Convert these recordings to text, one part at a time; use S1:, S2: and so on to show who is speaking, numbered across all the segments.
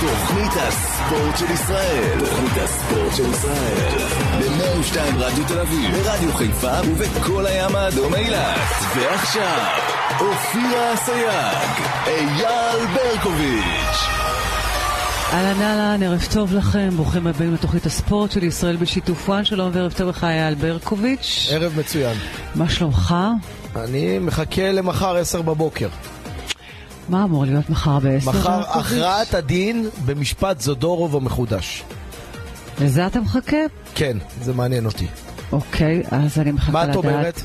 S1: תוכנית הספורט של ישראל. תוכנית הספורט של ישראל. ב-102 רדיו תל אביב, ברדיו חיפה ובכל הים האדום אילת. ועכשיו, אופירה אסייג, אייל ברקוביץ'.
S2: אהלן אהלן, ערב טוב לכם, ברוכים הבאים לתוכנית הספורט של ישראל בשיתוף וואן, שלום וערב טוב לך אייל ברקוביץ'.
S3: ערב מצוין.
S2: מה שלומך?
S3: אני מחכה למחר 10 בבוקר.
S2: מה אמור להיות מחר בעשר?
S3: מחר
S2: ברקוביץ'?
S3: הכרעת הדין במשפט זודורוב המחודש.
S2: לזה אתה מחכה?
S3: כן, זה מעניין אותי.
S2: אוקיי, אז אני מחכה
S3: מה
S2: לדעת.
S3: את אומרת?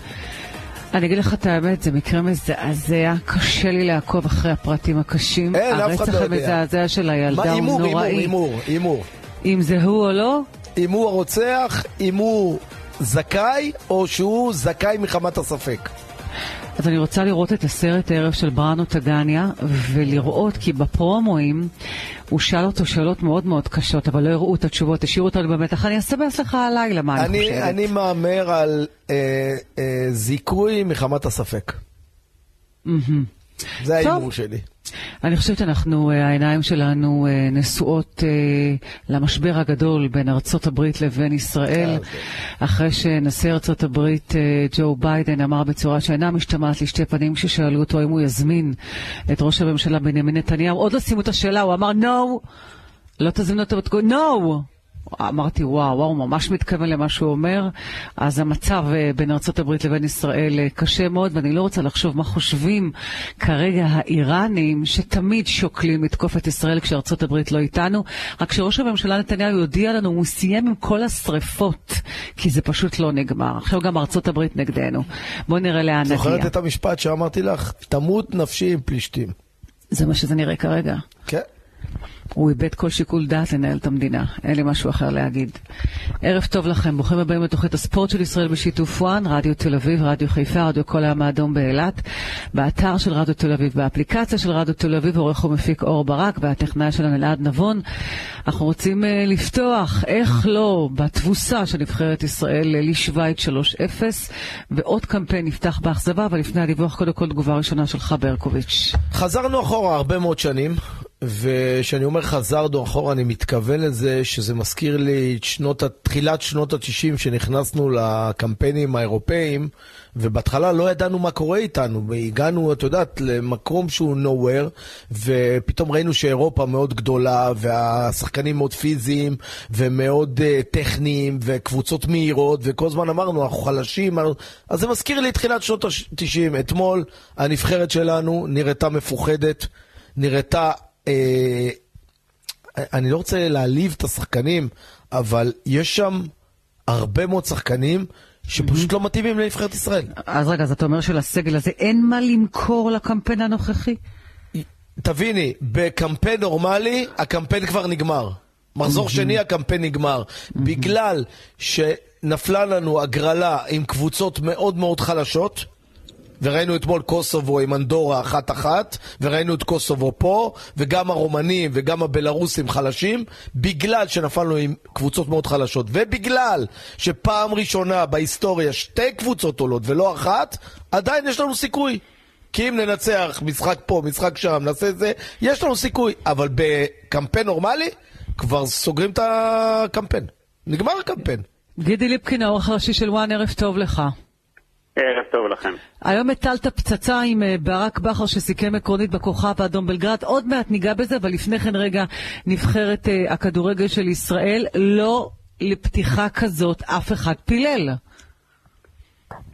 S2: אני אגיד לך את האמת, זה מקרה מזעזע, קשה לי לעקוב אחרי הפרטים הקשים.
S3: אין, אף אחד לא יודע.
S2: הרצח המזעזע של
S3: מה,
S2: הילדה הוא
S3: הימור, הימור,
S2: נוראי.
S3: הימור, הימור.
S2: אם זה הוא או לא,
S3: אם הוא הרוצח, אם הוא זכאי, או שהוא זכאי מחמת הספק.
S2: אז אני רוצה לראות את הסרט הערב של בראנו טגניה, ולראות כי בפרומואים הוא שאל אותו שאלות מאוד מאוד קשות, אבל לא הראו את התשובות, השאירו אותנו במתח. אני אסמס לך הלילה מה אני,
S3: אני,
S2: חושבת.
S3: אני מהמר על אה, אה, זיכוי מחמת הספק.
S2: מהמם.
S3: זה
S2: טוב.
S3: ההימור שלי.
S2: אני חושבת שאנחנו, אה, העיניים שלנו אה, נשואות אה, למשבר הגדול בין ארצות הברית לבין ישראל, אחרי שנשיא ארצות הברית אה, ג'ו ביידן אמר בצורה שאינה משתמעת לשתי פנים כששאלו אותו אם הוא יזמין את ראש הממשלה בנימין נתניהו. עוד לא סיימו את השאלה, הוא אמר, no, לא תזמינו אותו בתגובה, no! אמרתי, וואו, וואו, הוא ממש מתכוון למה שהוא אומר. אז המצב אה, בין ארה"ב לבין ישראל אה, קשה מאוד, ואני לא רוצה לחשוב מה חושבים כרגע האיראנים, שתמיד שוקלים לתקוף את ישראל כשארה"ב לא איתנו. רק שראש הממשלה נתניהו יודיע לנו, הוא סיים עם כל השריפות, כי זה פשוט לא נגמר. עכשיו גם ארה"ב נגדנו. בואו נראה לאן נגיע.
S3: זוכרת את המשפט שאמרתי לך? תמות נפשי עם פלישתים.
S2: זה מה שזה נראה כרגע.
S3: כן.
S2: הוא איבד כל שיקול דעת לנהל את המדינה, אין לי משהו אחר להגיד. ערב טוב לכם, ברוכים הבאים לתוכנית הספורט של ישראל בשיתוף וואן, רדיו תל אביב, רדיו חיפה, רדיו כל הים האדום באילת, באתר של רדיו תל אביב, באפליקציה של רדיו תל אביב, עורך ומפיק אור ברק, והטכנאי שלנו אלעד נבון. אנחנו רוצים אה, לפתוח, איך לא, בתבוסה של נבחרת ישראל אה, לשוויץ 3-0, ועוד קמפיין נפתח באכזבה, אבל לפני הדיווח, קודם כל תגובה ראשונה שלך, ברקוביץ'.
S3: חזרנו אחורה הרבה מאוד שנים, וכשאני אומר חזרנו אחורה, אני מתכוון לזה שזה מזכיר לי את שנות, ה- תחילת שנות ה-90, שנכנסנו לקמפיינים האירופאיים, ובהתחלה לא ידענו מה קורה איתנו. הגענו, את יודעת, למקום שהוא nowhere, ופתאום ראינו שאירופה מאוד גדולה, והשחקנים מאוד פיזיים, ומאוד uh, טכניים, וקבוצות מהירות, וכל הזמן אמרנו, אנחנו חלשים. אנחנו-" אז זה מזכיר לי את תחילת שנות ה-90. אתמול הנבחרת שלנו נראתה מפוחדת, נראתה... אה, אני לא רוצה להעליב את השחקנים, אבל יש שם הרבה מאוד שחקנים שפשוט לא מתאימים לנבחרת ישראל.
S2: אז רגע, אז אתה אומר שלסגל הזה אין מה למכור לקמפיין הנוכחי?
S3: תביני, בקמפיין נורמלי, הקמפיין כבר נגמר. מחזור שני הקמפיין נגמר. בגלל שנפלה לנו הגרלה עם קבוצות מאוד מאוד חלשות, וראינו אתמול קוסובו עם אנדורה אחת-אחת, וראינו את קוסובו פה, וגם הרומנים וגם הבלרוסים חלשים, בגלל שנפלנו עם קבוצות מאוד חלשות, ובגלל שפעם ראשונה בהיסטוריה שתי קבוצות עולות ולא אחת, עדיין יש לנו סיכוי. כי אם ננצח משחק פה, משחק שם, נעשה את זה, יש לנו סיכוי. אבל בקמפיין נורמלי, כבר סוגרים את הקמפיין. נגמר הקמפיין.
S2: גידי ליפקין, העורך הראשי של וואן, ערב טוב לך.
S4: ערב טוב לכם.
S2: היום הטלת פצצה עם אה, ברק בכר שסיכם עקרונית בכוכב האדום בלגרד. עוד מעט ניגע בזה, אבל לפני כן רגע, נבחרת אה, הכדורגל של ישראל, לא לפתיחה כזאת אף אחד פילל.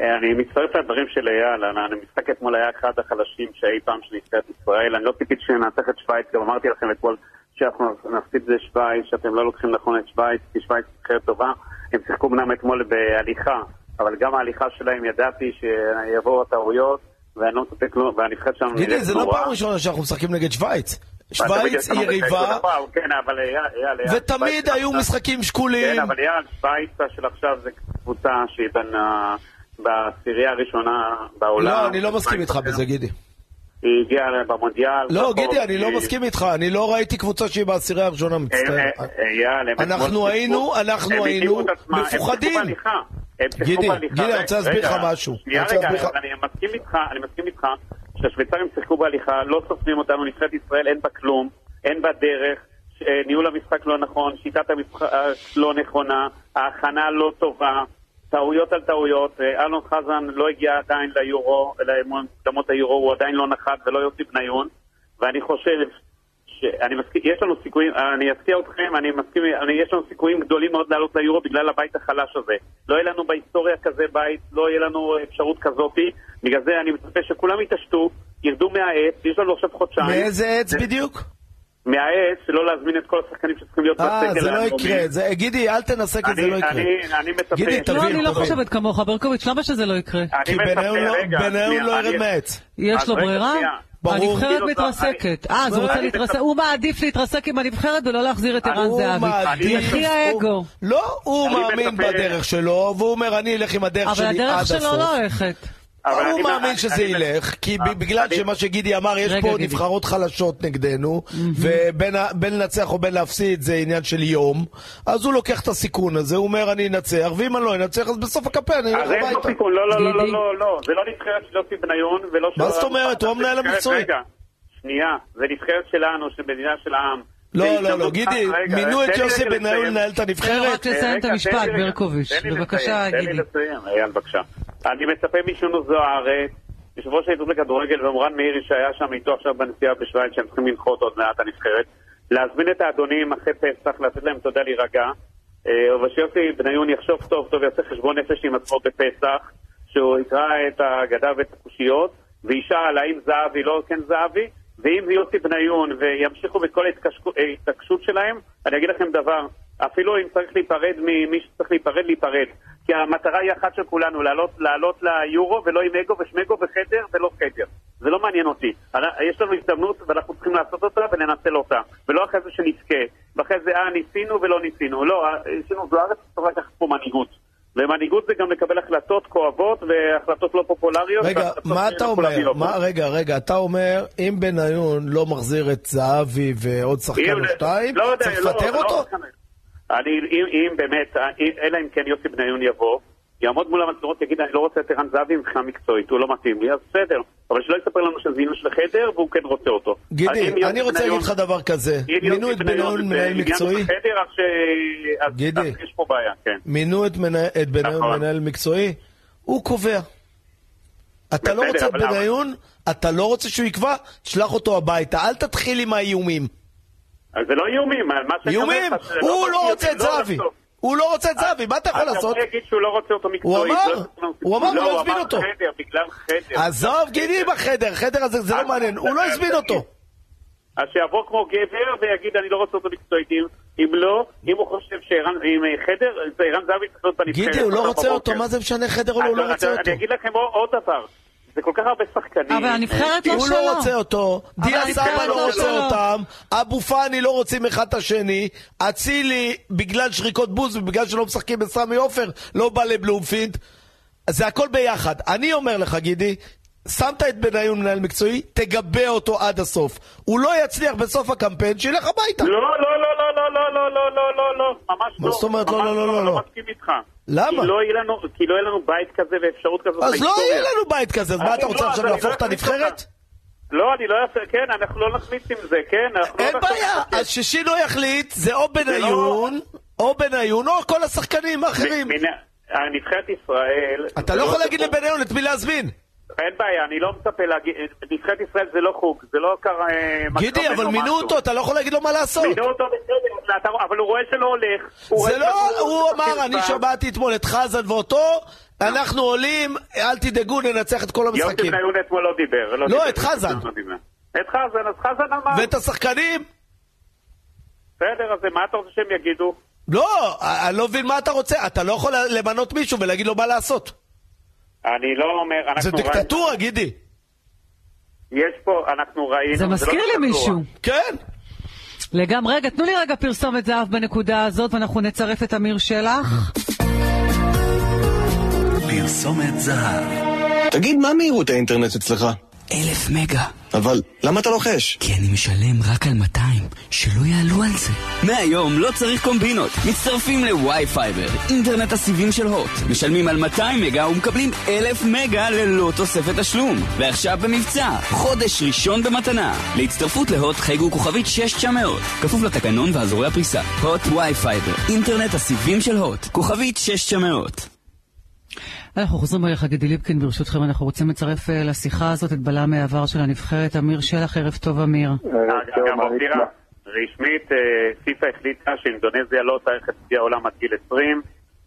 S4: אה, אני מצטרף לדברים של אייל, אני- המשחק אתמול היה אחד החלשים שאי פעם של נבחרת ישראל, אני לא ציפיתי שננצח את שווייץ, גם אמרתי לכם אתמול שאנחנו נפסיד את שווייץ, שאתם לא לוקחים נכון את שווייץ, כי שווייץ היא נבחרת טובה, הם שיחקו אמנם אתמול בהליכה, אבל גם ההליכה שלהם ידעתי שיבואו הטעויות, ואני לא מצפה כלום, והנבחרת שלנו
S3: גידי, זה לא
S4: נורא.
S3: פעם ראשונה שאנחנו משחקים נגד שווייץ.
S4: ואתה בדיוק
S3: שווייץ היא
S4: אמרת שהכל
S3: יריבה,
S4: נכון, כן, אבל אייל, אייל, אייל, שווייץ
S3: ותמיד
S4: היא
S3: היו
S4: עכשיו-
S3: משחקים שקולים.
S4: כן, אבל יאללה, שווייץ של עכשיו זה קבוצה שהיא בין ה... בעשירייה הראשונה בעולם.
S3: לא, אני לא מסכים איתך בזה, גידי.
S4: היא הגיעה במונדיאל.
S3: לא,
S4: בסוף,
S3: גידי, אני לא
S4: היא-
S3: מסכים איתך. אני לא ראיתי קבוצה שהיא בעשירייה הראשונה,
S4: אה,
S3: מצטער.
S4: אה, אה, אייל, הם
S3: אנחנו
S4: אתמול
S3: היינו-
S4: שיחקו-
S3: אנחנו
S4: הם
S3: היינו
S4: הקימו את עצמם, הם שיחקו
S3: מפוחדים.
S4: בהליכה. הם שיחקו
S3: גידי,
S4: בהליכה.
S3: גידי, אני
S4: רגע,
S3: רוצה להסביר לך
S4: רגע,
S3: משהו.
S4: שנייה,
S3: אני רוצה
S4: רגע,
S3: להסביר לך-
S4: אני מסכים איתך, אני מסכים איתך שהשוויצרים שיחקו בהליכה, לא סופרים אותנו, נבחרת ישראל אין בה כלום, אין בה דרך. אה, ניהול המשחק לא נכון, שיטת המשחק לא נכונה, ההכנה לא טובה, טעויות על טעויות. אה, אלון חזן לא הגיע עדיין ליורו, למוקדמות היורו, הוא עדיין לא נחת ולא יוסי בניון, ואני חושב שאני מסכים, יש לנו סיכויים, אני אפתיע אתכם, אני מסכים, אני, יש לנו סיכויים גדולים מאוד לעלות ליורו בגלל הבית החלש הזה. לא יהיה לנו בהיסטוריה כזה בית, לא יהיה לנו אפשרות כזאתי, בגלל זה אני מצפה שכולם יתעשתו, ירדו מהעץ, יש לנו עכשיו חודשיים.
S3: מאיזה
S4: אה,
S3: עץ בדיוק?
S4: מהעץ, לא להזמין את כל השחקנים שצריכים להיות
S3: אה,
S4: בסגל.
S3: זה לא
S4: הלאומי.
S3: יקרה. זה- גידי, אל תנסה כי זה
S4: אני-
S3: לא יקרה.
S4: אני- אני מצפה.
S3: גידי,
S4: לא,
S2: לא,
S3: תבין,
S2: אני לא
S3: תבין.
S2: חושבת כמוך, ברקוביץ', למה שזה לא יקרה?
S4: אני
S3: כי
S4: מצפה,
S3: בניון לא-
S4: רגע,
S3: בניון
S4: שנייה,
S3: לא ירד
S4: אני-
S3: מהעץ.
S2: יש
S4: אז
S2: לו
S4: רגע,
S2: ברירה?
S4: שנייה.
S3: ברור.
S2: הנבחרת
S4: אני-
S2: מתרסקת. אה, אז הוא רוצה
S4: אני-
S2: להתרסק, הוא מעדיף להתרסק עם הנבחרת ולא להחזיר את ערן
S3: הוא
S2: זהבי.
S3: מעדיף-
S2: יחי
S3: הוא-
S2: האגו.
S3: לא, הוא
S4: אני
S3: מאמין
S4: מצפה-
S3: בדרך שלו, והוא אומר, אני אלך עם הדרך
S2: אבל
S3: שלי עד הסוף.
S2: הדרך שלו לא הולכת.
S4: אבל
S3: הוא
S4: אני-
S3: מאמין
S4: אני-
S3: שזה
S4: אני-
S3: ילך, כי ב-
S4: אה,
S3: בגלל
S4: אני-
S3: שמה שגידי אמר, יש
S2: רגע,
S3: פה
S2: גידי.
S3: נבחרות חלשות נגדנו, ובין ה- בין לנצח או בין להפסיד זה עניין של יום, אז הוא לוקח את הסיכון הזה, הוא אומר אני אנצח, ואם אני לא אנצח אז בסוף הקמפיין אני אלך
S4: אז אין פה
S3: הביתה.
S4: סיכון, לא, לא, לא, לא,
S2: גידי.
S4: לא, לא, זה לא נבחרת של יוסי בניון ולא של...
S3: מה זאת אומרת? הוא
S4: זה
S3: המנהל
S4: נבחרת-
S3: המקצועי.
S4: רגע, שנייה, זה נבחרת שלנו, של מדינה של העם. זה
S3: לא, לא, לא,
S4: הזדמנות-
S3: גידי,
S4: אה, רגע,
S3: מינו את
S4: תן לי
S3: יוסי
S4: רגע
S3: בניון
S4: לסיים. אה,
S3: לנהל את
S2: תן לו
S3: הנבחרת.
S2: רק לסיים את
S4: רגע,
S2: המשפט,
S4: תן לי רגע.
S2: ברקוביץ'.
S4: תן לי
S2: בבקשה,
S4: לסיים, תן
S2: גידי.
S4: לי לסיים, אייל, בבקשה. אני מצפה משונו זוארץ, יושב ראש ההתאחדות לכדורגל ומורן מאירי שהיה שם איתו עכשיו בנסיעה בשווייץ, שהם צריכים לנחות עוד מעט הנבחרת, להזמין את האדונים אחרי פסח, לתת להם תודה להירגע, אה, ושיוסי בניון יחשוב טוב טוב, יעשה חשבון נפש עם עצמו בפסח, שהוא יקרא את ההגדה ואת הקושיות, וישאל האם זהבי לא כן זהבי, ואם זה יוסי בניון וימשיכו בכל ההתקשקו- ההתעקשות שלהם, אני אגיד לכם דבר, אפילו אם צריך להיפרד ממי שצריך להיפרד, להיפרד. כי המטרה היא אחת של כולנו, לעלות, לעלות ליורו ולא עם אגו ושמגו וחדר ולא חדר. זה לא מעניין אותי. אני- יש לנו הזדמנות ואנחנו צריכים לעשות אותה ולנצל אותה. ולא אחרי זה שנזכה. ואחרי זה, אה, ניסינו ולא ניסינו. לא, אה, ניסינו זו ארץ, צריך לקחת פה מנהיגות. ומנהיגות זה גם לקבל החלטות כואבות והחלטות לא פופולריות.
S3: רגע,
S4: והחלטות לא
S3: מה אתה
S4: שאנחנו נביא
S3: אומר?
S4: לו.
S3: מה- רגע, רגע, אתה אומר, אם בניון לא מחזיר את זהבי ועוד שחקן
S4: אם-
S3: או שתיים,
S4: לא יודע,
S3: צריך
S4: לא,
S3: לפטר
S4: לא
S3: אותו?
S4: משנה. אני, אם, אם באמת, אם- אלא אם כן יוסי בניון יבוא, יעמוד מול המצלמות, יגיד, אני לא רוצה את ערן זהבי מבחינה מקצועית, הוא לא מתאים לי, אז בסדר. אבל שלא יספר לנו שזה עניין של חדר, והוא כן רוצה אותו. אז אם
S3: גידי,
S4: יוסי
S3: אני רוצה
S4: בניון-
S3: להגיד לך דבר כזה,
S4: אם יוסי
S3: מינו את בניון
S4: זה
S3: מנהל
S4: עניין של
S3: מקצועי?
S4: חדר, אז ש- אז-
S3: גידי.
S4: אז יש פה בעיה, כן.
S3: מינו את, מנה... את בניון
S4: נכון.
S3: מנהל מקצועי, הוא קובע. אתה לא
S4: בסדר,
S3: רוצה את
S4: אבל למה?
S3: בניון, אתה לא רוצה שהוא יקבע, תשלח אותו הביתה, אל תתחיל עם האיומים.
S4: אז זה לא איומים, על מה שאני אומר
S3: איומים?
S4: לך, שזה
S3: הוא לא
S4: איומים,
S3: רוצה את
S4: לא
S3: זהבי.
S4: לעשות.
S3: הוא לא רוצה את זהבי, מה אתה יכול
S4: אתה
S3: לעשות?
S4: יכול להגיד שהוא לא רוצה אותו מקצועית.
S3: אמר,
S4: לא צריך לנו-
S3: הוא אמר, הוא
S4: לא,
S3: לא הזמין אותו.
S4: חדר, בגלל חדר.
S3: עזוב,
S4: אוקיי.
S3: גידי בחדר, חדר הזה זה לא
S4: אז-
S3: מעניין, הוא לא
S4: אז-
S3: הזמין אותו.
S4: אז שיבוא כמו גבר ויגיד אני לא רוצה אותו מקצועית. אם- אם לא, אם הוא חושב שערן, אם אה, חדר, אז ערן זהבי צריך להיות בנבחרת.
S3: גידי, הוא לא
S4: מחר
S3: רוצה אותו,
S4: בבוקר.
S3: מה זה משנה חדר או לא, הוא לא
S4: אז-
S3: רוצה
S4: אז
S3: אותו.
S4: אני אגיד לכם עוד- עוד דבר. זה כל כך הרבה שחקנים.
S2: אבל הנבחרת לא
S3: הוא
S2: שלו.
S3: לא רוצה אותו,
S2: אבל
S3: דיה
S2: הנבחרת
S3: סבא
S2: לא
S3: לא רוצה
S2: שלו.
S3: אותם, אבו פאני לא רוצים אחד את השני, אצילי בגלל שריקות בוז ובגלל שלא משחקים בסמי עופר לא בא לבלומפילד, זה הכל ביחד. אני אומר לך גידי, שמת את בניון מנהל מקצועי, תגבה אותו עד הסוף. הוא לא יצליח בסוף הקמפיין, שילך הביתה.
S4: לא, לא, לא, לא, לא, לא, לא, לא, לא, לא, לא, ממש לא.
S3: מה זאת אומרת? לא,
S4: ממש
S3: לא, לא, לא,
S4: לא
S3: לא.
S4: מסכים איתך.
S3: למה?
S4: כי לא יהיה לנו- כי לא יהיה לנו בית כזה ואפשרות כזאת.
S3: אז לא
S4: בהיסטוריה.
S3: יהיה לנו בית כזה, אז מה
S4: אני
S3: אתה רוצה
S4: לא,
S3: עכשיו
S4: אז אני
S3: להפוך
S4: לא
S3: את
S4: אכניס
S3: הנבחרת?
S4: אותה. לא, אני לא אעשה, כן, אנחנו לא נחמיץ עם זה, כן? אנחנו לא
S3: אין
S4: נחמיץ
S3: בעיה,
S4: עם זה.
S3: אז ששינו יחליט, זה או בניון, או בניון, או כל השחקנים האחרים.
S4: מן- הנבחרת אה, ישראל...
S3: אתה לא יכול להגיד לבניון את מי להזמין.
S4: אין בעיה, אני לא מצפה להגיד... נבחרת ישראל זה לא חוג, זה לא קרה...
S3: גידי, אבל מינו אותו, אתה לא יכול להגיד לו מה לעשות.
S4: מינו אותו בסדר, אתה- אבל הוא רואה שלא הולך.
S3: זה
S4: רואה
S3: לא,
S4: שלא- כן,
S3: הוא אמר,
S4: פעם.
S3: אני שמעתי אתמול את חזן ואותו, אנחנו עולים, אל תדאגו, ננצח את כל
S4: יוסי
S3: המשחקים.
S4: בניון אתמול לא דיבר.
S3: לא,
S4: דיבר.
S3: את חזן.
S4: לא דיבר. את חזן, אז חזן אמר.
S3: ואת השחקנים?
S4: בסדר, אז מה אתה רוצה שהם יגידו?
S3: לא, אני לא מבין מה אתה רוצה, אתה לא יכול למנות מישהו ולהגיד לו מה לעשות.
S4: אני לא אומר, אנחנו...
S3: זה
S4: ראינו-
S3: דיקטטורה, גידי.
S4: יש פה, אנחנו ראינו...
S2: זה
S4: לא
S2: מזכיר לי
S4: דיקטטורה.
S2: מישהו.
S3: כן.
S2: לגמרי. רגע, תנו לי רגע פרסומת זהב בנקודה הזאת, ואנחנו נצרף את אמיר שלח.
S1: פרסומת זהב. תגיד, מה מהירות האינטרנט אצלך?
S5: אלף מגה.
S6: אבל למה אתה לוחש?
S7: כי אני משלם רק על 200, שלא יעלו על זה.
S8: מהיום לא צריך קומבינות. מצטרפים לוואי פייבר, אינטרנט הסיבים של הוט. משלמים על 200 מגה ומקבלים 1,000 מגה ללא תוספת תשלום. ועכשיו במבצע, חודש ראשון במתנה. להצטרפות להוט חייגו כוכבית 6900, כפוף לתקנון ואזורי הפריסה. הוט וואי פייבר, אינטרנט הסיבים של הוט, כוכבית 6900.
S2: אנחנו חוזרים אליך, גידי ליפקין, ברשותכם, אנחנו רוצים לצרף אה, לשיחה הזאת את בלם העבר של הנבחרת, אמיר שלח, ערב טוב אמיר.
S4: אגב, אופירה, רשמית, אה, פיפ"א החליטה שאינדונזיה לא תארך את גביע העולם עד גיל 20.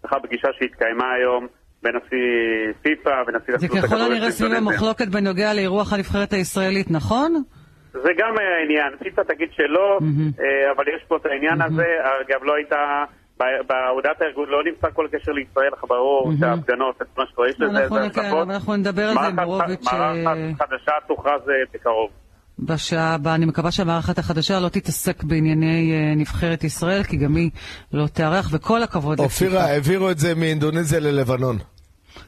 S4: זכה פגישה שהתקיימה היום בין נשיא פיפ"א ונשיא
S2: לא זה ככל הנראה סביב המחלוקת בנוגע לאירוח הנבחרת הישראלית, נכון?
S4: זה גם אה, העניין, פיפ"א תגיד שלא, אה, אבל יש פה את העניין הזה, אגב לא הייתה, ב- בהודעת הארגון לא נמצא כל קשר לישראל, לך ברור שההפגנות, את מה שקורה, יש לזה
S2: אנחנו
S4: איזה
S2: נק-
S4: השלכות.
S2: אנחנו נדבר על זה עם אה,
S4: מערכת-
S2: בורוביץ'
S4: מערכת חדשה תוכרז אה, בקרוב.
S2: בשעה הבאה. אני מקווה שהמערכת החדשה לא תתעסק בענייני אה, נבחרת ישראל, כי גם היא לא תארח, וכל הכבוד
S3: אופירה,
S2: לפיפ"א.
S3: העבירו את זה מאינדונזיה ללבנון.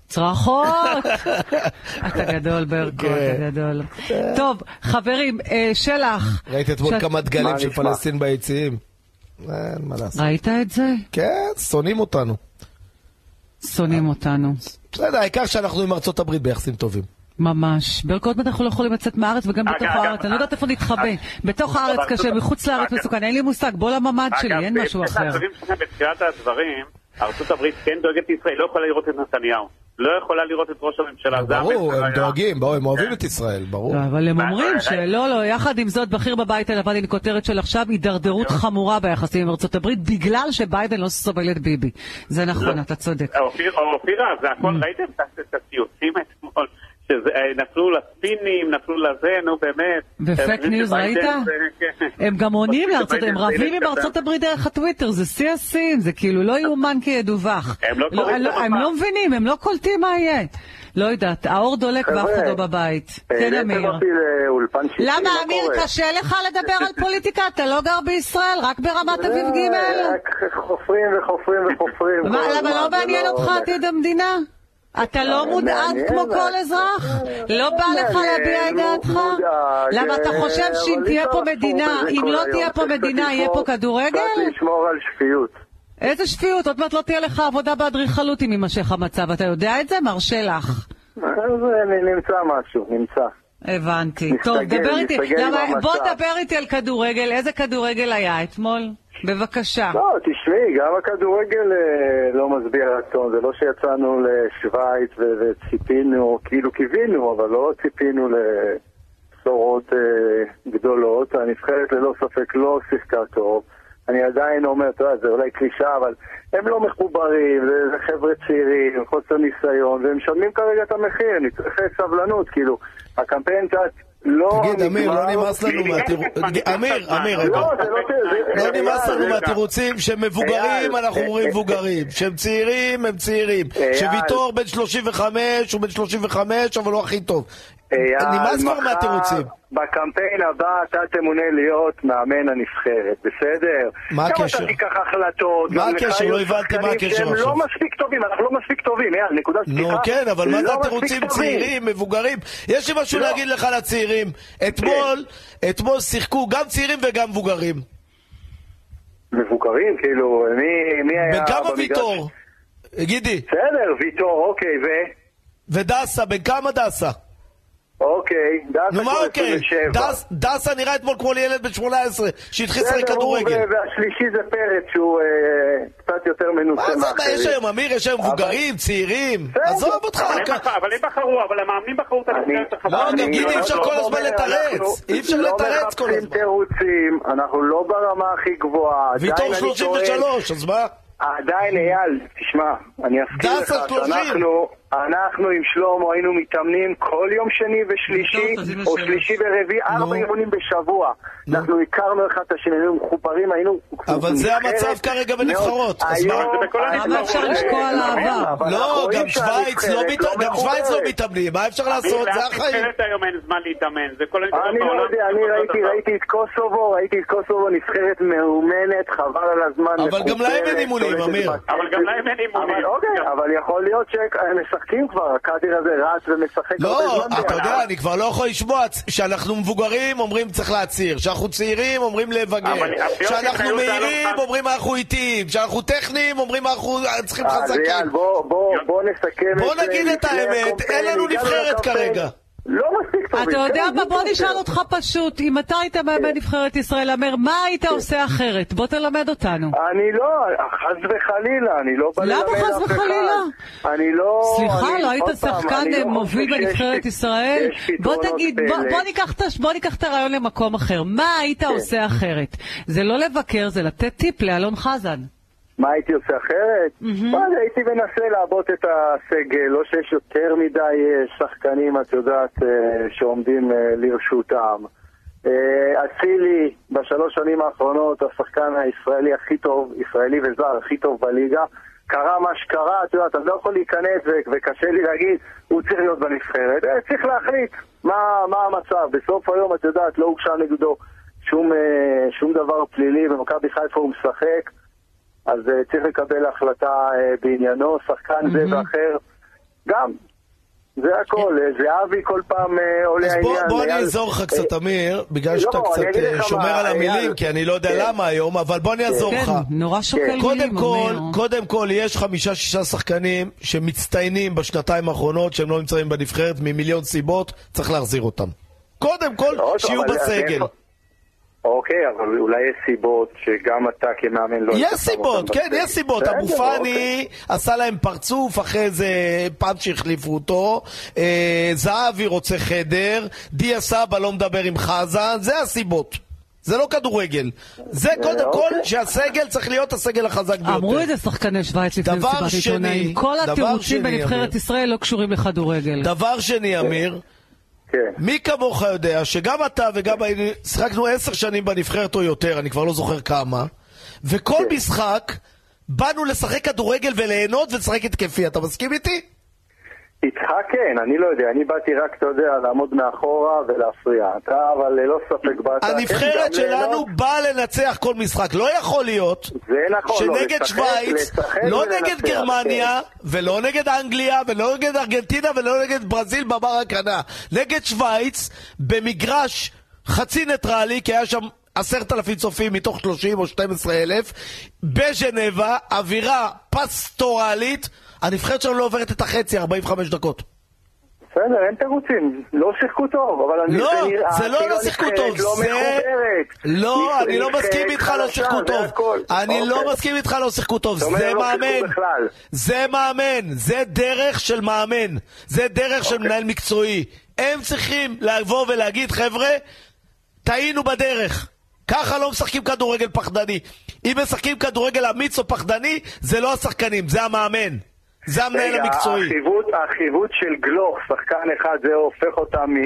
S2: צרחות! אתה גדול, ברקו,
S3: כן.
S2: אתה גדול. טוב, חברים, אה, שלח.
S3: ראית אתמול
S2: שאת-
S3: כמה דגלים
S6: מה
S3: של
S6: נשמע?
S3: פלסטין ביציעים? אין מה לעשות.
S2: ראית את זה?
S3: כן, שונאים אותנו. אה.
S2: שונאים אותנו.
S3: בסדר, העיקר שאנחנו עם ארצות הברית ביחסים טובים.
S2: ממש. ברקו, עוד מעט אנחנו לא יכולים לצאת מהארץ וגם
S4: אגב,
S2: בתוך
S4: אגב,
S2: הארץ. אני לא יודעת איפה נתחבא.
S4: אגב,
S2: בתוך הארץ
S4: אגב,
S2: קשה,
S4: אגב,
S2: מחוץ לארץ
S4: אגב,
S2: מסוכן. אין לי מושג, בוא לממ"ד שלי, אין משהו
S4: בהמשך
S2: אחר.
S4: לדברים שלך בתחילת הדברים, ארצות הברית כן דואגת לישראל, לא יכולה לראות את נתניהו. לא יכולה לראות את ראש הממשלה. זה
S3: ברור,
S4: המסר
S3: הם
S4: היה.
S3: דואגים, ברור, הם אוהבים את ישראל, ברור.
S6: אה,
S2: לא, אבל הם
S4: מה,
S2: אומרים
S4: ראית?
S2: שלא, לא, יחד עם זאת, בכיר בבית הלבן עם כותרת של עכשיו, הידרדרות
S4: לא-
S2: חמורה ביחסים עם ארצות הברית, בגלל שביידן לא סובל את ביבי. זה נכון,
S4: לא.
S2: אתה צודק.
S4: אופיר- אופירה, זה הכל,
S3: Mm.
S4: ראיתם את- את הציוצים אתמול? שזה, אה, נפלו לספינים, נפלו לזה, נו באמת.
S2: ופייק
S4: הם חושבים
S2: ניוז,
S4: שביידן
S2: ראית?
S4: אה, זה- כן.
S2: הם גם עונים
S4: חושבים
S2: לארצות,
S4: שביידן
S2: הם
S4: זה
S2: רבים
S4: ילד
S2: עם ארצות
S4: קטן.
S2: הברית דרך הטוויטר, זה שיא השיאים, זה כאילו לא יאומן כי ידווח.
S4: הם לא קוראים את
S2: הם
S4: המפה.
S2: לא מבינים, הם לא קולטים מה יהיה. לא יודעת, האור דולק
S6: חבר'ה,
S2: ואף אחד לא בבית.
S4: אה,
S2: כן,
S6: העליתם
S2: אמיר.
S6: אותי לאולפן שישי,
S2: למה,
S6: מה
S2: אמיר,
S6: קורה?
S2: קשה לך לדבר על פוליטיקה? אתה לא גר בישראל, רק ברמת
S4: אה,
S2: אביב
S6: זה
S2: ג'?
S6: רק חופרים וחופרים וחופרים.
S2: מה,
S6: כל
S2: למה
S6: הזמן,
S2: לא
S6: זה
S2: מעניין
S6: לא
S2: אותך
S6: הולך.
S2: עתיד המדינה? אתה לא מודאג
S6: מעניין,
S2: כמו
S6: אבל-
S2: כל אזרח? לא בא
S6: מעניין,
S2: לך להביע את
S6: לא
S2: דעתך?
S6: מודאג,
S2: למה אתה
S6: אה,
S2: חושב
S6: אבל
S2: שאם
S6: אי
S2: תהיה
S6: אפשר
S2: פה
S6: לעשות את
S2: מדינה,
S6: זה
S2: אם
S6: כל
S2: לא
S6: היום.
S2: תהיה פה
S6: צריך
S2: מדינה, יהיה
S6: לשמור-
S2: פה כדורגל?
S6: צריך לשמור על שפיות.
S2: איזה שפיות, עוד מעט לא תהיה לך עבודה באדריכלות אם יימשך המצב, אתה יודע את זה? מר שלח.
S6: אז אה, נמצא משהו, נמצא.
S2: הבנתי.
S6: נסתגל,
S2: טוב, דבר איתי.
S6: נסתגל עם
S2: למה-
S6: המצב.
S2: בוא דבר איתי על כדורגל, איזה כדורגל היה אתמול? בבקשה.
S6: לא, תשמעי, גם הכדורגל אה, לא משביע רצון, זה לא שיצאנו לשוויץ ו- וציפינו, כאילו קיווינו, אבל לא ציפינו לבשורות אה, גדולות. הנבחרת ללא ספק לא שיחקה טוב. אני עדיין אומר, אתה יודע, זה אולי קלישאה, אבל הם לא מחוברים, זה, זה חבר'ה צעירים, חוסר ניסיון, והם משלמים כרגע את המחיר, אני צריך סבלנות, כאילו, הקמפיין קצת לא
S3: תגיד, אמיר,
S6: נגמר.
S3: לא נמאס לנו
S4: לי
S3: מהתירוץ...
S4: אפס מנהיגים
S3: אמיר,
S4: בזמן.
S3: אמיר, רגע.
S6: לא, זה לא... זה-
S3: לא נמאס לנו
S6: רגע.
S3: מהתירוצים שמבוגרים,
S6: אייל,
S3: אנחנו
S6: אה,
S3: אומרים
S6: אה,
S3: מבוגרים. שהם צעירים, הם צעירים.
S6: אייל.
S3: שוויטור בן 35, הוא בן 35, אבל הוא הכי טוב.
S6: אייל,
S3: נמאס כבר
S6: אה, מחר
S3: מהתירוצים.
S6: בקמפיין הבא אתה תמונה להיות מאמן הנבחרת, בסדר?
S3: מה הקשר?
S6: גם אתה תיקח החלטות.
S3: מה
S6: גם לך
S3: הקשר?
S6: יהיו
S3: לא הבנתי מה
S6: שחקנים
S3: הקשר
S6: שהם
S3: עכשיו.
S6: לא מספיק טובים, אנחנו לא מספיק טובים, אייל, נקודה
S3: נו
S6: סליחה.
S3: כן, אבל מה זה
S6: לא
S3: התירוצים
S6: מספיק טובים.
S3: צעירים, מבוגרים? יש לי משהו
S6: לא.
S3: להגיד לך לצעירים. אתמול, אתמול שיחקו גם צעירים וגם מבוגרים.
S6: מבוגרים, כאילו, מי- מי היה...
S3: בן כמה
S6: במגרש?
S3: ויטור? גידי.
S6: בסדר, ויטור, אוקיי, ו...
S3: ודסה, בן כמה דסה?
S6: אוקיי, דסה
S3: נו מה
S6: כבר
S3: אוקיי?
S6: 27.
S3: דס- דסה נראה אתמול כמו ילד בן 18 שהתחיל לשחק
S6: בסדר, הוא
S3: כדורגל.
S6: ו- והשלישי זה פרץ, שהוא אה, קצת יותר מנוסה
S3: מה
S6: מאחרים.
S3: זה, מה, יש היום, אמיר, יש היום מבוגרים, צעירים.
S6: בסדר.
S3: עזוב אותך.
S4: אבל
S3: כ-
S4: הם בחרו- אבל הם בחרו, אבל המאמנים בחרו את הנבחרת
S3: לא,
S4: החדשה.
S3: גם
S6: אני
S3: גידי, אי אפשר
S6: לא
S3: כל הזמן
S6: אומר,
S3: לתרץ.
S6: אנחנו
S3: אי אפשר לתרץ כל
S6: לא
S3: הזמן.
S6: מחפשים תירוצים, אנחנו לא ברמה הכי גבוהה.
S3: ויטור
S6: עדיין אני
S3: 33, אז מה?
S6: טוען- עדיין, אייל, תשמע, אני אזכיר
S3: דסה
S6: לך
S3: 30.
S6: שאנחנו אנחנו עם שלמה היינו מתאמנים כל יום שני ושלישי,
S2: טוב, תזמין
S6: או
S2: לשבת.
S6: שלישי ורביעי,
S3: נו.
S6: ארבע אימונים בשבוע.
S3: נו.
S6: אנחנו הכרנו אחד את השני, היינו מחוברים, היינו...
S3: אבל זה
S6: נבחרת
S3: המצב כרגע
S6: מאוד.
S3: בנבחרות, אז מה?
S6: היום-
S4: זה בכל
S6: היום-
S4: הנבחרות. למה
S2: אפשר לשקוע על העבר?
S6: אבל אנחנו
S3: לא,
S6: רואים
S3: גם שווייץ לא
S6: שהנבחרת
S3: מת- גם שווייץ לא
S6: מחוברת.
S3: מתאמנים, מה אפשר לעשות? זה
S4: לאף
S3: החיים.
S4: נבחרת היום אין זמן להתאמן, זה כל הנבחרות
S6: אני לא
S4: בעולם
S6: יודע, אני
S4: שעושות
S6: ראיתי,
S4: דבר.
S6: ראיתי את קוסובו, ראיתי את קוסובו נבחרת מאומנת, חבל על הזמן.
S3: אבל גם להם אין
S6: מחוברת,
S3: אימונים,
S6: שולטת
S3: אמיר.
S6: בקצב.
S4: אבל גם להם אין אימונים.
S6: אבל אוקיי, אבל יכול להיות שהם משחקים כבר, הקאדיר הזה רץ ומשחק הרבה
S3: לא,
S6: זמן
S3: אתה
S6: ביחד.
S3: יודע, אני כבר לא יכול לשמוע צ- שאנחנו מבוגרים אומרים צריך להצהיר, כשאנחנו צעירים אומרים לבגר,
S4: אבל הסיעות
S3: כשאנחנו
S4: התנהלו זה
S3: מהירים
S4: הלא-
S3: אומרים אנחנו איטיים, כשאנחנו טכניים אומרים אנחנו אה, צריכים
S6: אז אייל,
S3: חזקים.
S6: אה, בוא- בוא בוא נסכם את זה.
S3: בוא נגיד את
S6: לפני
S3: האמת,
S6: הקמפיין,
S3: אין לנו
S6: הגענו
S3: נבחרת
S6: לקמפיין.
S3: כרגע.
S6: לא מספיק טובים.
S2: אתה יודע
S6: כן,
S2: מה?
S6: זה
S2: בוא
S6: בסדר.
S2: נשאל אותך פשוט. אם אתה היית מאמן
S6: כן.
S2: נבחרת ישראל, אמר, מה היית עושה אחרת? בוא תלמד אותנו.
S6: אני לא, חס וחלילה, אני לא בא
S2: למה
S6: ללמד אף אחד.
S2: חס וחלילה?
S6: אני לא...
S2: סליחה,
S6: אני-
S2: לא היית
S6: עוד פעם,
S2: שחקן
S6: אני לא
S2: מוביל
S6: חושב שיש
S2: בנבחרת
S6: פת-
S2: ישראל?
S6: יש
S2: בוא
S6: פתרונות
S2: תגיד,
S6: פלא.
S2: בוא- בוא ניקח את הש- בוא ניקח את הרעיון למקום אחר. מה היית
S6: כן.
S2: עושה אחרת? זה לא לבקר, זה לתת טיפ לאלון חזן.
S6: מה הייתי עושה אחרת? מה, זה, הייתי מנסה לעבות את הסגל, לא שיש יותר מדי אה, שחקנים, את יודעת, אה, שעומדים אה, לרשותם. אה, אצילי, בשלוש שנים האחרונות, השחקן הישראלי הכי טוב, ישראלי וזר, הכי טוב בליגה. קרה מה שקרה, את יודעת, אני לא יכול להיכנס ו- וקשה לי להגיד, הוא צריך להיות בנבחרת. אה, צריך להחליט מה, מה המצב. בסוף היום, את יודעת, לא הוגשה נגדו שום, אה, שום דבר פלילי, במכבי חיפה הוא משחק. אז אה, צריך לקבל החלטה אה, בעניינו, שחקן זה ואחר, גם. זה הכל, אה, זהבי כל פעם אה, עולה
S3: אז בוא-
S6: העניין.
S3: בוא אני
S6: אייל-
S3: אעזור לך קצת,
S6: אה,
S3: אמיר, בגלל
S6: לא,
S3: שאתה
S6: אני
S3: קצת
S6: אגיד
S3: אה,
S6: לך
S3: שומר
S6: מה,
S3: על המילים,
S6: אייל,
S3: כי אני לא יודע
S6: כן.
S3: למה היום, אבל בוא אני אעזור
S2: כן,
S3: לך.
S2: נורא שוקל
S3: קודם
S2: מילים,
S3: כל,
S2: אומר.
S3: קודם כל, יש חמישה-שישה שחקנים שמצטיינים בשנתיים האחרונות, שהם לא נמצאים בנבחרת ממיליון סיבות, צריך להחזיר אותם. קודם כל,
S6: לא,
S3: שיהיו
S6: אבל-
S3: בסגל.
S6: אבל- אוקיי, אבל אולי יש סיבות שגם אתה כמאמן לא... היית
S3: יש
S6: שם
S3: סיבות,
S6: אותם
S3: כן,
S6: בסגל.
S3: יש סיבות.
S6: בסדר,
S3: אבו
S6: אוקיי.
S3: פאני עשה להם פרצוף אחרי איזה פעם שהחליפו אותו. אה, זהבי רוצה חדר, דיה סבא לא מדבר עם חזן, זה הסיבות. זה לא כדורגל. זה קודם כל
S6: אוקיי.
S3: שהסגל צריך להיות הסגל החזק ביותר.
S2: אמרו את זה שחקני שווייץ לפני
S3: דבר
S2: מסיבת
S3: שני,
S2: עיתונאים. כל
S3: דבר
S2: התירוצים
S3: שני,
S2: בנבחרת
S3: אמיר.
S2: ישראל לא קשורים לכדורגל.
S3: דבר
S6: אה.
S3: שני, אמיר,
S6: כן.
S3: מי כמוך יודע שגם אתה וגם אני שיחקנו עשר שנים בנבחרת או יותר, אני כבר לא זוכר כמה, וכל
S6: כן.
S3: משחק באנו לשחק כדורגל וליהנות ולשחק התקפי. אתה מסכים איתי?
S6: איתך כן, אני לא יודע, אני באתי רק, אתה יודע, לעמוד מאחורה ולהפריע. אתה, אבל ללא ספק באת... כן,
S3: הנבחרת
S6: גם
S3: שלנו
S6: ליהנות.
S3: באה לנצח כל משחק. לא יכול להיות
S6: זה נכון, לא,
S3: שנגד
S6: לשחק-
S3: שווייץ,
S6: לשחק
S3: לא
S6: ולנצח, כן.
S3: נגד גרמניה, ולא נגד אנגליה, ולא נגד ארגנטינה, ולא נגד ברזיל בבר הקנה. נגד שווייץ, במגרש חצי ניטרלי, כי היה שם... עשרת אלפים צופים מתוך שלושים או שתים עשרה אלף בז'נבה, אווירה פסטורלית הנבחרת שלנו לא עוברת את החצי, 45 דקות
S6: בסדר, אין תירוצים. לא שיחקו טוב, אבל אני...
S3: לא,
S6: נראה
S3: זה לא
S6: כאילו
S3: לא שיחקו
S6: הנבחרת
S3: טוב,
S6: לא
S3: זה...
S6: מחוברת.
S3: לא,
S6: נבחרת
S3: אני לא מסכים איתך לא
S6: חלשה,
S3: שיחקו
S6: זה
S3: טוב.
S6: הכל.
S3: אני
S6: אוקיי.
S3: לא מסכים איתך לא שיחקו טוב,
S6: אתה אומר,
S3: זה
S6: לא שיחקו
S3: מאמן.
S6: בכלל.
S3: זה מאמן, זה דרך של מאמן. זה דרך של
S6: אוקיי.
S3: מנהל מקצועי. הם צריכים לבוא ולהגיד, חבר'ה, טעינו בדרך. ככה לא משחקים כדורגל פחדני. אם משחקים כדורגל אמיץ או פחדני, זה לא השחקנים, זה המאמן. זה המנהל
S6: רגע,
S3: המקצועי.
S6: החיווט, החיווט של גלוך, שחקן אחד, זה הופך אותה מ...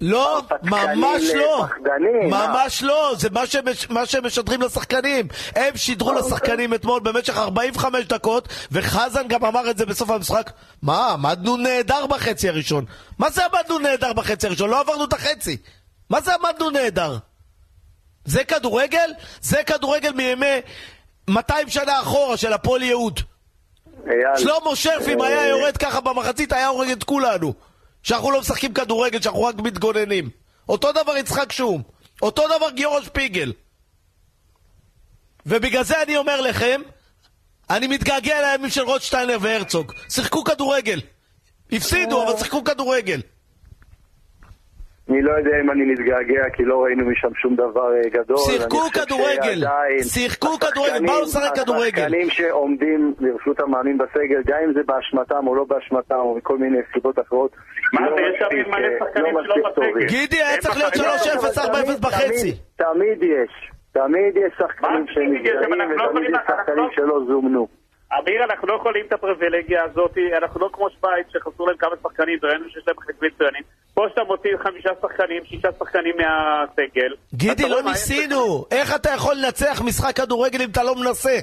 S3: לא,
S6: הרפתקנים
S3: ממש לא.
S6: לפחדנים, מה?
S3: ממש לא, זה מה שהם- מה שהם משדרים לשחקנים. הם שידרו לשחקנים אתמול במשך 45 דקות, וחזן גם אמר את זה בסוף המשחק. מה, עמדנו נהדר בחצי הראשון. מה זה עמדנו נהדר בחצי הראשון? לא עברנו את החצי. מה זה עמדנו נהדר? זה כדורגל? זה כדורגל מימי 200 שנה אחורה של הפועל יהוד.
S6: אייל,
S3: שלמה שרף, אם היה יורד ככה במחצית, היה הורג את כולנו. שאנחנו לא משחקים כדורגל, שאנחנו רק מתגוננים. אותו דבר יצחק שום. אותו דבר גיורא שפיגל. ובגלל זה אני אומר לכם, אני מתגעגע לימים של רוטשטיינר והרצוג. שיחקו כדורגל. הפסידו, אבל שיחקו כדורגל.
S6: אני לא יודע אם אני מתגעגע, כי לא ראינו משם שום דבר אה, גדול.
S3: שיחקו
S6: אני חושב
S3: כדורגל.
S6: שעדיין
S3: שיחקו
S6: השחקנים-
S3: כדורגל. באו לשחק כדורגל.
S6: השחקנים שעומדים לרשות המאמין בסגל, גם אם זה באשמתם או לא באשמתם, או מכל מיני סיבות אחרות,
S4: מה
S6: לא
S4: זה, יש שם
S6: מספיק,
S4: מלא
S6: אה,
S4: שחקנים
S6: לא
S4: שלא
S6: מספיק
S4: בסגל.
S6: טובים.
S3: גידי היה
S4: הם
S3: צריך להיות 3-0,
S4: בחיים לא,
S3: 4-0 בחצי.
S6: תמיד- תמיד יש. תמיד יש שחקנים
S4: מה
S6: שהם
S4: תמיד יש? אבל
S6: נפגעים
S4: אנחנו לא
S6: ותמיד
S4: יכולים
S6: יש
S4: לעשות
S6: שחקנים
S4: כלום.
S6: שלא זומנו.
S4: אמיר, אנחנו לא יכולים את הפריבילגיה הזאת, אנחנו לא כמו שווייץ, שחסרו להם כמה שחקנים, וראינו שיש להם חלקים מצוינים. פה שאתה מוציא חמישה שחקנים, שישה שחקנים מהסגל. אתה
S3: גידי,
S4: רואה
S3: לא
S4: מה-
S3: ניסינו. איך אתה יכול לנצח משחק כדורגל אם אתה לא מנסה?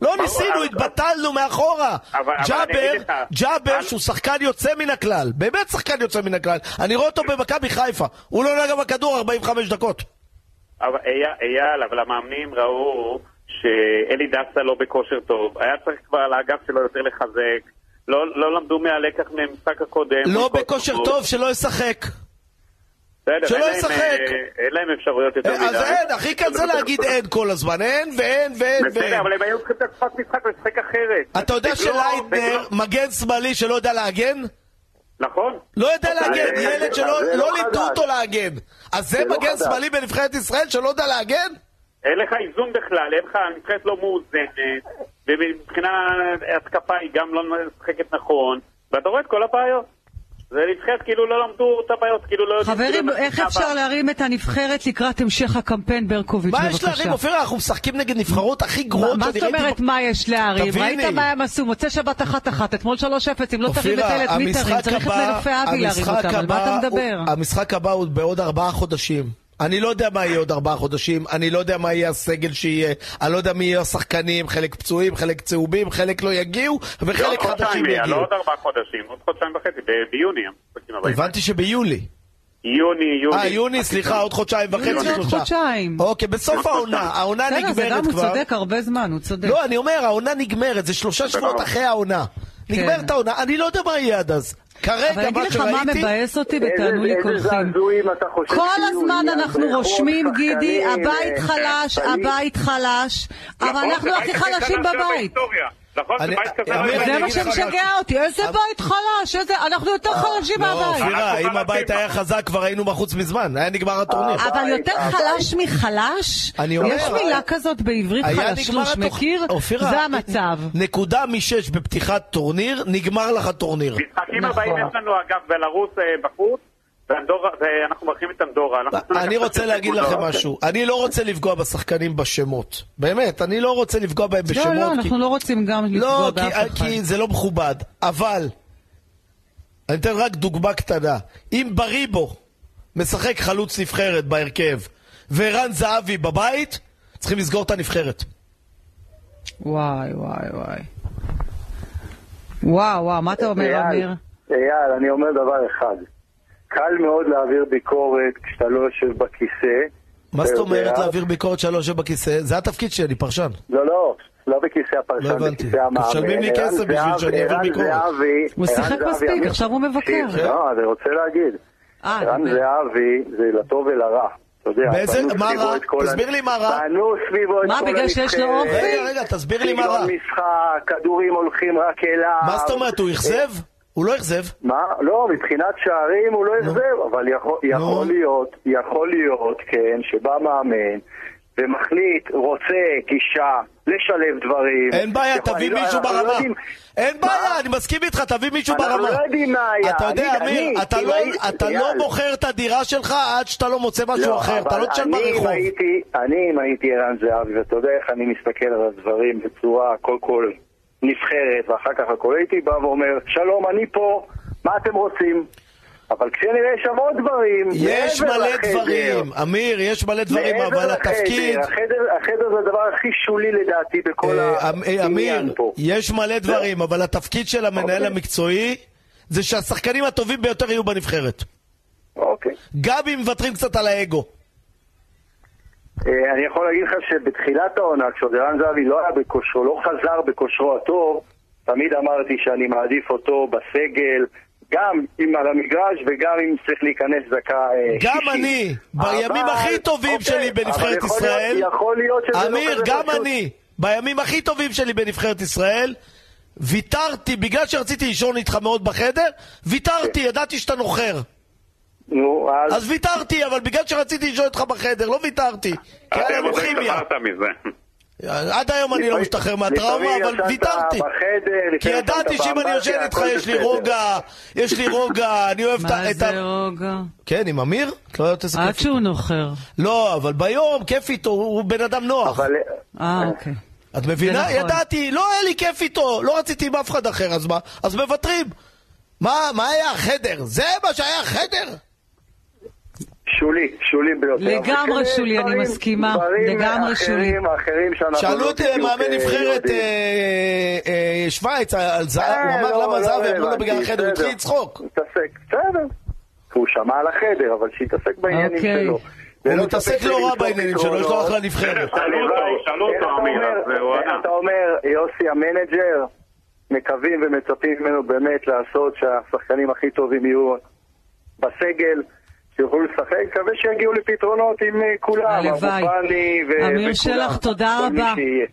S3: לא ניסינו,
S4: אבל-
S3: התבטלנו מאחורה.
S4: אבל אני
S3: ג'אבר,
S4: אגיד לך,
S3: ג'אבר
S4: אני-
S3: שהוא שחקן יוצא מן הכלל, באמת שחקן יוצא מן הכלל. אני רואה אותו במכבי חיפה, הוא לא נגע בכדור 45 דקות.
S4: אבל אייל- אייל, אבל המאמנים ראו שאלי דסה לא בכושר טוב. היה צריך כבר על האגף שלו יותר לחזק. לא, לא למדו מהלקח מהמשחק הקודם.
S3: לא
S4: מול
S3: בכושר
S4: קוסמבורג.
S3: טוב, שלא ישחק.
S4: בסדר,
S3: שלא
S4: אין להם,
S3: ישחק.
S4: אה, אין להם אפשרויות יותר מדי. לא
S3: אז אין, הכי קל זה להגיד אין כל הזמן. אין ואין ואין
S4: בסדר,
S3: ואין.
S4: אבל הם היו צריכים לתקופת משחק ולשחק אחרת.
S3: אתה יודע
S4: זה לא- זה
S3: שליידנר,
S4: לא-
S3: מגן שמאלי שלא יודע להגן?
S4: נכון.
S3: לא יודע
S6: אוקיי,
S3: להגן,
S4: זה-
S3: ילד
S4: זה-
S3: שלא לא
S6: זה לא
S3: לימדו
S6: חדש.
S3: אותו להגן. אז זה
S6: זה לא
S3: מגן
S6: חדש.
S3: שמאלי בנבחרת ישראל שלא יודע להגן?
S4: אין לך איזון בכלל, אין לך, הנבחרת לא מאוזנת, ומבחינה התקפה היא גם לא משחקת נכון, ואתה רואה את כל הבעיות. זה נבחרת כאילו לא למדו את הבעיות, כאילו לא יודעים...
S2: חברים,
S4: כאילו,
S2: איך
S4: מה
S2: אפשר
S4: הבעיה.
S2: להרים את הנבחרת לקראת המשך הקמפיין ברקוביץ',
S3: מה יש
S2: בבקשה?
S3: להרים, אופירה? אנחנו משחקים נגד נבחרות הכי גרועות
S2: מה
S3: שאני
S2: זאת
S3: ראיתי
S2: אומרת מה יש להרים?
S3: תביני.
S2: ראית מה הם עשו? מוצא שבת אחת אחת, אתמול שלוש אפס, אם לא תרים את
S3: אופירה,
S2: אלה מיתרים,
S3: המשחק
S2: צריך את
S3: הבא-
S2: מנופי אבי להרים
S3: המשחק
S2: אותם, על מה אתה
S3: הבא
S2: מדבר?
S3: הוא- המשחק הבא הוא בעוד ארבעה חודשים. אני לא יודע מה יהיה עוד ארבעה חודשים, אני לא יודע מה יהיה הסגל שיהיה, אני לא יודע מי יהיו השחקנים, חלק פצועים, חלק צהובים, חלק לא יגיעו,
S4: לא
S3: וחלק
S4: עוד
S3: חדשים
S4: חודשיים, יהיה, לא
S3: יגיעו.
S4: עוד ארבעה חודשים, עוד חודשיים וחצי, ב- ביוני המשחקים הבאים.
S3: הבנתי שביולי.
S4: יוני, יוני.
S3: אה, יוני, סליחה, עוד חודשיים
S2: יוני
S3: וחצי,
S2: זה עוד
S3: שלושה.
S2: חודשיים.
S3: אוקיי, בסוף העונה, העונה
S2: בסדר, זה
S3: נגמרת
S2: גם הוא
S3: כבר.
S2: צודק הרבה זמן, הוא צודק.
S3: לא, אני אומר, העונה נגמרת, זה שלושה שבועות אחרי העונה. נגמרת העונה, אני לא יודע מה יהיה עד אז.
S2: כן. אבל אני
S3: כרגע,
S2: אגיד
S3: מה
S2: לך מה
S3: שראיתי...
S2: מבאס אותי
S6: איזה
S2: בתענו לי
S6: איזה
S2: קולחים.
S6: זעזועים אתה חושב
S2: כל
S6: שיהיו,
S2: הזמן
S6: יד
S2: אנחנו
S6: בריכות,
S2: רושמים, גידי,
S6: שחקנים,
S2: הבית
S6: אה,
S2: חלש,
S6: שחקנים.
S2: הבית חלש, אבל
S4: נכון,
S2: אנחנו
S4: זה
S2: הכי
S4: בית הכי
S2: חלשים
S4: קטן
S2: בבית.
S4: בהיסטוריה. נכון, זה
S3: אני-
S4: בית כזה.
S3: אמיר,
S4: אבל-
S2: זה
S3: אני
S2: מה
S3: אגיד לך
S2: שמשגע אותי, איזה
S3: אבל-
S2: בית חלש, איזה- אנחנו יותר חלשים
S3: לא,
S2: מהבית.
S3: אופירה,
S4: אנחנו
S3: אם הבית
S4: חלשים.
S3: היה חזק כבר היינו בחוץ מזמן, היה נגמר הטורניר.
S2: אבל יותר
S6: הבית.
S2: חלש מחלש?
S3: אה, אני אומר,
S2: יש
S3: אבל-
S2: מילה כזאת בעברית
S3: היה
S2: חלשלוש,
S3: נגמר התוכ-
S2: מכיר?
S3: אופירה, אה,
S2: זה המצב.
S3: נקודה משש בפתיחת טורניר, נגמר לך טורניר.
S4: משחקים
S2: נכון.
S4: הבאים יש לנו אגב בלרוס אה, בחוץ, ואנדורה- ואנחנו מארחים את אנדורה. אנחנו-
S3: אני רוצה להגיד לכם
S4: אוקיי.
S3: משהו, אני לא רוצה לפגוע בשחקנים בשמות. באמת, אני לא רוצה לפגוע בהם בשמות.
S2: לא, לא,
S3: כי-
S2: אנחנו לא רוצים גם לפגוע
S3: לא,
S2: באף
S3: כי-
S2: אחד.
S3: כי זה לא מכובד, אבל אני אתן רק דוגמה קטנה. אם בריבו משחק חלוץ נבחרת בהרכב וערן זהבי בבית, צריכים לסגור את הנבחרת.
S2: וואי, וואי, וואי. וואו, וואו, מה אתה אומר,
S6: אייל,
S2: אמיר?
S6: אייל, אני אומר דבר אחד. קל מאוד להעביר ביקורת כשאתה לא יושב בכיסא.
S3: מה
S6: אתה
S3: זאת
S6: יודע-
S3: אומרת להעביר ביקורת שלא יושב בכיסא? זה התפקיד שלי, פרשן.
S6: לא, לא, לא בכיסא
S3: לא
S6: הפרשן,
S3: הבנתי.
S6: בכיסא המאמן.
S3: משלמים לי
S6: ערן
S3: כסף בשביל
S6: זהב-
S3: שאני אעביר
S6: ערן
S3: ביקורת. כן.
S6: זהבי-
S2: הוא
S6: ערן
S2: שיחק
S6: זהבי,
S2: מספיק,
S6: אמיר,
S2: עכשיו הוא מבקר.
S6: תקשיב, לא, אני רוצה להגיד.
S2: אה,
S6: ערן
S2: דבר.
S6: זהבי זה לטוב ולרע. אתה יודע,
S3: באיזה-
S6: בנו
S3: מה
S6: סביבו
S3: רע?
S6: את כל
S3: תסביר
S6: הנ-
S3: לי מה רע.
S6: בנו סביבו את כל
S2: מה, בגלל שיש לו
S6: הנבחרת.
S2: אופי?
S3: רגע, רגע, תסביר לי מה רע.
S6: סגנון משחק, כדורים הולכים רק אליו.
S3: מה זאת אומרת, הוא אכזב? הוא לא אכזב.
S6: מה? לא, מבחינת שערים הוא לא אכזב, אבל יכול, יכול
S3: נו.
S6: להיות, יכול להיות, כן, שבא מאמן ומחליט, רוצה גישה, לשלב דברים.
S3: אין בעיה,
S6: יכול-
S3: תביא
S6: אני לא-
S3: מישהו
S6: אנחנו לא
S3: ברמה.
S6: יודעים-
S3: אין
S6: מה?
S3: בעיה, אני מסכים איתך, תביא מישהו ברמה.
S6: אנחנו לא יודעים מה היה.
S3: אתה יודע,
S6: אני-
S3: אמיר,
S6: אני- כאילו,
S3: אתה
S6: אני
S3: לא-
S6: ראיתי-
S3: אתה לא
S6: אייל.
S3: מוכר את הדירה שלך עד שאתה לא מוצא משהו
S6: לא,
S3: אחר, אתה
S6: אבל
S3: לא תשאל
S6: אני, אם
S3: ברחוב.
S6: הייתי- אני, אם הייתי ערן זהבי, ואתה יודע איך אני מסתכל על הדברים בצורה קודם כל נבחרת, ואחר כך הכל, הייתי בא ואומר, שלום, אני פה, מה אתם רוצים? אבל כשנראה שם עוד דברים,
S3: יש
S6: מעבר
S3: מלא
S6: לחדר,
S3: דברים, אמיר, יש מלא דברים,
S6: מעבר
S3: אבל
S6: לחדר,
S3: התפקיד...
S6: החדר, החדר זה הדבר הכי שולי לדעתי בכל
S3: אה, אמ- אה,
S6: העניין
S3: אמיר,
S6: פה. לא.
S3: יש מלא דברים, אבל התפקיד של המנהל
S6: אוקיי.
S3: המקצועי זה שהשחקנים הטובים ביותר יהיו בנבחרת.
S6: אוקיי.
S3: גם אם מוותרים קצת על האגו.
S6: אה, אני יכול להגיד לך שבתחילת העונה, כשעוד ערן זהבי לא היה בכושרו, לא חזר בכושרו הטוב, תמיד אמרתי שאני מעדיף אותו בסגל, גם אם על המגרש וגם אם צריך להיכנס דקה אה,
S3: גם
S6: שישית.
S3: אני, בימים
S6: אבל-
S3: הכי טובים
S6: אוקיי,
S3: שלי בנבחרת
S6: אבל יכול
S3: ישראל,
S6: להיות- יכול להיות שזה לא
S3: אמיר,
S6: כזה
S3: גם
S6: פשוט.
S3: אני, בימים הכי טובים שלי בנבחרת ישראל, ויתרתי, בגלל שרציתי לישון איתך מאוד בחדר, ויתרתי, ידעתי שאתה נוחר.
S6: נו, כן. אז...
S3: אז ויתרתי, אבל בגלל שרציתי לישון איתך בחדר, לא ויתרתי.
S6: אה,
S3: כי היה לנו
S4: אתם עוד
S3: כימיה.
S4: התחברת מזה.
S3: עד היום אני לא
S6: לפעמים-
S3: משתחרר מהטראומה,
S6: לפעמים
S3: אבל
S6: ישנת
S3: ויתרתי.
S6: בחדר,
S3: כי
S6: לפעמים
S3: ידעתי
S6: ישנת
S3: שאם אני
S6: באמבטיה,
S3: יושן איתך
S6: הכל
S3: יש לי
S6: בסדר.
S3: רוגע, יש לי רוגע, אני אוהב את ה-
S2: מה
S3: את ה...
S2: זה רוגע?
S3: כן, עם אמיר? לא יודעת איזה
S2: עד
S3: כיף.
S2: שהוא נוחר.
S3: לא, אבל ביום כיף איתו, הוא בן אדם נוח.
S6: אבל...
S2: אה, אוקיי.
S3: את מבינה?
S2: זה נכון.
S3: ידעתי, לא היה לי כיף איתו, לא רציתי עם אף אחד אחר, אז מה? אז מוותרים. מה, מה היה החדר? זה מה שהיה החדר?
S6: שולי, שולי ביותר.
S2: לגמרי
S6: אבל כן,
S2: שולי, אני
S6: דברים-
S2: מסכימה.
S6: דברים
S2: לגמרי
S6: אחרים- אחרים שאנחנו
S3: שאלו
S6: לא
S3: את
S6: בדיוק,
S3: מאמן
S6: אה,
S3: נבחרת
S6: יודעים.
S3: אה, אה, שווייץ על זהב,
S6: אה,
S3: הוא אמר
S6: לא,
S3: למה
S6: לא
S3: זהב, הם אמרו לו
S6: רלוונטי,
S3: בגלל החדר, הוא התחיל
S6: בסדר.
S3: לצחוק.
S6: התעסק, בסדר. הוא שמע על החדר, אבל שיתעסק בעניינים
S2: אוקיי.
S6: שלו.
S3: הוא
S6: ללא
S3: מתעסק
S6: ספק
S3: לא רע
S6: למצוא
S3: בעניינים שלו, יש לו
S5: לא.
S6: פתרונות.
S3: אחלה נבחרת.
S4: שאלו אותו,
S6: הלוואי.
S5: אה,
S4: שאלו אה, אותו,
S6: איך אתה
S4: אמיר,
S6: אומר-
S4: אז הוא
S6: איך
S4: ענה.
S6: אתה אומר, יוסי המנג'ר,
S5: מקווים ומצפים ממנו באמת לעשות שהשחקנים הכי טובים יהיו בסגל, שיוכלו לשחק, מקווה שיגיעו לפתרונות עם אה, כולם,
S2: הלוואי.
S5: אבופני ו- וכולם.
S2: אמיר שלח, תודה
S5: כל מי
S2: רבה.
S5: שיהיה.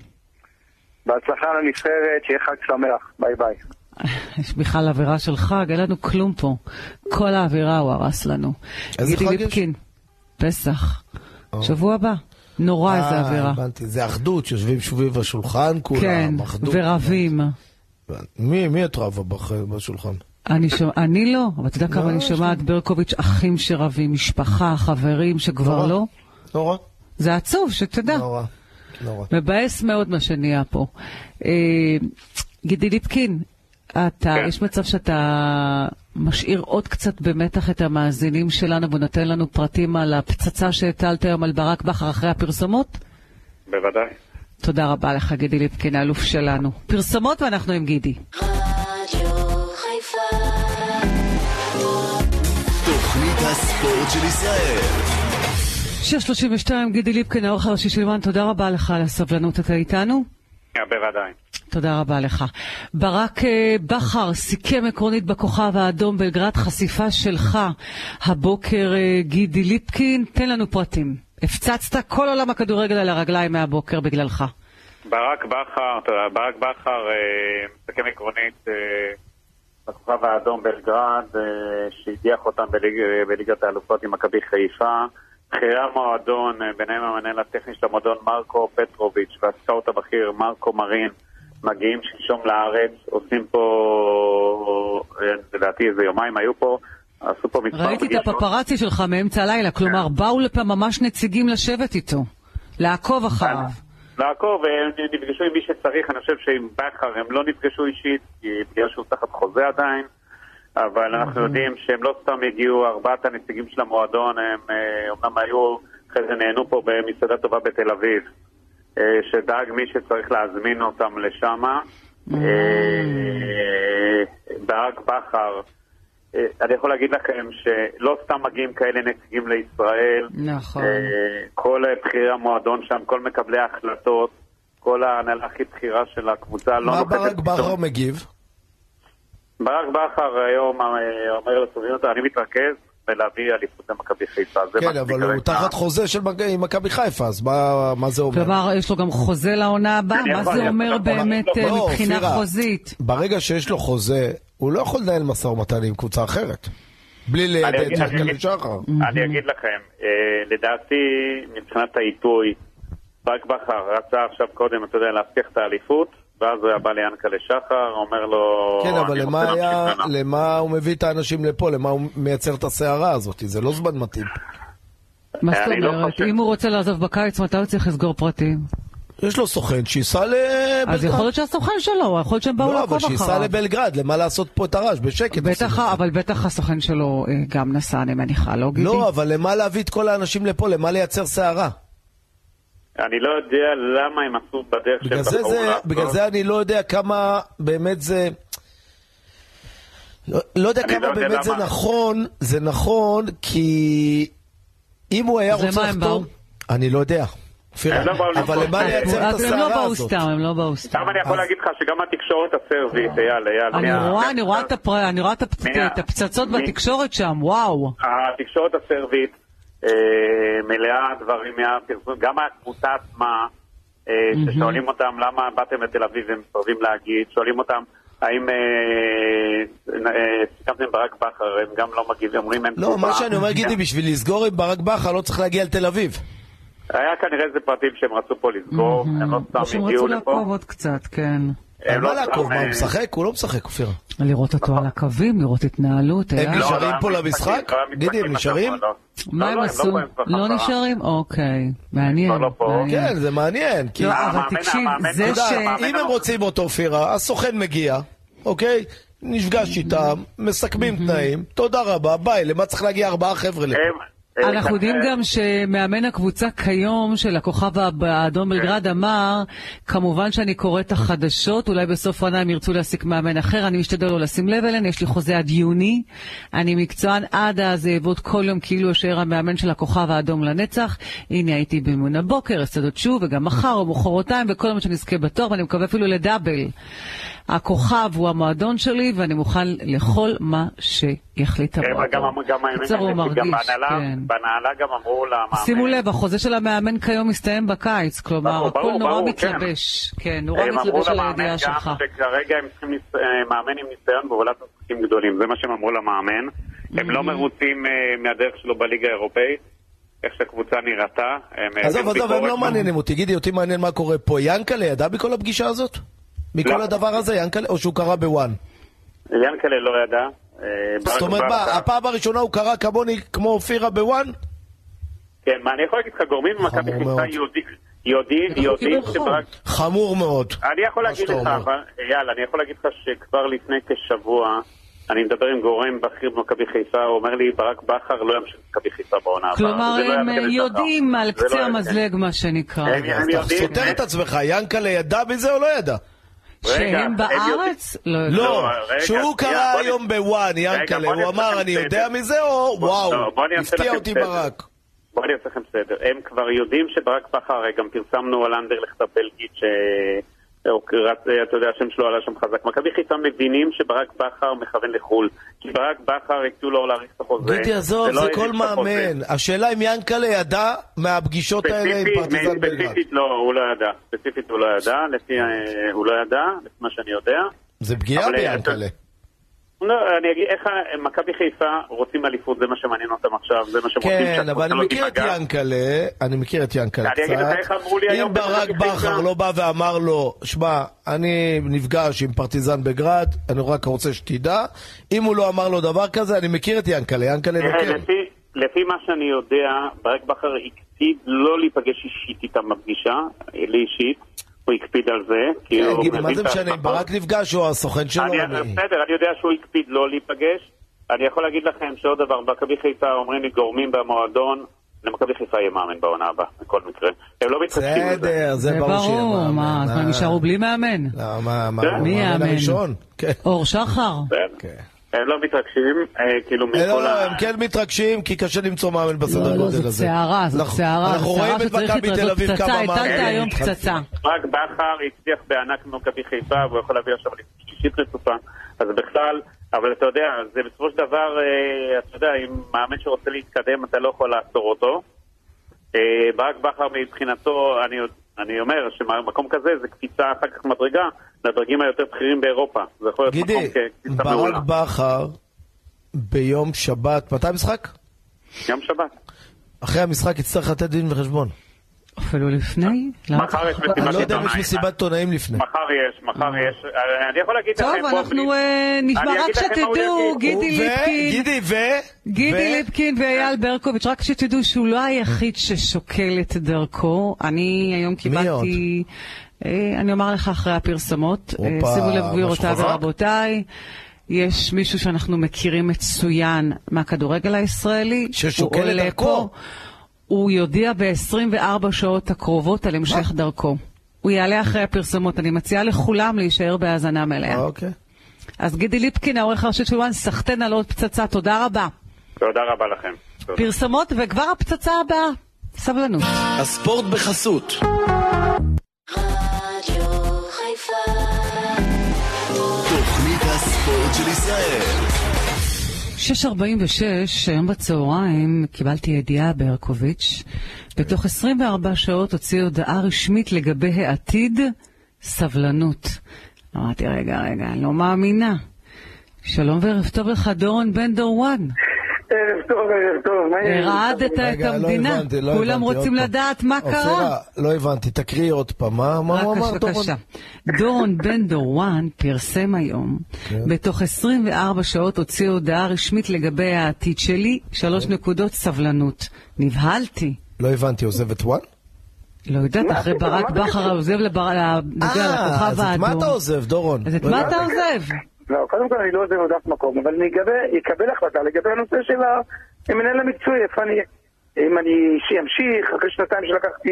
S5: בהצלחה לנבחרת, שיהיה חג שמח, ביי ביי.
S2: יש בכלל אווירה של חג, אין לנו כלום פה. כל האווירה הוא הרס לנו.
S3: איזה
S2: גידי
S3: חג יש?
S2: ליפקין, פסח. שבוע הבא. נורא איזה
S3: אה,
S2: אווירה.
S3: הבנתי, זה אחדות, שיושבים סביב השולחן כולם,
S2: כן,
S3: אחדות.
S2: ורבים.
S3: מי, מי את רבה בח- בשולחן?
S2: אני, שומע, אני לא, אבל אתה יודע כמה אני שומעת ברקוביץ', אחים שרבים, משפחה, חברים שכבר
S3: נורא.
S2: לא.
S3: נורא,
S2: זה עצוב, שתדע.
S3: נורא, נורא.
S2: מבאס מאוד מה שנהיה פה. אה, גידי ליפקין, אתה, יש מצב שאתה משאיר עוד קצת במתח את המאזינים שלנו ונותן לנו פרטים על הפצצה שהטלת היום על ברק בכר אחרי הפרסומות?
S4: בוודאי.
S2: תודה רבה לך, גידי ליפקין, האלוף שלנו. פרסומות ואנחנו עם גידי.
S9: רדיו חיפה.
S1: תוכנית הספורט של ישראל.
S2: 632, גידי ליפקין, העורך הראשי של וואן, תודה רבה לך על הסבלנות, אתה איתנו?
S4: בוודאי.
S2: תודה רבה לך. ברק אה, בכר סיכם עקרונית בכוכב האדום בלגרד חשיפה שלך הבוקר, אה, גידי ליפקין. תן לנו פרטים. הפצצת כל עולם הכדורגל על הרגליים מהבוקר בגללך.
S4: ברק בכר, אתה יודע, ברק בכר אה, מסכם עקרונית אה, בכוכב האדום בלגרד, אה, שהדיח אותם בליג, אה, בליגת האלופות עם מכבי חיפה. בכירי המועדון, אה, ביניהם המנהל הטכני של המועדון מרקו פטרוביץ' והסקאוט הבכיר מרקו מרין, מגיעים שלשום לארץ, עושים פה, אה, לדעתי איזה יומיים היו פה, עשו פה מספר
S2: ראיתי את
S4: פגישות.
S2: הפפרצי שלך מאמצע הלילה, כלומר
S4: כן.
S2: באו לפה ממש נציגים לשבת איתו,
S4: נכון.
S2: לעקוב אחריו.
S4: כן. לעקוב, הם נפגשו עם מי שצריך, אני חושב שעם בכר הם לא נפגשו אישית, כי בגלל שהוא תחת חוזה עדיין, אבל אנחנו יודעים שהם לא סתם הגיעו, ארבעת הנציגים של המועדון, הם אה, אומנם היו, אחרי זה נהנו פה במסעדה טובה בתל אביב, אה, שדאג מי שצריך להזמין אותם לשם. אה, ברק בכר, אה, אני יכול להגיד לכם שלא סתם מגיעים כאלה נציגים לישראל,
S2: נכון.
S4: אה, כל אה, בכירי המועדון שם, כל מקבלי ההחלטות, כל ההנהלה הכי בכירה של הקבוצה לא
S3: מה
S4: נוחתת.
S3: ברק
S4: פתאום.
S3: בכר מגיב?
S4: ברק בכר היום אה, אומר לסוביונות, אני מתרכז בלהביא אליפות למכבי חיפה. זה מה
S3: כן,
S4: שאני
S3: אבל
S4: כרגע."
S3: הוא תחת חוזה של מכ- עם מכבי חיפה, אז מה- מה זה אומר?
S2: כלומר, יש לו גם חוזה לעונה הבאה,
S4: אני
S2: מה
S4: יכול,
S2: זה
S4: אני
S2: אומר
S4: יכול, אבל-
S2: באמת אה,
S3: לא,
S2: מבחינה
S3: אופירה,
S2: חוזית?
S3: ברגע שיש לו חוזה, הוא לא יכול לנהל משא ומתן עם קבוצה אחרת. בלי לידע
S4: אני
S3: את
S4: אגיד- אני
S3: יחזקאל
S4: אגיד-
S3: שחר.
S4: אני אגיד לכם, אה, לדעתי, מבחינת העיתוי, ברק בכר רצה עכשיו קודם, אתה יודע, להבטיח את האליפות, ואז הוא היה בא ליענקלה שחר, אומר לו...
S3: כן, אבל
S4: לא, "אני
S3: למה
S4: רוצה
S3: היה-
S4: להמשיך לעונה."
S3: למה הוא מביא את האנשים לפה? למה הוא מייצר את הסערה הזאת? זה לא זמן מתאים.
S2: מה
S4: אני
S2: זאת
S4: לא
S2: אומרת?
S4: חושב-
S2: אם הוא רוצה לעזוב בקיץ, מתי הוא צריך לסגור פרטים?
S3: יש לו סוכן שייסע לבלגרד.
S2: אז יכול להיות שהסוכן שלו, יכול להיות שהם באו
S3: לא,
S2: לעקוב
S3: אבל
S2: אחריו.
S3: שייסע לבלגרד, למה לעשות פה את הרעש? בשקט. עושים את
S2: בטח,
S3: זה.
S2: אבל בטח הסוכן שלו אה, גם נסע, אני מניחה, לא גידי?
S3: לא, אבל למה להביא את כל האנשים לפה? למה לייצר סערה?
S4: אני לא יודע למה הם עשו בדרך
S3: בגלל
S4: שהם
S3: זה,
S4: בחרו
S3: זה,
S4: לעשות.
S3: בגלל זה אני לא יודע כמה באמת זה... לא, לא יודע
S4: אני
S3: כמה
S4: לא יודע
S3: באמת זה
S4: למה.
S3: נכון, זה נכון, כי אם הוא היה
S2: אז
S3: רוצה
S2: למה הם
S3: לחתום- אני לא יודע. אופירה,
S4: הם לא באו
S3: אבל
S4: לפה.
S3: למה לייצר את
S2: אז הם לא
S3: הסערה
S2: באו
S3: הזאת?
S2: סתם, הם לא באו סתם.
S4: גם אני יכול להגיד לך שגם התקשורת הסרבית, אייל, אייל.
S2: אני
S4: מה-
S2: רואה, אני רואה את הפר- אני רואה את הפ-
S4: מי ה-
S2: את הפצצות
S4: מי-
S2: בתקשורת שם, וואו.
S4: התקשורת הסרבית אה, מלאה דברים מהפרסום, גם הקבוצה עצמה, אה, ששואלים אותם למה באתם לתל אביב והם מסרבים להגיד, שואלים אותם האם אה, אה, סיכמתם ברק בכר, הם גם לא מגיבים, אומרים הם
S3: לא,
S4: תגובה.
S3: מה שאני אומר, גידי, בשביל לסגור עם ברק בכר לא צריך להגיע לתל אביב.
S4: היה כנראה איזה פרטים שהם רצו פה לסגור, הם לא סתם
S2: שהם
S4: הגיעו
S2: אה, רצו לעקוב
S4: לפה.
S2: עוד קצת, כן.
S4: הם
S3: מה
S4: לא
S3: לעקוב?
S4: סתם,
S3: מה, הוא
S4: אה,
S3: משחק? הוא לא משחק, אופירה.
S2: לראות אותו על הקווים, לראות התנהלות,
S3: הם
S2: היה.
S3: לא- נשארים
S4: לא,
S3: פה
S4: לא,
S3: למשחק?
S4: המשחקים, לא,
S3: גידי, הם
S4: המשחקים
S3: נשארים?
S4: השבוע, לא.
S2: מה
S4: לא,
S2: הם
S4: לא,
S2: עשו?
S4: פה, הם כבר
S2: לא
S4: חזרה.
S2: נשארים? אוקיי. מעניין.
S4: כבר לא פה.
S2: מעניין.
S3: כן, זה מעניין. כי
S2: לא,
S4: המאמן-
S2: אבל תקשיב,
S4: המאמן-
S2: זה
S4: אתה יודע,
S2: ש...
S4: המאמן-
S3: אם הם רוצים אותו, אופירה, הסוכן מגיע, אוקיי? נפגש איתם, מסכמים תנאים, תודה רבה, ביי, למה צריך להגיע ארבעה חבר'ה לפה?
S4: הם, אה,
S2: אנחנו יודעים
S4: אה,
S2: גם שמאמן הקבוצה כיום של הכוכב האב- האדום
S4: כן.
S2: בלגרד אמר, כמובן שאני קורא את החדשות, אולי בסוף העונה הם ירצו להעסיק מאמן אחר, אני משתדל לא לשים לב אליהן, יש לי חוזה עד יוני, אני מקצוען עד אז אעבוד כל יום כאילו אשאר המאמן של הכוכב האדום לנצח. הנה הייתי באימון הבוקר, אסתדות שוב, וגם מחר או מחרתיים, וכל יום שנזכה בתואר, ואני מקווה אפילו לדאבל. הכוכב הוא המועדון שלי, ואני מוכן לכל מה שיחליט
S4: כן, אבל גם-
S2: המועדון.
S4: גם האמת
S2: בקיצור, הוא
S4: היא שגם
S2: מרגיש,
S4: בהנהלה-
S2: כן.
S4: בהנהלה גם אמרו למאמן.
S2: שימו לב, החוזה של המאמן כיום מסתיים בקיץ, כלומר,
S4: ברור,
S2: הכל
S4: ברור,
S2: נורא
S4: ברור,
S2: מתלבש. כן, נורא
S4: הם אמרו
S2: מתלבש על
S4: למאמן
S2: הידיעה
S4: גם
S2: שלך.
S4: שכרגע הם צריכים ניס- אה, מאמן עם ניסיון בהובלת משחקים גדולים, זה מה שהם אמרו למאמן. הם לא מרוצים אה, מהדרך שלו בליגה האירופאית, איך שהקבוצה נראתה. הם, אה,
S3: עזוב,
S4: הביאו
S3: עזוב, הם
S4: ביקורת
S3: לא
S4: מה-
S3: מעניינים אותי. גידי, אותי מעניין מה קורה פה. ינקלה ידע מכל הפגישה הזאת? מכל
S4: לא.
S3: הדבר הזה, ינקלה? או שהוא קרא בוואן?
S4: ינקלה לא ידע. אה,
S3: זאת
S4: ברק
S3: אומרת, מה,
S4: בכר-
S3: הפעם הראשונה הוא קרא כמוני, כמו אופירה בוואן?
S4: כן, מה, אני יכול להגיד לך, גורמים במכבי
S3: חמור
S4: חיפה
S3: מאוד.
S4: יודעים- יודעים,
S2: מחכים
S4: יודעים
S2: לבחור.
S4: שברק...
S3: חמור מאוד.
S4: אני יכול
S3: מה
S4: להגיד
S3: שאתה
S4: לך,
S3: אומר.
S4: אבל, אייל, אני יכול להגיד לך שכבר לפני כשבוע, אני מדבר עם גורם בכיר במכבי חיפה, הוא אומר לי, ברק בכר לא ימשיך במכבי חיפה בעונה הבאה.
S2: כלומר,
S4: זה לא
S2: הם
S4: יעשה
S2: אה,
S4: לזכר.
S2: יודעים על
S4: זה לא
S2: קצה
S4: יעשה.
S2: המזלג, מה שנקרא,
S4: הם-
S3: אז
S4: הם
S3: אתה
S4: יודעים.
S3: סותר את עצמך, ינקלה ידע מזה או לא ידע?
S4: רגע,
S2: שהם
S4: הם
S2: בארץ? לא יודע.
S3: לא,
S4: רגע,
S3: שהוא
S4: שנייה,
S3: קרא
S4: בוא נ-
S3: היום בוואן,
S4: רגע,
S3: ינקלה,
S4: בוא
S3: הוא
S4: נעשה לכם
S3: אמר, אני יודע
S4: סדר."
S3: מזה או
S4: בוא-
S3: וואו,
S4: לא, בוא אני אעשה
S3: הפתיע
S4: לכם
S3: אותי
S4: סדר.
S3: ברק.
S4: בואו אני אעשה לכם סדר. הם כבר יודעים שברק בכר, הרי גם פרסמנו על אנדרלכט הבלגית, ש... או קראת- אתה יודע, השם שלו עלה שם חזק. מכבי חיפה מבינים שברק בכר מכוון לחו"ל. כי ברק בכר הקצו לו להאריך את החוזה.
S3: גידי, עזוב,
S4: ולא
S3: זה
S4: האריך
S3: כל
S4: לא את החוזה.
S3: מאמן. השאלה אם ינקלה ידע מהפגישות האלה עם
S4: ספציפית-
S3: פרטיזן בלגרד.
S4: ספציפית לא, הוא לא ידע. ספציפית הוא לא ידע, לפי אה, הוא לא ידע, לפי מה שאני יודע.
S3: זה פגיעה
S4: אבל, אה,
S3: ביענקלה.
S4: לא, אני אגיד איך ה- מכבי חיפה רוצים אליפות, זה מה שמעניין אותם עכשיו, זה מה שהם רוצים
S3: כן, אבל אני
S4: לא
S3: מכיר את
S4: תיפגע.
S3: ינקלה, אני מכיר את ינקלה
S4: אני אגיד לך איך
S3: קצת.
S4: אמרו לי
S3: אם
S4: היום
S3: ברק
S4: במכבי
S3: בכר
S4: חיפה.
S3: לא בא ואמר לו, שמע, אני נפגש עם פרטיזן בגראד, אני רק רוצה שתדע, אם הוא לא אמר לו דבר כזה, אני מכיר את לא ינקלה, ינקלה
S4: תראה,
S3: מכיר.
S4: אה, לפי- לפי מה שאני יודע, ברק בכר הקפיד לא להיפגש אישית איתם בפגישה, אה, לי אישית, הוא הקפיד על זה. כי
S3: כן,
S4: הוא
S3: גידי, מה
S4: מבין
S3: זה
S4: את
S3: משנה, אם
S4: ההשלכות.
S3: ברק נפגש או הסוכן שלו?
S4: אני,
S3: אני-
S4: בסדר, אני יודע שהוא הקפיד לא להיפגש. אני יכול להגיד לכם שעוד דבר, מכבי חיפה אומרים לי גורמים במועדון, למכבי חיפה יהיה מאמן בעונה הבאה, בכל מקרה. הם לא מתחשבים בזה.
S3: בסדר,
S2: זה
S3: זה ברור שיהיה
S2: ברור,
S3: מאמן. אה,
S2: מה, כבר נשארו בלי מאמן.
S3: לא, מה, מה,
S4: מי
S3: הוא המאמן
S2: יאמן?
S3: הראשון? כן.
S2: אור שחר?
S4: בסדר.
S3: כן.
S4: הם לא מתרגשים, אה, כאילו,
S3: אה, לא,
S4: מכל
S3: לא,
S4: ה...
S3: הם כן מתרגשים, כי קשה למצוא מאמן בסדר
S2: לא, לא,
S3: גודל
S2: זאת
S3: הזה.
S2: סערה, זאת
S3: אנחנו-
S2: סערה,
S3: אנחנו
S2: זאת
S3: רואים
S2: סערה
S3: את
S2: שצריך
S3: מכבי תל
S2: להתרזות
S3: אביב
S2: פצצה,
S3: כמה
S2: הטלת
S3: מאמנים
S4: כן.
S2: היום
S3: התחלפו.
S2: פצצה.
S4: ברק בכר הצליח בענק במכבי חיפה, והוא יכול להביא עכשיו אליפות שישית רצופה, אז בכלל, אבל אתה יודע, זה בסופו של דבר, אה, אתה יודע, אם מאמן שרוצה להתקדם, אתה לא יכול לעצור אותו. אה, ברק בכר מבחינתו, אני, אני אומר שמקום כזה זה קפיצה אחר כך מדרגה לדרגים היותר בכירים באירופה. זה יכול להיות
S3: גידי,
S4: מקום כקפיצה מעולה.
S3: ברק בכר ביום שבת, מתי המשחק?
S4: יום שבת.
S3: אחרי המשחק יצטרך לתת דין וחשבון.
S2: אפילו לפני? למה?
S4: מחר יש
S3: אני
S4: מסיבת
S3: לא יודע אם יש
S4: עיתונאים.
S3: מסיבת עיתונאים לפני.
S4: מחר יש, מחר יש. אה, אני יכול להגיד לכם...
S2: טוב,
S4: פה,
S2: אנחנו
S4: בלי-
S2: אה, נשמע,
S4: אני
S2: רק
S4: אגיד לכם מה הוא
S2: שתדעו,
S4: יגיד.
S2: גידי
S3: ו-
S2: ליפקין.
S3: גידי ו...
S2: גידי
S3: ו-
S2: ליפקין ואייל ברקוביץ', רק שתדעו שהוא לא היחיד ששוקל את דרכו. אני היום
S3: עוד?
S2: קיבלתי... אה, אני אומר לך אחרי הפרסומות. אה,
S3: הופה,
S2: שימו לב, גבירותיי
S3: משהו חזק.
S2: ורבותיי, יש מישהו שאנחנו מכירים מצוין מהכדורגל הישראלי.
S3: ששוקל
S2: הוא
S3: את
S2: עולה
S3: דרכו.
S2: פה. הוא יודיע ב-24 שעות הקרובות על המשך דרכו. הוא יעלה אחרי הפרסומות. אני מציעה לכולם להישאר בהאזנה מלאה.
S3: אוקיי.
S2: אז גידי ליפקין, העורך הראשי של וואן, סחטיין על עוד פצצה. תודה רבה.
S4: תודה רבה לכם. תודה.
S2: פרסומות וכבר הפצצה הבאה. סבלנות.
S1: הספורט בחסות.
S9: רדיו חיפה,
S1: תוכנית הספורט של ישראל.
S2: 6.46, היום בצהריים, קיבלתי ידיעה ברקוביץ'. בתוך 24 שעות הוציא הודעה רשמית לגבי העתיד, סבלנות. אמרתי, רגע, רגע, אני לא מאמינה. שלום וערב טוב לך, דורון בן דורואן.
S5: ערב טוב, ערב טוב, מה יש?
S2: הרעדת את
S3: רגע, לא
S2: המדינה.
S3: הבנתי, לא
S2: כולם
S3: הבנתי,
S2: רוצים
S3: עוד פעם.
S2: לדעת מה קרה.
S3: אופירה, לא הבנתי, תקריאי עוד פעם, מה מה הוא אמר?
S2: רק בבקשה. דורון בן דורואן פרסם היום,
S3: כן.
S2: בתוך 24 שעות הוציא הודעה רשמית לגבי העתיד שלי, שלוש
S3: כן.
S2: נקודות סבלנות. נבהלתי.
S3: לא הבנתי, עוזבת וואן?
S2: לא יודעת, אחרי
S5: פתאום,
S2: ברק
S5: מה זה
S2: בכר עוזב
S3: אה,
S2: לכוכב
S3: אז את מה אתה
S2: האדום.
S3: עוזב, דורון?
S2: אז את מה אתה עוזב?
S5: לא, קודם כל אני לא עוזב עוד אף מקום, אבל אני אגבה- אקבל החלטה לגבי הנושא של המנהל המקצועי, איפה אני אהיה.
S10: אם אני אמשיך, אחרי שנתיים שלקחתי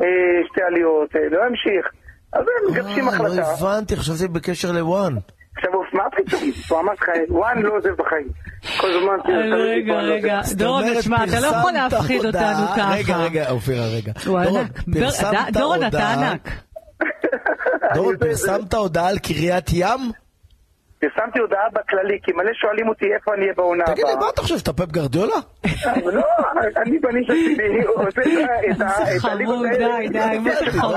S10: אה, שתי עליות, אה, לא אמשיך. אז הם מגבשים
S3: אה, לא
S10: החלטה.
S3: הבנתי, חשבתי בקשר לוואן.
S10: עכשיו, אוף, מה פתאום? הוא אמר לך, וואן לא עוזב בחיים. כל הזמן... כאילו,
S2: רגע,
S10: תמיד וואן לא עוזב.
S2: רגע.
S3: זאת
S2: דורון,
S3: אומרת,
S2: תשמע, אתה לא יכול
S3: פרסמת
S2: להפחיד
S3: הודעה-
S2: אותנו ככה.
S3: רגע, רגע, אופירה, רגע.
S2: הוא
S3: דורון,
S2: ענק. בר-
S3: פרסמת
S2: ד- דורון, אתה
S3: הודעה-
S2: ענק.
S3: דורון, פרסמת הודעה על קריית ים?
S10: אה, פרסמתי הודעה בכללי, כי מלא שואלים אותי איפה אני אהיה בעונה
S3: תגיד לי,
S10: הבאה.
S3: מה אתה חושב, שאתה פפ גרדיולה?
S10: לא, אני בניש שלי עושה את ה...
S2: זה
S10: אה, את הליגות
S2: חמוד,
S10: האלה.
S2: די, די, מה זה חמוד.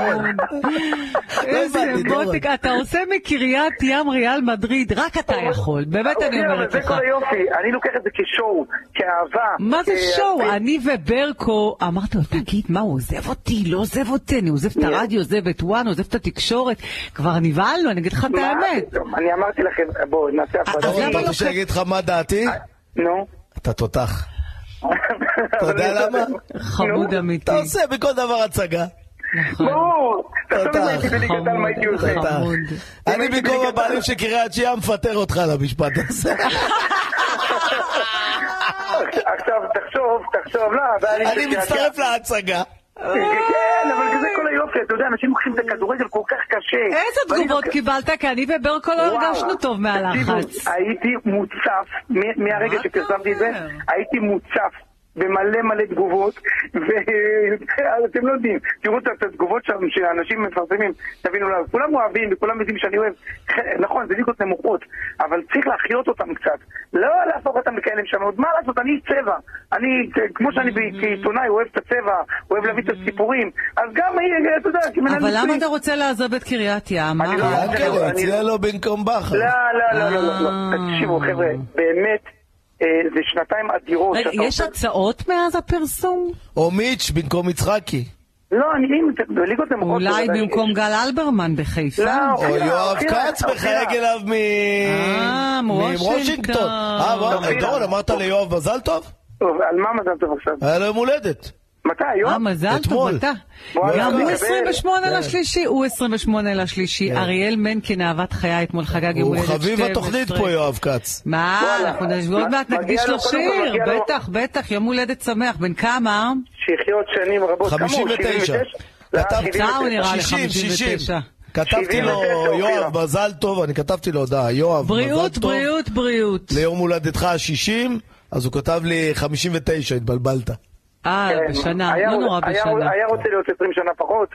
S10: לא
S2: איזה
S3: הבנתי, דורון.
S2: מותק, אתה עושה מקריית ים ריאל מדריד, רק אתה יכול, באמת אני
S10: אוקיי, אבל
S2: אומרת
S10: זה
S2: לך.
S10: כל היופי, אני לוקח את זה כשואו, כאהבה.
S2: מה זה
S10: כ- אה,
S2: שואו? אני וברקו, אמרתי לו, תגיד, מה, הוא עוזב אותי, לא עוזב אותי, אני עוזב את
S10: אה.
S2: הרדיו, עוזב את וואן, עוזב את התקשורת, כבר נבהלנו, אני אגיד לך את
S10: מה
S2: האמת.
S10: פתאום? אני אמרתי לכם, בואו, נעשה הפרדה.
S2: אז
S3: דורון,
S2: למה
S3: אתה
S2: לא
S3: רוצה
S2: כ-
S3: שאני אגיד לך מה דעתי?
S10: אה. נו.
S3: אתה תותח. אתה
S10: אבל
S3: יודע
S10: אני-
S3: למה?
S2: חמוד אמיתי.
S3: אתה עושה מכל דבר הצגה.
S2: נכון.
S10: ברור! תחשוב אם
S3: תודה,
S10: הייתי בליגת העל, מה הייתי עושה?
S2: חמוד.
S3: תותח. אני במקום הבעלים של קריית ים מפטר אותך על המשפט הזה.
S10: עכשיו, תחשוב, תחשוב, לא, אבל
S3: אני מצטרף להצגה.
S10: כן, אבל זה כל היופי, אתה יודע, אנשים לוקחים את הכדורגל כל כך קשה.
S2: איזה
S10: ואני
S2: תגובות
S10: לוקח-
S2: קיבלת? כי אני וברקו לא
S10: וואו.
S2: הרגשנו טוב מהלחץ.
S10: תקשיבו, הייתי מוצף, מ- מהרגע
S2: מה אתה
S10: שפרסמתי את זה,
S2: אומר?
S10: הייתי מוצף. במלא מלא תגובות, ואתם לא יודעים, תראו את את התגובות שם שאנשים מפרסמים, תבינו למה, כולם אוהבים וכולם יודעים שאני אוהב, ח- נכון, זה ליגות נמוכות, אבל צריך להחיות אותם קצת, לא להפוך אותם לכאלה משנות, מה לעשות, אני איש צבע, אני, כ- כמו שאני
S2: Mm.
S10: ב- כעיתונאי אוהב את הצבע, אוהב להביא את הסיפורים, אז גם, אה, אתה יודע, כמנהל
S2: אבל למה
S10: מקצועי-
S2: אתה רוצה לעזוב את קריית ים?
S10: אני לא-
S2: אה?
S3: יענקל'ה, הציע לו במקום בכר.
S10: לא, לא, לא, לא, לא, לא.
S2: אה.
S10: תקשיבו, חבר'ה, באמת, אה, זה שנתיים אדירות.
S2: רגע,
S10: שאתה
S2: יש
S10: עושה-
S2: הצעות מאז הפרסום?
S3: או מיץ' במקום יצחקי.
S10: לא, אני אם בליגות נמוכות...
S2: אולי
S10: בוודאי
S2: במקום
S10: שיש.
S2: גל אלברמן בחיפה?
S10: לא,
S3: או יואב
S10: אופירה,
S3: כץ
S10: אופירה.
S3: מחייג אליו מ-
S2: אה, מוושינגטון.
S3: אה, מה,
S10: אופירה.
S3: דורון, אמרת ליואב מזל טוב?
S10: טוב, על מה מזל טוב עכשיו?
S3: היה לו יום הולדת.
S10: מתי, היום?
S2: אה, מזל טוב,
S3: אתמול. כן.
S2: אתה.
S10: וואלה,
S2: גם הוא
S10: מקבל.
S2: 28 לשלישי, הוא 28 לשלישי. אריאל מנקין, אהבת חיי, אתמול חגג יום
S3: הוא
S2: הולדת 12.
S3: חביב התוכנית פה, יואב כץ.
S2: מה,
S10: וואלה.
S2: אנחנו נשב- עוד
S10: מ-
S2: מעט
S10: מגיע
S2: נקדיש
S10: לו,
S2: לו
S10: קודם כל
S2: שיר.
S10: מגיע לו.
S2: בטח, בטח, יום הולדת שמח. בן כמה?
S10: שיחיה עוד שנים רבות. כמה הוא?
S3: 59.
S10: 79? לא,
S3: כתב-
S10: 79.
S2: צער הוא נראה לי
S3: 60, 60.
S2: 59.
S3: כתבתי לו,
S10: 79, אופירה.
S3: יואב, מזל טוב, אני כתבתי לו הודעה, יואב, מזל
S2: בריאות,
S3: טוב.
S2: בריאות, בריאות.
S3: ליום הולדתך ה-60, אז הוא כתב לי 59, התבלבלת.
S2: אה,
S10: כן.
S2: בשנה,
S10: היה-
S2: לא נורא
S10: היה-
S2: בשנה.
S10: היה רוצה להיות 20 שנה פחות,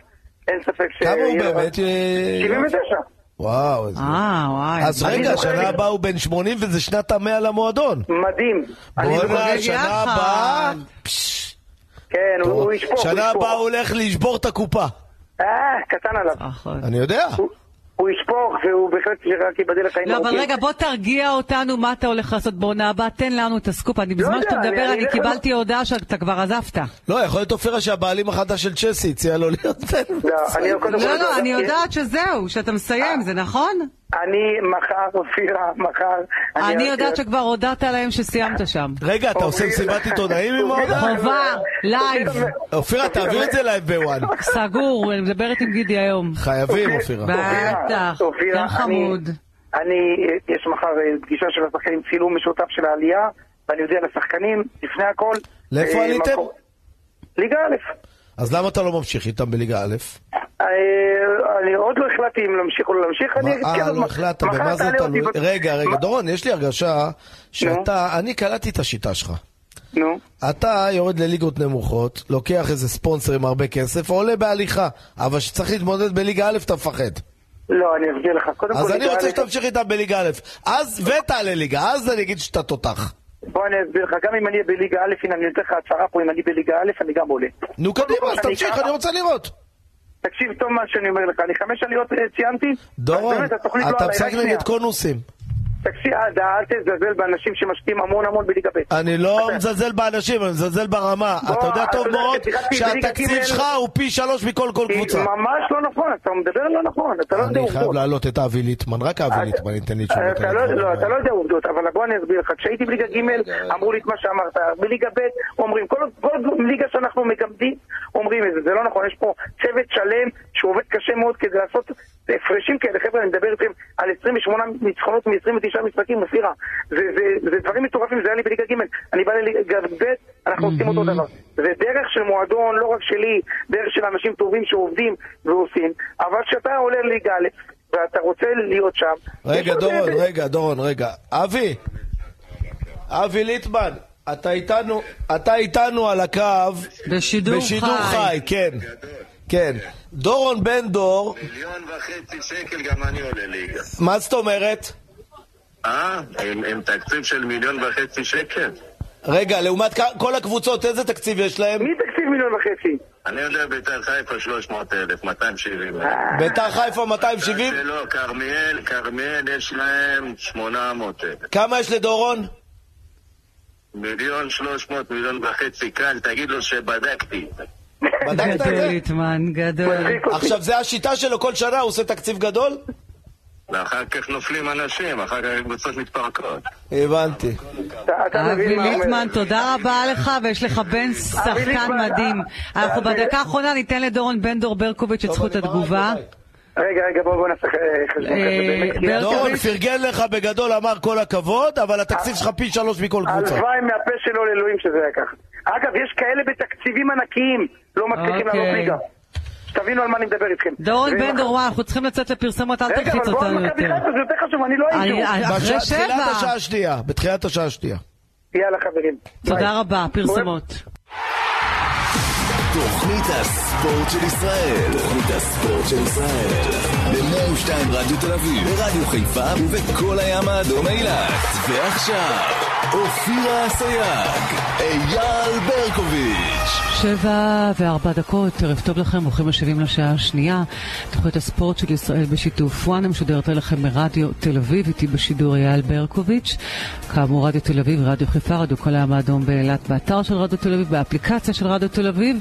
S10: אין ספק ש...
S3: כמה הוא באמת? אה,
S10: 79.
S3: וואו, איזה...
S2: אה, וואי.
S3: אז
S10: אני
S3: רגע,
S10: זוכר.
S3: שנה הבאה הוא בן 80 וזה שנת המאה למועדון.
S10: מדהים. אני זוכר-
S3: בואנה,
S2: ביחד.
S3: שנה הבאה...
S10: כן, הוא- הוא ישפוך. הוא
S3: שנה
S10: ישפוך.
S3: הבאה הוא הולך לשבור את הקופה.
S10: אה, קטן עליו.
S2: נכון.
S3: אני יודע.
S10: הוא- הוא ישפוך, והוא בהחלט שרק ייבדל לחיים
S2: לא, אבל
S10: ארוכים.
S2: רגע, בוא תרגיע אותנו מה אתה הולך לעשות בעונה הבאה, תן לנו את הסקופ. אני בזמן
S10: לא יודע,
S2: שאתה
S10: אני-
S2: מדבר,
S10: אני
S2: אני
S10: אלך
S2: קיבלתי הודעה שאתה כבר עזבת.
S3: לא, יכול להיות אופירה שהבעלים החדש של צ'סי הציע לו להיות...
S10: לא, אני קודם כל...
S2: לא, לא, אני
S10: אה,
S2: יודעת שזהו, שאתה מסיים, זה נכון?
S10: אני מחר, אופירה, מחר.
S2: אני יודעת שכבר הודעת להם שסיימת שם.
S3: רגע, אתה עושה
S10: אופירה.
S3: מסיבת עיתונאים עם
S10: אופירה.
S3: ההודעה?
S2: חובה, לייב,
S3: אופירה, תעביר את זה לייב בוואן.
S2: סגור, אני מדברת עם גידי היום.
S3: חייבים,
S10: אוקיי.
S3: אופירה. אוקיי.
S2: בטח,
S10: אופירה,
S2: גם חמוד.
S10: אני- אני, אה, יש מחר אה, פגישה של השחקנים, צילום משותף של העלייה, ואני יודע לשחקנים, לפני הכל.
S3: לאיפה
S10: אה,
S3: עליתם?
S10: מקום- ליגה א'.
S3: אז למה אתה לא ממשיך איתם בליגה א'?
S10: אה, אני עוד לא החלטתי אם להמשיך או לא להמשיך, אני אגיד
S3: אה,
S10: כן,
S3: לא
S10: מח-
S3: החלטת,
S10: מחר
S3: במה זה
S10: תעלה אותי
S3: תלוי?
S10: ב-
S3: רגע, רגע,
S10: מה-
S3: דורון, יש לי הרגשה שאתה, אני קלטתי את השיטה שלך.
S10: נו,
S3: אתה יורד לליגות נמוכות, לוקח איזה ספונסר עם הרבה כסף, עולה בהליכה, אבל כשצריך להתמודד בליגה א', אתה מפחד.
S10: לא, אני אסביר לך. קודם
S3: אז
S10: כל,
S3: אני
S10: ליגה
S3: רוצה
S10: א',
S3: שתמשיך איתם בליגה א', אז ותעלה ליגה, אז אני אגיד שאתה תותח.
S10: בוא אני אסביר לך, גם אם אני אהיה בליגה א', הנה אני נותן לך הצהרה פה, אם אני בליגה א', אני גם עולה.
S3: נו קדימה, אז תמשיך, אני רוצה לראות.
S10: תקשיב טוב מה שאני אומר לך, אני חמש עליות אה, ציינתי, אז
S3: דורון,
S10: באמת, התוכנית לא
S3: אתה
S10: עליי, רק
S3: משחק
S10: שנייה.
S3: נגד קונוסים.
S10: תקשיב, אה, דה, אל תזלזל באנשים שמשקיעים המון המון בליגה ב'.
S3: אני לא מזלזל באנשים, אני מזלזל ברמה.
S10: בוא,
S3: אתה יודע
S10: אתה
S3: טוב
S10: יודע,
S3: מאוד
S10: כששיחקתי בליגה
S3: שהתקציב
S10: ג'
S3: שלך הוא פי שלוש מכל כל
S10: כי
S3: קבוצה.
S10: ממש לא נכון, אתה מדבר לא נכון, אתה לא יודע
S3: אני חייב
S10: עובדות.
S3: להעלות את אבי ליטמן, רק אבי ליטמן ייתן לי תשובות.
S10: אתה
S3: על
S10: לא,
S3: הדברים
S10: לא,
S3: האלה.
S10: אתה לא יודע עובדות, אבל בוא אני אסביר לך. כשהייתי בליגה
S3: אה,
S10: ג' אמרו לי את מה שאמרת. בליגה ב' אומרים, כל, כל ליגה שאנחנו מגמדים אומרים את זה. זה לא נכון, יש פה צוות שלם שעובד קשה מאוד כדי לעשות זה הפרשים כאלה, חבר'ה, אני מדבר איתכם על 28 ניצחונות מ-29 משחקים, אופירה. זה, זה, זה דברים מטורפים, זה היה לי בליגה ג', אני בא לליגה ב', אנחנו עושים אותו דבר. זה דרך של מועדון, לא רק שלי, דרך של אנשים טובים שעובדים ועושים, אבל כשאתה עולה לליגה א', ואתה רוצה להיות שם... יש
S3: רגע,
S10: עוד
S3: דורון,
S10: זה-
S3: רגע, דורון, רגע. אבי, אבי ליטמן, אתה איתנו, אתה איתנו על הקו
S11: בשידור חי.
S3: בשידור חי, כן. כן. דורון בן דור,
S12: מיליון וחצי שקל גם אני עולה ליגה.
S3: מה זאת אומרת?
S12: אה? עם, עם תקציב של מיליון וחצי שקל?
S3: רגע, לעומת כ- כל הקבוצות, איזה תקציב יש להם?
S10: מי תקציב מיליון וחצי?
S12: אני יודע ביתר חיפה 300 אלף, 270 אלף.
S3: ביתר חיפה 270?
S12: לא, כרמיאל, כרמיאל יש להם 800 אלף.
S3: כמה יש לדורון?
S12: מיליון 300, מיליון וחצי קל, תגיד לו שבדקתי.
S3: בדקת את
S2: גדול
S3: זה?
S2: ליטמן, גדול.
S3: עכשיו, זה השיטה שלו, כל שנה הוא עושה תקציב גדול?
S12: ואחר כך נופלים אנשים, אחר כך הקבוצות מתפרקות.
S3: הבנתי.
S10: אתה- אתה
S2: אבי
S10: מבין מה הוא אומר.
S2: ליטמן, תודה רבה לך, ויש לך בן שחקן
S10: ליטמן,
S2: מדהים.
S10: אה,
S2: אנחנו
S10: אה,
S2: בדקה האחרונה ניתן לדורון בן דור ברקוביץ' את
S3: טוב,
S2: זכות
S3: אני ברק,
S2: התגובה.
S3: ביי.
S10: רגע, רגע, בואו בוא נעשה אה, חשבון
S2: אה,
S10: כזה, באמת, כי
S2: ברקו-
S3: דורון לא, פרגן לך בגדול, אמר כל הכבוד, אבל התקציב שלך פי שלוש מכל קבוצה.
S10: הלוואי מהפה שלו לאלוהים שזה היה ככה. אגב, יש כאלה בתקציבים ענקיים לא מצליחים
S2: אוקיי.
S10: לעלות ליגה. שתבינו על מה אני מדבר איתכם.
S2: דורון
S10: ו-
S2: בן דור, וואי, אנחנו צריכים לצאת לפרסומות, אל
S10: רגע,
S2: תלחיץ
S10: אבל בואו על
S2: אותנו
S10: מכבי
S2: יותר.
S10: חיפה, זה יותר חשוב, אני לא
S2: אני-
S10: הייתי.
S2: אחרי
S3: בשעה- תחילת
S2: שבע.
S3: השעה השנייה, בתחילת השעה השנייה.
S10: יאללה חברים. ביי.
S2: תודה רבה, פרסומות.
S1: תוכנית הספורט של ישראל. תוכנית הספורט של ישראל. ב-102 רדיו תל אביב, ברדיו חיפה ובכל הים האדום אילת. ועכשיו, אופירה אסייג, אייל ברקוביץ'.
S2: שבע וארבע דקות, ערב טוב לכם, ברוכים השבים לשעה השנייה. תוכנית הספורט של ישראל בשיתוף וואן המשודרת אליכם מרדיו תל אביב, איתי בשידור אייל ברקוביץ'. כאמור, רדיו תל אביב, רדיו חיפה, רדיו כל הים האדום באילת, באתר של רדיו תל אביב, באפליקציה של רדיו תל אביב.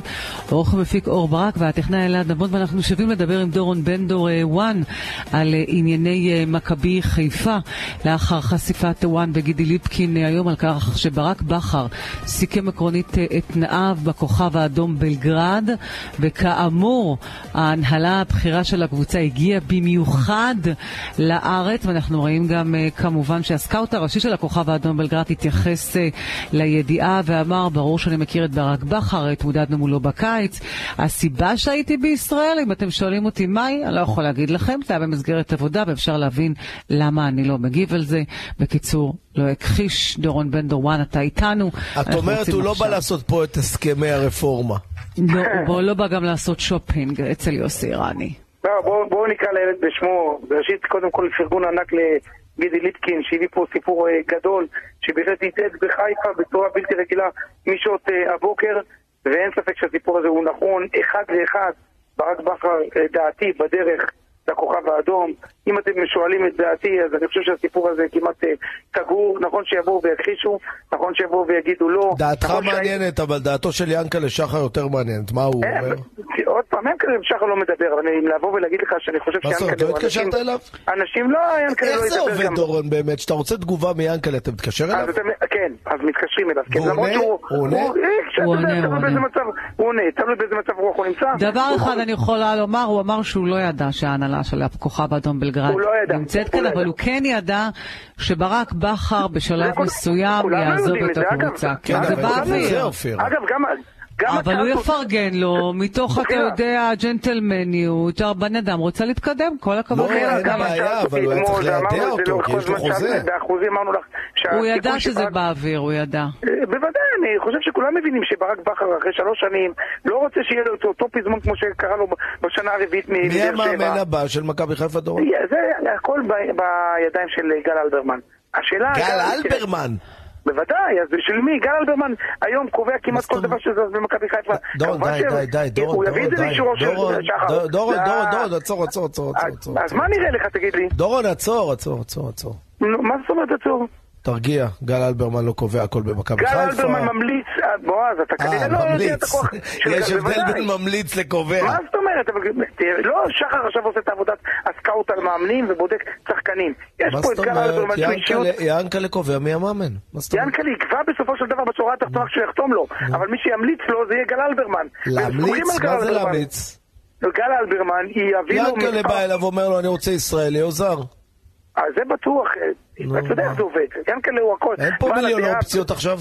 S2: עורך ומפיק אור ברק והטכנאי אלעד נבון, ואנחנו שבים לדבר עם דורון בן דור אה, וואן על אה, ענייני אה, מכבי חיפה לאחר חשיפת וואן וגידי ליפקין אה, היום על כך שברק בכר סיכם עקרונית אה, את תנאיו בכוכב האדום בלגרד, וכאמור ההנהלה הבכירה של הקבוצה הגיעה במיוחד לארץ, ואנחנו רואים גם אה, כמובן שהסקאוט הראשי של הכוכב האדום בלגרד התייחס אה, לידיעה ואמר, ברור שאני מכיר את ברק בכר, התמודדנו מולו בקיץ. הסיבה שהייתי בישראל, אם אתם שואלים אותי מהי, אני לא יכול להגיד לכם, זה היה במסגרת עבודה ואפשר להבין למה אני לא מגיב על זה. בקיצור, לא הכחיש, דורון בן דורואן, אתה איתנו.
S3: את
S2: אנחנו
S3: אומרת,
S2: רוצים
S3: הוא לא בא
S2: עכשיו-
S3: לעשות פה את הסכמי הרפורמה.
S2: לא, הוא לא בא גם לעשות שופינג אצל יוסי אירני.
S10: לא, בואו בואו נקרא לילד בשמו. ראשית, קודם כל פרגון ענק לגידי ליפקין, שהביא פה סיפור אה, גדול, שבהחלט התעד בחיפה בצורה בלתי רגילה משעות אה, הבוקר, ואין ספק שהסיפור הזה הוא נכון, אחד לאחד, ברק בכר, אה, דעתי, בדרך לכוכב האדום. אם אתם שואלים את דעתי, אז אני חושב שהסיפור הזה כמעט אה, סגור. נכון שיבואו ויכחישו, נכון שיבואו ויגידו לא.
S3: דעתך
S10: נכון שהי-
S3: מעניינת, אבל דעתו של ינקלה שחר יותר מעניינת. מה הוא
S10: אה,
S3: אומר?
S10: עוד פעם, ינקלה שחר לא מדבר, אבל אם לבוא ולהגיד לך שאני חושב
S3: מה זאת
S10: שיענקל'ה...
S3: אומרת, לא
S10: הוא
S3: התקשרת
S10: אנשים-
S3: אליו?
S10: אנשים לא, ינקלה לא
S3: איך זה
S10: ידבר
S3: עובד,
S10: גם.
S3: דורון, באמת? כשאתה רוצה תגובה מיאנקלה, אתה מתקשר אליו?
S10: אז אתם, כן, אז מתקשרים אליו. כן,
S3: והוא
S10: למרות
S3: עונה?
S10: שהוא...
S3: הוא עונה?
S10: הוא- אה, כשאתה
S2: הוא
S10: יודע,
S2: עונה, הוא
S10: תלוי באיזה
S2: עונה.
S10: מצב, הוא עונה, תלוי באיזה מצב רוח הוא נמצא.
S2: דבר
S10: הוא-
S2: אחד אני יכולה לומר, הוא אמר שהוא לא ידע שההנהלה של הכוכב האדום בלגרד
S10: הוא לא ידע.
S2: נמצאת
S10: הוא
S2: כאן,
S10: לא
S2: אבל
S10: ידע.
S2: הוא כן ידע שברק בכר בשלב
S10: כול-
S2: מסוים
S10: כולם לא
S2: יעזוב
S10: יודעים
S2: את
S10: זה, אגב.
S2: הקבוצה.
S3: כן,
S2: זה
S3: אבל הוא
S2: באוויר.
S3: זה אופיר.
S10: אגב, גם... גם אוקיי,
S2: אבל הוא
S10: הקארטוס-
S2: יפרגן לו, מתוך, אתה
S10: בחירה.
S2: יודע, ג'נטלמניות, הבן אדם רוצה להתקדם, כל הכבוד. לו.
S3: לא, אין
S10: גם
S3: בעיה,
S10: הקארטוס
S3: אבל הוא היה
S10: אתמול,
S3: צריך ליידע
S10: ואמרנו את זה
S3: אותו,
S10: לאורך
S3: כי יש
S10: כל
S3: לו
S10: הזמן,
S3: חוזה.
S10: באחוזים אמרנו לך...
S2: הוא
S10: שהסיכוי
S2: ידע שזה
S10: שברק-
S2: באוויר, הוא ידע.
S10: אה, בוודאי, אני חושב שכולם מבינים שברק בכר אחרי שלוש שנים לא רוצה שיהיה לו את אותו פזמון כמו שקרה לו בשנה הרביעית מבאר
S3: מי
S10: שבע.
S3: המאמן הבא של מכבי חיפה, דורון?
S10: זה הכל ב- בידיים של גל אלברמן. השאלה...
S3: גל אלברמן!
S10: בוודאי, אז בשביל מי? גל אלברמן היום קובע כמעט כל
S3: זאת
S10: דבר שזז במכבי חיפה.
S3: דורון,
S10: כמובן
S3: די,
S10: ש-
S3: די, די, דורון,
S10: הוא
S3: דורון,
S10: יביא את זה
S3: די.
S10: לאישורו של
S3: דורון,
S10: שחר.
S3: דורון, דורון,
S10: זה-
S3: דורון, עצור, עצור, עצור,
S10: אז-
S3: עצור.
S10: אז מה נראה לך, תגיד לי?
S3: דורון, עצור, עצור, עצור, עצור.
S10: נו, מה זאת אומרת עצור?
S3: תרגיע, גל אלברמן לא קובע הכל במכבי
S10: גל
S3: חיפה.
S10: אלברמן ממליץ, אה, בועז, אתה כנראה
S3: אה,
S10: לא יודע את
S3: ממליץ.
S10: הכוח של
S3: יש
S10: גל,
S3: הבדל
S10: בוודאי.
S3: בין ממליץ לקובע.
S10: מה זאת אומרת? אבל תראה, לא, שחר עכשיו עושה את עבודת הסקאוט על מאמנים ובודק שחקנים. יש
S3: מה
S10: פה
S3: זאת
S10: את גל אלברמן
S3: אומרת?
S10: שהוא אישיות.
S3: יענקלה- יענקלה קובע מי המאמן. מה זאת אומרת?
S10: ינקלה יקבע בסופו של דבר בשורה התחתונה כשהוא יחתום לו, אבל מי שימליץ לו זה יהיה גל אלברמן. והם סומכים
S3: להמליץ?
S10: על גל
S3: מה זה
S10: אלברמן.
S3: להמליץ?
S10: גל אלברמן, היא יביא לו
S3: ינקלה בא אליו ואומר לו, אני רוצה ישראלי, או זר.
S10: אז אה, זה בטוח, אה, אתה יודע איך זה עובד, ינקלה הוא הכל.
S3: אין פה
S10: בעל
S3: מיליון
S10: הדעה,
S3: אופציות עכשיו.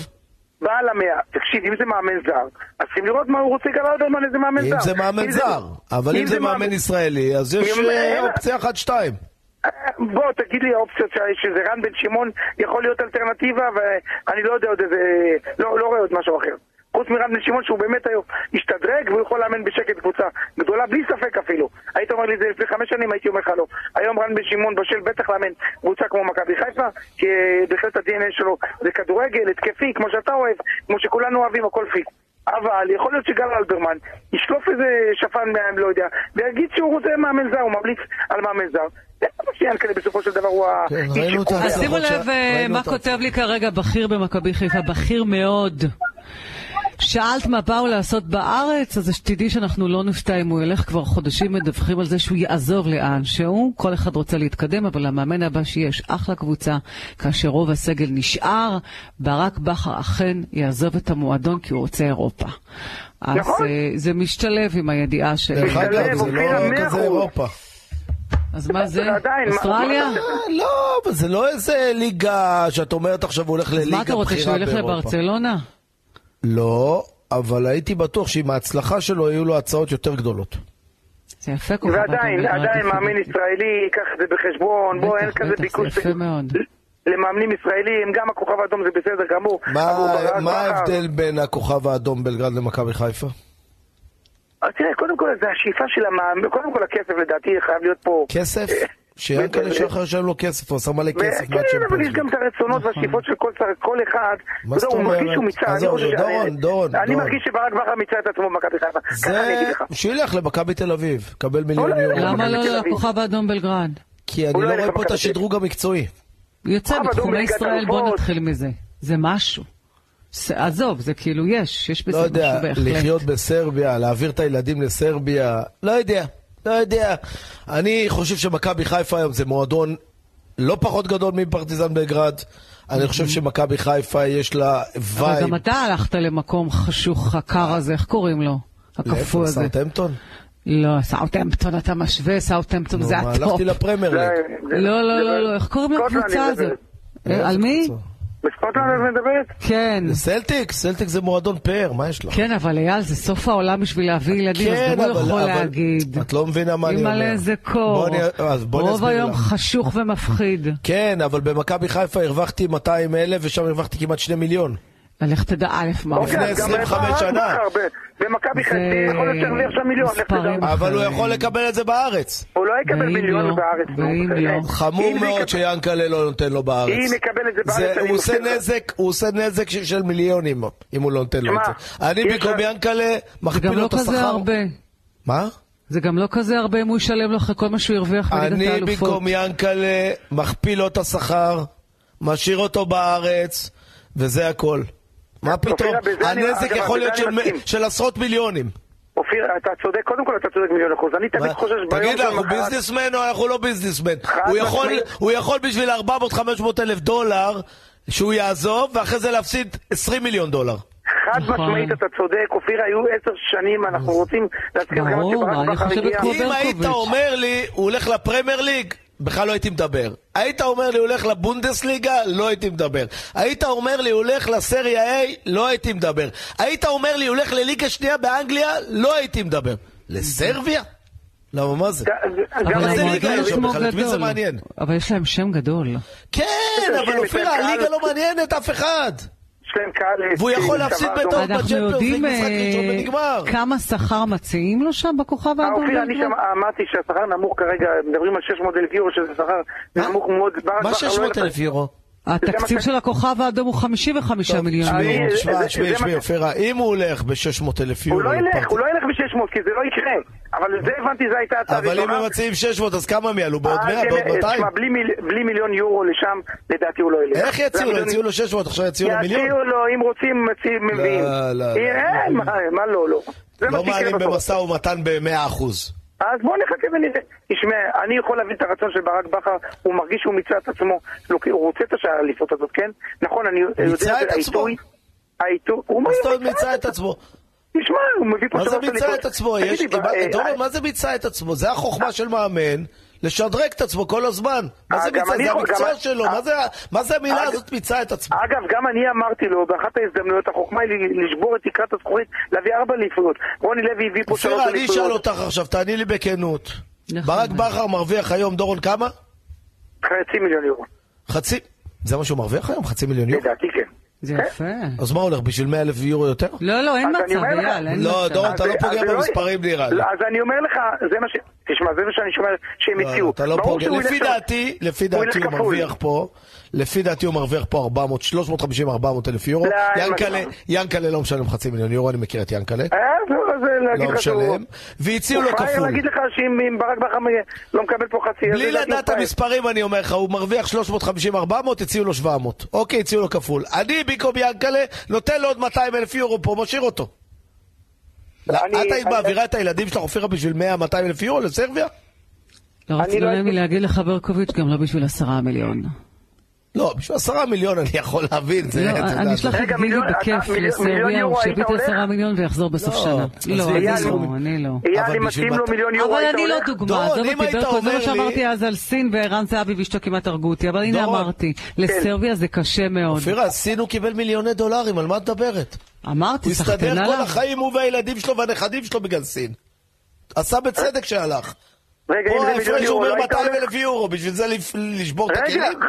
S10: בעל המאה, תקשיב, אם זה מאמן זר, אז צריכים לראות מה הוא רוצה גל אלברמן, איזה מאמן זר.
S3: אם זה מאמן זר, אבל אם זה מאמן ישראלי, אז יש
S10: אם-
S3: אה,
S10: אין-
S3: אופציה אחת-שתיים.
S10: בוא, תגיד לי האופציות שה- שזה רן בן שמעון יכול להיות אלטרנטיבה, ואני לא יודע עוד איזה... לא, לא רואה עוד משהו אחר. חוץ מרן בן שמעון שהוא באמת היום השתדרג והוא יכול לאמן בשקט קבוצה גדולה בלי ספק אפילו. היית אומר לי את זה לפני חמש שנים, הייתי אומר לך לא. היום רן בן שמעון בשל בטח לאמן קבוצה כמו מכבי חיפה, כי אה, בהחלט ה-DNA שלו זה כדורגל, התקפי, כמו שאתה אוהב, כמו שכולנו אוהבים, הכל פיקס. אבל יכול להיות שגל אלברמן ישלוף איזה שפן מהם, לא יודע, ויגיד שהוא רוצה מאמן זר, הוא ממליץ על מאמן זר. זה לא מה שיענקל'ה בסופו של דבר הוא ה...
S3: כן,
S10: איש
S3: ראינו את
S10: שקובע.
S2: אז שימו לב אה, מה כותב לי כרגע בכיר במכבי חיפה, בכיר מאוד. שאלת מה באו לעשות בארץ, אז שתדעי שאנחנו לא נופתע אם הוא ילך כבר חודשים מדווחים על זה שהוא יעזוב לאן שהוא. כל אחד רוצה להתקדם, אבל המאמן הבא שיש אחלה קבוצה, כאשר רוב הסגל נשאר, ברק בכר אכן יעזוב את המועדון כי הוא רוצה אירופה. אז
S10: נכון.
S2: אה,
S10: אוקיי.
S2: זה משתלב עם הידיעה ש...
S3: דרך אגב, זה
S10: אופיר,
S3: לא
S10: המאה
S3: כזה
S10: אחוז.
S3: אירופה.
S2: אז מה זה?
S10: עדיין, מה-
S2: אוסטרליה?
S10: מה אתה-
S3: לא, אבל זה לא איזה ליגה שאת אומרת עכשיו הוא הולך לליגה בכירה
S2: מה אתה
S3: באירופה.
S2: רוצה, שהוא ילך לברצלונה?
S3: לא, אבל הייתי בטוח שעם ההצלחה שלו יהיו לו הצעות יותר גדולות.
S2: זה יפה כל כך.
S10: ועדיין,
S3: כן,
S2: אדוני,
S10: עדיין
S2: רק
S10: מאמן ישראלי, ייקח את זה בחשבון, בוא,
S2: בטח,
S10: אין כזה
S2: בטח, זה
S10: ביקוש
S2: יפה מאוד.
S10: למאמנים ישראלים, גם הכוכב האדום זה בסדר גמור. אבל הוא
S3: מה-
S10: ברק
S3: מה
S10: בכר.
S3: ההבדל בין הכוכב האדום בלגרד למכבי חיפה?
S10: אז תראה, קודם כל זה השאיפה של המאמן, קודם כל הכסף לדעתי חייב להיות פה.
S3: כסף? שיענקל'ה שחר שם לו כסף, הוא עשה מלא כסף
S10: ו- כן, אבל
S3: מהצ'מפיונס. נכון.
S10: יש גם את הרצונות והשאיפות של כל צר- כל אחד.
S3: מה
S10: אתה יודע,
S3: זאת
S10: הוא מרגיש
S3: אומרת?
S10: שהוא מיצה, אני
S3: עזוב,
S10: חושב ש-
S3: דורון, דורון,
S10: אני
S3: דורון.
S10: מרגיש שברק בכר מיצה את עצמו במכבי חיפה. ככה כן, אני אגיד
S3: זה
S10: לך.
S3: שילך למכבי תל אביב, קבל מיליון
S10: לא, לא,
S3: יורו.
S2: למה
S10: מכבי תל
S2: לא
S10: אביב.
S2: לכוכב האדום בלגרד?
S3: כי אני
S10: הוא
S3: לא
S10: לא ילך
S3: רואה פה
S10: למכבי
S3: את
S10: תל אביב.
S3: השדרוג המקצועי.
S2: הוא יוצא
S10: כוכב אדום
S2: בתחומי
S10: בליגת
S2: ישראל, בוא
S10: האלופות.
S2: נתחיל מזה. זה משהו. זה- עזוב, זה כאילו יש, יש
S3: לא
S2: בזה משהו
S3: יודע,
S2: בהחלט.
S3: לחיות בסרביה, להעביר את הילדים לסרביה, לא יודע, לא יודע. אני חושב שמכבי חיפה היום זה מועדון לא פחות גדול מפרטיזן בלגרד. אני חושב שמכבי חיפה יש לה
S2: Mm-hmm. אבל
S3: וייב.
S2: גם אתה הלכת למקום חשוך, הקר הזה, איך קוראים לו? הקפוא הזה.
S3: סאוטהמפטון?
S2: לא, סאוטהמפטון אתה משווה, סאוטהמפטון זה
S3: נו, מה,
S2: הטופ.
S3: הלכתי לפרמייר
S10: זה-
S3: ליג.
S10: זה-
S2: לא, לא,
S10: זה-
S2: לא, לא, איך קוראים
S10: סקוטלנד
S2: לקבוצה
S10: אני מדברת.
S2: הזאת? אה, על מי?
S10: בסקוטלנד את מדברת?
S2: כן.
S3: סלטיק, סלטיק זה מועדון פאר, מה יש לך?
S2: כן, אבל אייל, זה סוף העולם בשביל להביא ילדים, אז
S3: כן,
S2: גם הוא
S3: אבל-
S2: יכול
S3: אבל
S2: להגיד.
S3: את לא מבינה מה אני אומר.
S2: אימא'לה איזה
S3: בוא
S2: קור.
S3: אני- אז בוא אני
S2: רוב
S3: אסביר
S2: היום
S3: לך.
S2: חשוך ומפחיד.
S3: כן, אבל במכבי חיפה הרווחתי 200 אלף ושם הרווחתי כמעט 2 מיליון.
S2: לך תדע א' מה הוא.
S10: אוקיי,
S3: לפני
S10: אז גם
S3: 25
S10: ברק
S3: שנה.
S10: בכר ב- במכבי חיפה
S2: זה-
S10: יכול להיות שירוויח שם מיליון, לך
S2: מספרים.
S10: תדע.
S3: אבל הוא יכול לקבל את זה בארץ.
S10: הוא לא יקבל
S2: ואם לא,
S10: מיליון בארץ. נו,
S2: ואם
S10: בחייך.
S2: לא.
S10: אם
S3: חמור
S10: זה
S3: מאוד
S10: יקבל-
S3: שיאנקל'ה לא נותן לו בארץ.
S10: אם יקבל את זה בארץ,
S3: זה-
S10: אני
S3: הוא עושה
S10: מבטיח לך.
S3: נזק, הוא עושה נזק ש- של מיליונים, אם הוא לא נותן לו את
S10: שמע,
S3: זה. אני
S10: יש
S3: במקום
S10: לה-
S3: יאנקל'ה
S2: זה
S3: מכפיל
S2: גם
S3: לו
S2: לא
S3: את
S2: כזה
S3: השכר.
S2: הרבה.
S3: מה?
S2: זה גם לא כזה הרבה אם הוא ישלם לו אחרי כל מה שהוא הרוויח בליגת
S3: אני
S2: האלופות.
S3: במקום יאנקל'ה מכפיל לו את השכר, משאיר אותו בארץ, וזה הכל. מה פתאום?
S10: אופירה, בזה אני-
S3: הנזק
S10: אגב,
S3: יכול
S10: בזה
S3: להיות
S10: אני
S3: של-
S10: מסכים.
S3: של עשרות מיליונים.
S10: אופיר, אתה צודק, קודם כל אתה צודק מיליון אחוז. אני תמיד
S3: מה?
S10: חושש ביום
S3: תגיד, אנחנו
S10: שלמחרת-
S3: ביזנסמן או אנחנו לא ביזנסמן?
S10: חד
S3: הוא יכול-
S10: משמעית.
S3: הוא יכול בשביל 400-500 אלף דולר שהוא יעזוב, ואחרי זה להפסיד 20 מיליון דולר.
S10: חד
S2: נכון.
S10: משמעית אתה צודק, אופיר, היו עשר שנים, אנחנו רוצים להזכיר לך
S2: ברור,
S10: שברק
S2: אני
S10: בכר
S2: חושבת
S10: הגיע.
S2: כמו-
S3: אם היית
S2: ברקוביץ'.
S3: אומר לי, הוא הולך לפרמייר ליג, בכלל לא הייתי מדבר. היית אומר לי, הוא הולך לבונדסליגה, לא הייתי מדבר. היית אומר לי, הוא הולך לסריה A, לא הייתי מדבר. היית אומר לי, הוא הולך לליגה שנייה באנגליה, לא הייתי מדבר. לסרביה? למה, מה זה?
S10: ג- גם
S2: אבל
S3: מה זה
S10: אני-
S2: המועדון
S3: ליגה
S2: יש
S3: היום
S2: שמו
S3: בכלל? את מי זה
S2: גדול.
S3: מעניין?
S2: אבל יש להם שם גדול.
S3: כן, אבל אופיר, הליגה לא מעניינת אף אחד.
S10: יש להם קהל... אה,
S3: והוא יכול להפסיד
S10: צבא אדום.
S3: בטוב. בצ'מפיונס
S2: אנחנו
S3: ליג
S2: יודעים
S3: משחק
S2: אה,
S3: ראשון ונגמר.
S2: כמה שכר מציעים לו שם בכוכב
S10: אה,
S2: האדום?
S10: אופיר, אני
S2: בלגרד?
S10: שם אמרתי שהשכר נמוך כרגע, מדברים על 600 אלף יורו, שזה שכר
S3: מה?
S10: נמוך מאוד. ברק בכר
S3: מה
S10: לא
S3: 600 אלף יורו?
S10: זה
S2: התקציב
S10: מה ש-
S2: של הכוכב האדום הוא 55
S3: טוב,
S2: מיליון
S3: תשמעי, אה,
S2: יורו.
S10: אני-
S3: תשמעי,
S10: זה-
S3: תשמעי,
S10: זה
S3: תשמעי,
S10: מה-
S3: אופירה, אם הוא הולך ב-600 אלף יורו...
S10: הוא לא ילך,
S3: לפרטי-
S10: הוא לא ילך ב-600, כי זה לא יקרה. אבל זה הבנתי, זה הייתה הצעה
S3: אבל אם
S10: ראשונה.
S3: הם מציעים 600, אז כמה הם יעלו? בעוד
S10: אה,
S3: 100?
S10: כן,
S3: בעוד
S10: אה,
S3: 200?
S10: תשמע, בלי מיל- בלי מיליון יורו לשם, לדעתי הוא לא ילך.
S3: איך יציעו לו?
S10: והמיליון-
S3: יציעו לו 600, עכשיו יציעו לו מיליון?
S10: יציעו לו, אם רוצים, מציעים, מביאים.
S3: לא, לא,
S10: אה,
S3: לא.
S10: מה- מה לא, לא. זה מה
S3: לא
S10: שיקרה
S3: מעלים
S10: בסוף.
S3: במשא ומתן ב-100%.
S10: אז בוא נחכה ונראה. תשמע, אני יכול להבין את הרצון של ברק בכר, הוא מרגיש שהוא מיצה את עצמו, לא, כי הוא רוצה את השעה האליפות הזאת, כן? נכון, אני יודע...
S3: מיצה את עצמו?
S10: העיתוי- העיתוי- הוא
S3: מה
S10: אומר,
S3: זאת אומרת
S10: "מיצה
S3: מיצה את עצמו?
S10: תשמע, הוא מביא פה
S3: מה זה
S10: שלוש
S3: ביצע
S10: אליפויות.
S3: את עצמו?
S10: תגידי,
S3: יש-
S10: ב-
S3: מה-
S10: אה,
S3: תומר, מה זה ביצע את עצמו? זה החוכמה של מאמן, לשדרג את עצמו כל הזמן. מה זה
S10: אה, גם
S3: ביצע?
S10: אני- אה,
S3: זה
S10: גם-
S3: המקצוע
S10: אה,
S3: שלו, מה זה ה- מה זה המילה הזאת ביצע את עצמו?
S10: אגב, גם אני אמרתי לו, באחת ההזדמנויות, החוכמה היא ל- לשבור את תקרת הזכוכית, להביא ארבע אליפויות. רוני לוי הביא פה שלוש
S3: אופירה, אוקיי, אני
S10: אליפויות.
S3: אשאל אותך עכשיו, תעני לי בכנות. ברק בכר מרוויח היום, דורון, כמה?
S10: חצי מיליון יורו.
S3: חצי? זה מה שהוא מרוויח היום? חצי מיליון יורו?
S10: לדעתי כן.
S2: זה יפה.
S3: אז מה הולך, בשביל 100 אלף יורו יותר?
S2: לא, לא, אין
S10: אז אני
S2: מצב,
S10: אומר לך-
S2: אייל, אין
S3: לא,
S2: מצב.
S3: דורון, אתה לא
S10: אז-
S3: פוגע
S10: אז זה לא-
S3: במספרים, נראה לי.
S10: לא, אז אני אומר לך, זה מה ש... תשמע, זה מה שאני שומע שהם
S3: לא,
S10: הציעו.
S3: אתה לא
S10: ברור
S3: פוגע.
S10: שהוא ילך
S3: לפי
S10: שם.
S3: דעתי, לפי
S10: הוא
S3: דעתי
S10: ילך
S3: הוא
S10: כפול.
S3: מרוויח פה, לפי דעתי הוא מרוויח פה 400, 350, 400 אלף יורו.
S10: לא, אין
S3: ינקלה,
S10: מצב.
S3: ינקלה לא משלם חצי מיליון יורו, אני מכיר את ינקלה.
S10: אה, לא, זה להגיד
S3: לא
S10: לך שהוא-
S3: משלם. והציעו לו
S10: הוא פראייר
S3: כפול.
S10: להגיד לך שאם אם ברק בכר מ- לא מקבל פה חצי... אז
S3: בלי
S10: לדעתי הוא
S3: לדעת
S10: פראייר.
S3: המספרים אני אומר לך, הוא מרוויח 350-400, הציעו לו 700. אוקיי, הציעו לו כפול. אני במקום ינקלה, נותן לו עוד 200 אלף יורו פה, משאיר אותו. לא, את
S10: אני-
S3: היית
S10: אני-
S3: מעבירה את הילדים שלך, אופירה, בשביל 100-200 אלף יורו לסרביה?
S2: לא רצינו
S10: לא
S2: להם
S10: הייתי- כן.
S2: להגיד לך, ברקוביץ', גם לא בשביל עשרה מיליון.
S3: לא, בשביל עשרה מיליון אני יכול להבין. זה-
S2: לא,
S3: אתה יודע,
S2: אני
S3: זה-
S2: אשלח את
S10: רגע,
S2: גילי
S10: מיליון- אתה-
S2: בכיף
S10: מיליון- מיליון
S2: לסרביה,
S10: יורו
S2: הוא
S10: היית
S2: שיביא את
S10: הולך?
S2: עשרה מיליון ויחזור בסוף
S3: לא,
S2: שנה.
S3: עזבי,
S2: לא,
S3: אייל,
S2: אני לא,
S3: הוא-
S2: אני לא.
S3: אבל
S10: אייל, אם
S3: בשביל
S10: מתאים לו
S3: מת-
S10: מיליון יורו,
S2: אבל
S10: היית
S2: אני לא
S10: הולך?
S2: דוגמה,
S3: דורון,
S2: עזוב
S3: אם
S2: אותי
S3: היית
S2: ברקו, זה
S3: אומר
S2: מה שאמרתי
S3: לי-
S2: אז על סין וערן זהבי ואשתו כמעט הרגו אותי, אבל הנה
S3: דורון.
S2: אמרתי, לסרביה זה קשה מאוד.
S3: כן. אופירה, סין הוא קיבל מיליוני דולרים, על מה את מדברת? הוא
S2: אמרתי, לא, סחטן
S3: הסתדר כל
S2: עליו.
S3: החיים, הוא והילדים שלו והנכדים שלו בגלל סין. עשה בצדק שהלך.
S10: רגע, אם
S3: פה
S10: זה מיליון
S3: ההפרש הוא
S10: יורו,
S3: אומר
S10: לא היית
S3: 200
S10: הולך?
S3: אלף יורו, בשביל זה לפ- לשבור את
S10: רגע,
S3: הכלים?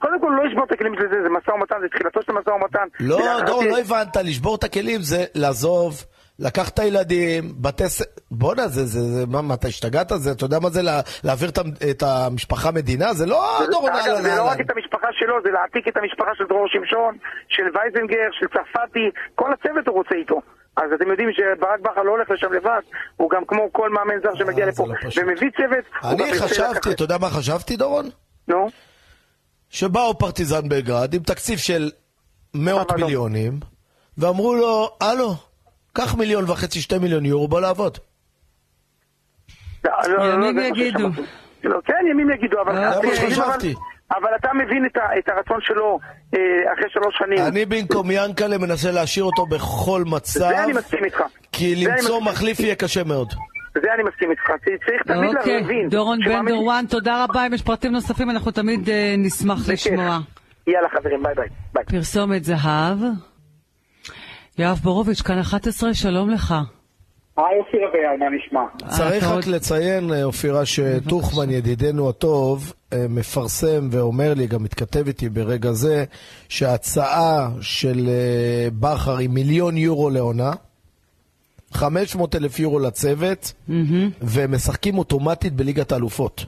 S10: קודם כל לא לשבור את הכלים של זה, זה משא ומתן, זה תחילתו של משא ומתן.
S3: לא,
S10: ולהערכתי-
S3: דורון, לא הבנת, לשבור את הכלים זה לעזוב, לקח את הילדים, בתי ס... בואנה, זה, זה, זה, מה, מה, אתה השתגעת? זה, אתה יודע מה זה לה, להעביר את, המ- את המשפחה מדינה? זה לא
S10: זה-
S3: דורון
S10: אגב,
S3: אהלן
S10: זה לא
S3: אהלן.
S10: רק את המשפחה שלו, זה להעתיק את המשפחה של דרור שמשון, של וייזנגר, של צרפתי, כל הצוות הוא רוצה איתו. אז אתם יודעים שברק בכר לא הולך לשם לבד, הוא גם כמו כל מאמן זר שמגיע
S3: אה,
S10: לפה,
S3: זה לא פשוט.
S10: ומביא צוות, הוא גם
S3: אני
S10: ירצה
S3: חשבתי,
S10: לקחת-
S3: אתה יודע מה חשבתי, דורון?
S10: נו,
S3: שבאו פרטיזן בלגרד עם תקציב של מאות
S10: אבל לא.
S3: מיליונים, ואמרו לו, הלו, קח מיליון וחצי, שתי מיליון יורו, בוא לעבוד.
S10: לא, לא, לא,
S2: ימים
S10: לא, זה מה
S2: יגידו.
S10: ששמעתי. לא, כן, ימים יגידו, אבל...
S2: אה,
S3: זה מה
S10: אבל-
S3: שחשבתי.
S10: אבל אתה מבין את ה- את הרצון שלו אה, אחרי שלוש שנים.
S3: אני במקום ינקלה מנסה להשאיר אותו בכל מצב,
S10: זה אני מסכים איתך.
S3: כי
S10: זה אני
S3: למצוא
S10: מסכים.
S3: מחליף יהיה קשה מאוד.
S2: אה,
S10: זה אני מסכים איתך, צריך תמיד
S2: אוקיי,
S10: להבין.
S2: דורון
S10: שמאמין-
S2: בנדור וואן, תודה רבה. אם יש פרטים נוספים, אנחנו תמיד אה, נשמח
S10: בכיף.
S2: לשמוע.
S10: כן. יאללה חברים, ביי ביי. ביי.
S2: פרסומת זהב. יואב בורוביץ', כאן 11, שלום לך.
S10: היי אופירה ויאל, מה נשמע?
S3: צריך
S2: אתה
S3: רק
S2: עוד-
S3: לציין, אה, אופירה, שטוחמן, ידידנו הטוב, אה, מפרסם ואומר לי, גם מתכתב איתי ברגע זה, שההצעה של אה, בכר היא מיליון יורו לעונה, 500 אלף יורו לצוות, והם משחקים אוטומטית בליגת האלופות.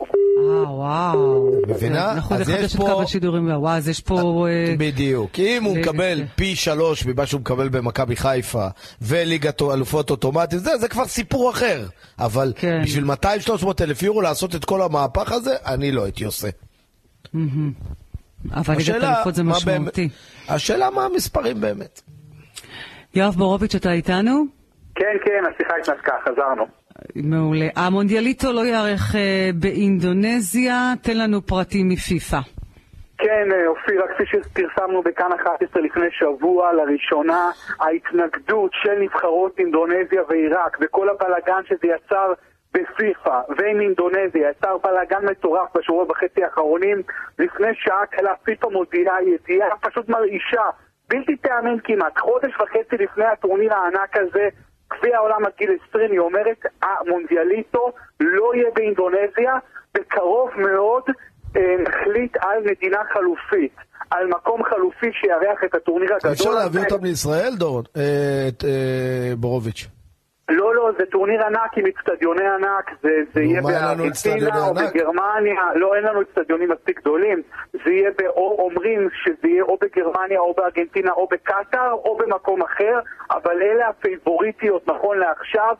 S2: אה, וואו.
S3: מבינה?
S2: כן, אנחנו
S3: אז יש
S2: נחדש את
S3: פה-
S2: קו השידורים, וואו, אז יש פה... אה,
S3: בדיוק. כי אם הוא
S2: זה-
S3: מקבל פי שלוש ממה שהוא מקבל במכבי חיפה, וליגת אלופות אוטומטית, זה, זה כבר סיפור אחר. אבל
S2: כן.
S3: בשביל 200-300 אלף יורו לעשות את כל המהפך הזה, אני לא הייתי עושה.
S2: אבל ליגת אליפות זה
S3: מה
S2: משמעותי.
S3: באמת- השאלה מה המספרים באמת.
S2: יואב בורוביץ', אתה איתנו?
S10: כן, כן, השיחה התנתקה, חזרנו.
S2: מעולה. המונדיאליטו לא ייערך אה, באינדונזיה, תן לנו פרטים מפיפ"א.
S10: כן, אה, אופירה, כפי שפרסמנו בכאן 11 לפני שבוע, לראשונה ההתנגדות של נבחרות אינדונזיה ועיראק וכל הבלגן שזה יצר בפיפ"א ועם אינדונזיה, יצר בלגן מטורף בשבוע וחצי האחרונים. לפני שעה קלה פיפ"א מודיעה ידיעה פשוט מרעישה, בלתי תאמין כמעט, חודש וחצי לפני הטורניר הענק הזה, גביע העולם עד גיל 20, היא אומרת, המונדיאליטו לא יהיה באינדונזיה, בקרוב מאוד אה, נחליט על מדינה חלופית, על מקום חלופי שיארח את הטורניר הגדול.
S3: אפשר להביא
S10: הזה.
S3: אותם לישראל, דורון? אה, את אה, בורוביץ'.
S10: לא, לא, זה טורניר ענק עם אצטדיוני ענק, זה, זה
S3: נו,
S10: יהיה
S3: מה, אין לנו אצטדיוני
S10: בארגנטינה או
S3: ענק?
S10: בגרמניה, לא, אין לנו אצטדיונים מספיק גדולים, זה יהיה, ב- או אומרים שזה יהיה או בגרמניה או בארגנטינה או בקטאר או במקום אחר, אבל אלה הפייבוריטיות נכון לעכשיו.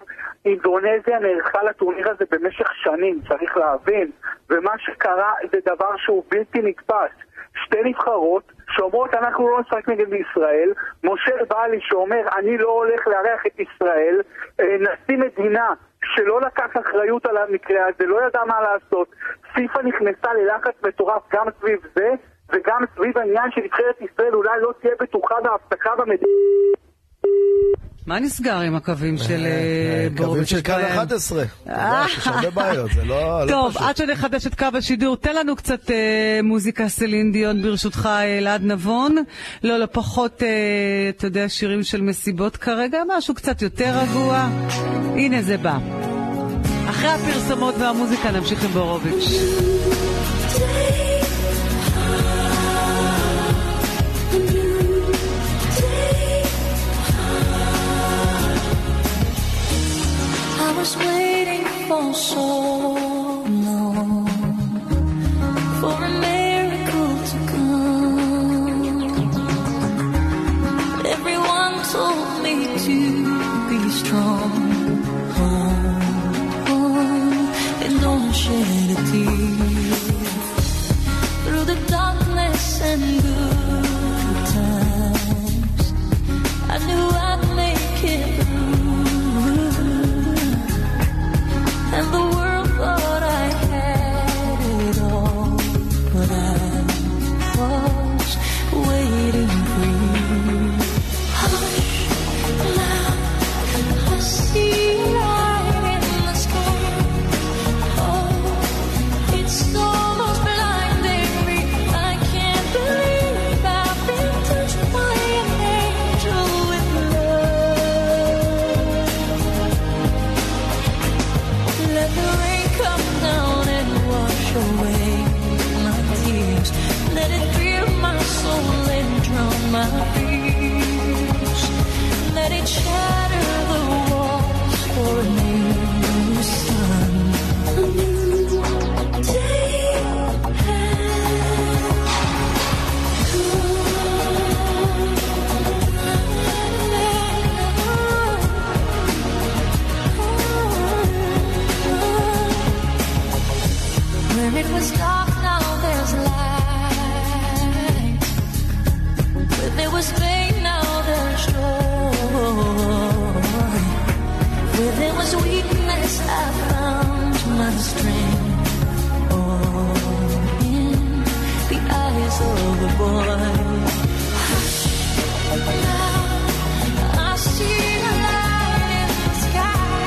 S10: אינדונזיה נערכה לטורניר הזה במשך שנים, צריך להבין, ומה שקרה זה דבר שהוא בלתי נתפס. שתי נבחרות שאומרות אנחנו לא נשחק נגד ישראל, משה בעלי שאומר אני לא הולך לארח את ישראל, אה, נשיא מדינה שלא לקח אחריות על המקרה הזה, לא ידע מה לעשות, פיפ"א נכנסה ללחץ מטורף גם סביב זה וגם סביב העניין שנבחרת ישראל אולי לא תהיה בטוחה בהבטחה במדינה
S2: מה נסגר עם הקווים של
S3: אה,
S2: אה, בורביץ'?
S3: קווים של
S2: יש
S3: כאן
S2: בהם-
S3: 11. אתה יודע, יש הרבה בעיות, זה לא לא
S2: אה. טוב,
S3: פשוט.
S2: עד שנחדש את קו השידור, תן לנו קצת אה, מוזיקה סלין דיון ברשותך, אלעד נבון. לא, לא פחות, אה, אתה יודע, שירים של מסיבות כרגע, משהו קצת יותר רגוע. הנה זה בא. אחרי הפרסומות והמוזיקה נמשיך עם בורוביץ'.
S9: I was waiting for so long for a miracle to come. Everyone told me to be strong, oh, and don't shed a tear. Through the darkness and good times, I knew I'd make it through and the world thought I had it all, but I was waiting for you. Hush, now I see light in the sky. Oh, it's almost blinding me. I can't believe I've been touched by an angel with love. Let the rain come down and wash away my tears. Let it thrill my soul and drown my fears. Let it shatter the walls for a new sun. A new day Where it was dark, now there's light. Where there was pain, now there's joy. Where there was weakness, I found my strength. Oh, in the eyes of a boy. Now I see the light in the sky.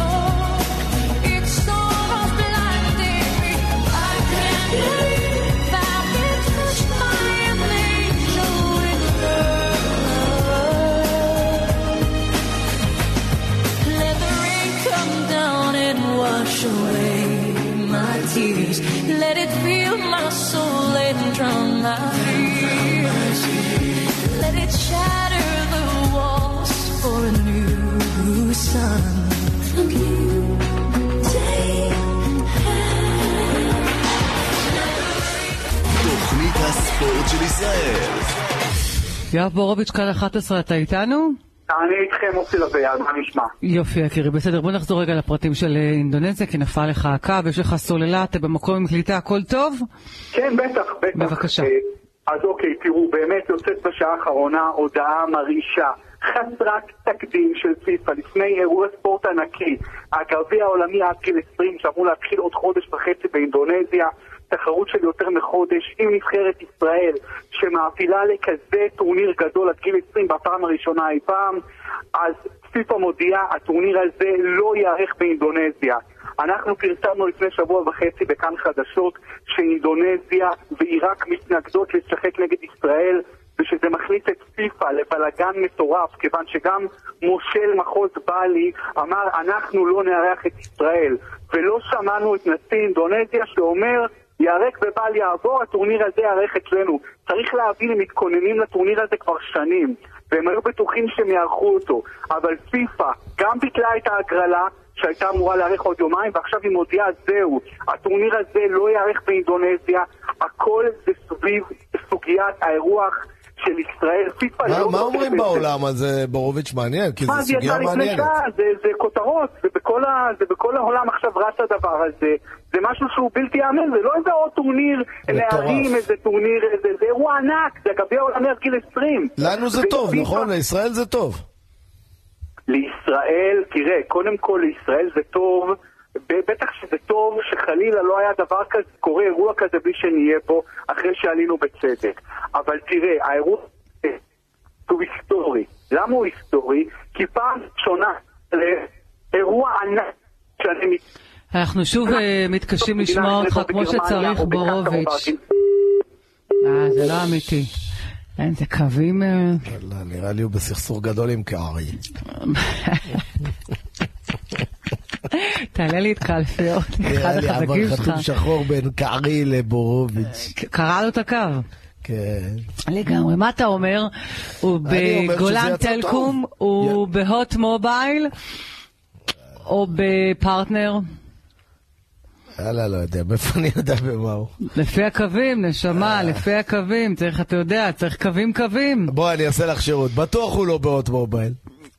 S9: Oh. It's almost blinding me. I can't believe I've been touched by an angel with love. Let the rain come down and wash away my tears. Let it fill my soul and drown my fears. Let it shatter the walls for a new sun. A new
S1: תוכנית הספורט של ישראל.
S2: יואב בורוביץ', כאן 11, אתה איתנו?
S11: אני איתכם אופי לביד, מה נשמע?
S2: יופי, יקירי, בסדר, בוא נחזור רגע לפרטים של אה, אינדונזיה, כי נפל לך הקו, יש לך סוללה, אתה במקום עם קליטה, הכל טוב?
S11: כן, בטח, בטח. אה,
S2: בבקשה.
S11: אז אוקיי, תראו, באמת יוצאת בשעה האחרונה הודעה מרעישה, חסרת תקדים של פיפ"א לפני אירוע ספורט ענקי. הגביע העולמי עד גיל 20 שאמור להתחיל עוד חודש וחצי באינדונזיה, תחרות של יותר מחודש עם נבחרת ישראל שמעפילה לכזה טורניר גדול עד גיל 20 בפעם הראשונה אי פעם, אז פיפ"א מודיעה, הטורניר הזה לא ייערך באינדונזיה. אנחנו פרסמנו לפני שבוע וחצי בכאן חדשות שאינדונזיה ועיראק מתנגדות לשחק נגד ישראל ושזה מכניס את פיפ"א לבלגן מטורף, כיוון שגם מושל מחוז בali אמר אנחנו לא נארח את ישראל ולא שמענו את נשיא אינדונזיה שאומר ייהרג ובל יעבור, הטורניר הזה ייערך אצלנו. צריך להבין, הם מתכוננים לטורניר הזה כבר שנים, והם היו בטוחים שהם יערכו אותו. אבל פיפ"א גם ביטלה את ההגרלה, שהייתה אמורה להיערך עוד יומיים, ועכשיו היא מודיעה, זהו, הטורניר הזה לא ייערך באינדונזיה, הכל זה סביב סוגיית האירוח של ישראל. פיפ"א
S3: מה-
S11: לא...
S3: מה אומרים
S11: מטפלת
S3: בעולם על זה, בורוביץ' מעניין? כי זו
S11: מה, זה יצא
S3: סוגיה
S11: לפני
S3: מעניינת.
S11: שעה, זה, זה כותרות, זה בכל, ה, זה בכל העולם עכשיו רץ הדבר הזה. זה משהו שהוא בלתי ייאמן, זה לא איזה עוד טורניר
S3: מטורף.
S11: נערים, איזה טורניר, איזה, זה אירוע ענק, זה גביע עולמי עד גיל 20.
S3: לנו זה טוב,
S11: ופיפ"א-
S3: נכון? לישראל זה טוב.
S11: לישראל, תראה, קודם כל לישראל זה טוב, ב- בטח שזה טוב שחלילה לא היה דבר כזה, קורה אירוע כזה בלי שנהיה פה, אחרי שעלינו בצדק. אבל תראה, האירוע הזה הוא היסטורי. למה הוא היסטורי? כי פעם ראשונה לאירוע ענק שאני מת...
S2: אנחנו שוב אה, מתקשים לשמוע אותך
S6: לא
S2: כמו שצריך, בורוביץ'. אה, זה לא אמיתי. אין, זה קווים... אה,
S3: לא, נראה לי הוא בסכסוך גדול עם קערי.
S2: תעלה לי את קלפי עוד, אחד
S3: נראה לי
S2: החזקים
S3: עבר
S2: שלך.
S3: חתום שחור בין קערי לבורוביץ'.
S2: קרע לו את הקו.
S3: כן.
S2: לגמרי. מה אתה אומר? הוא
S3: אני אומר שזה
S2: בגולן
S3: יצא
S2: טלקום? הוא בהוט מובייל? או בפרטנר?
S3: יאללה, לא יודע, מאיפה אני יודע במה הוא?
S2: לפי הקווים,
S3: אה.
S2: נשמה, לפי הקווים. צריך, אתה יודע, צריך קווים קווים.
S3: בוא, אני אעשה לך שירות. בטוח הוא לא באות מובייל.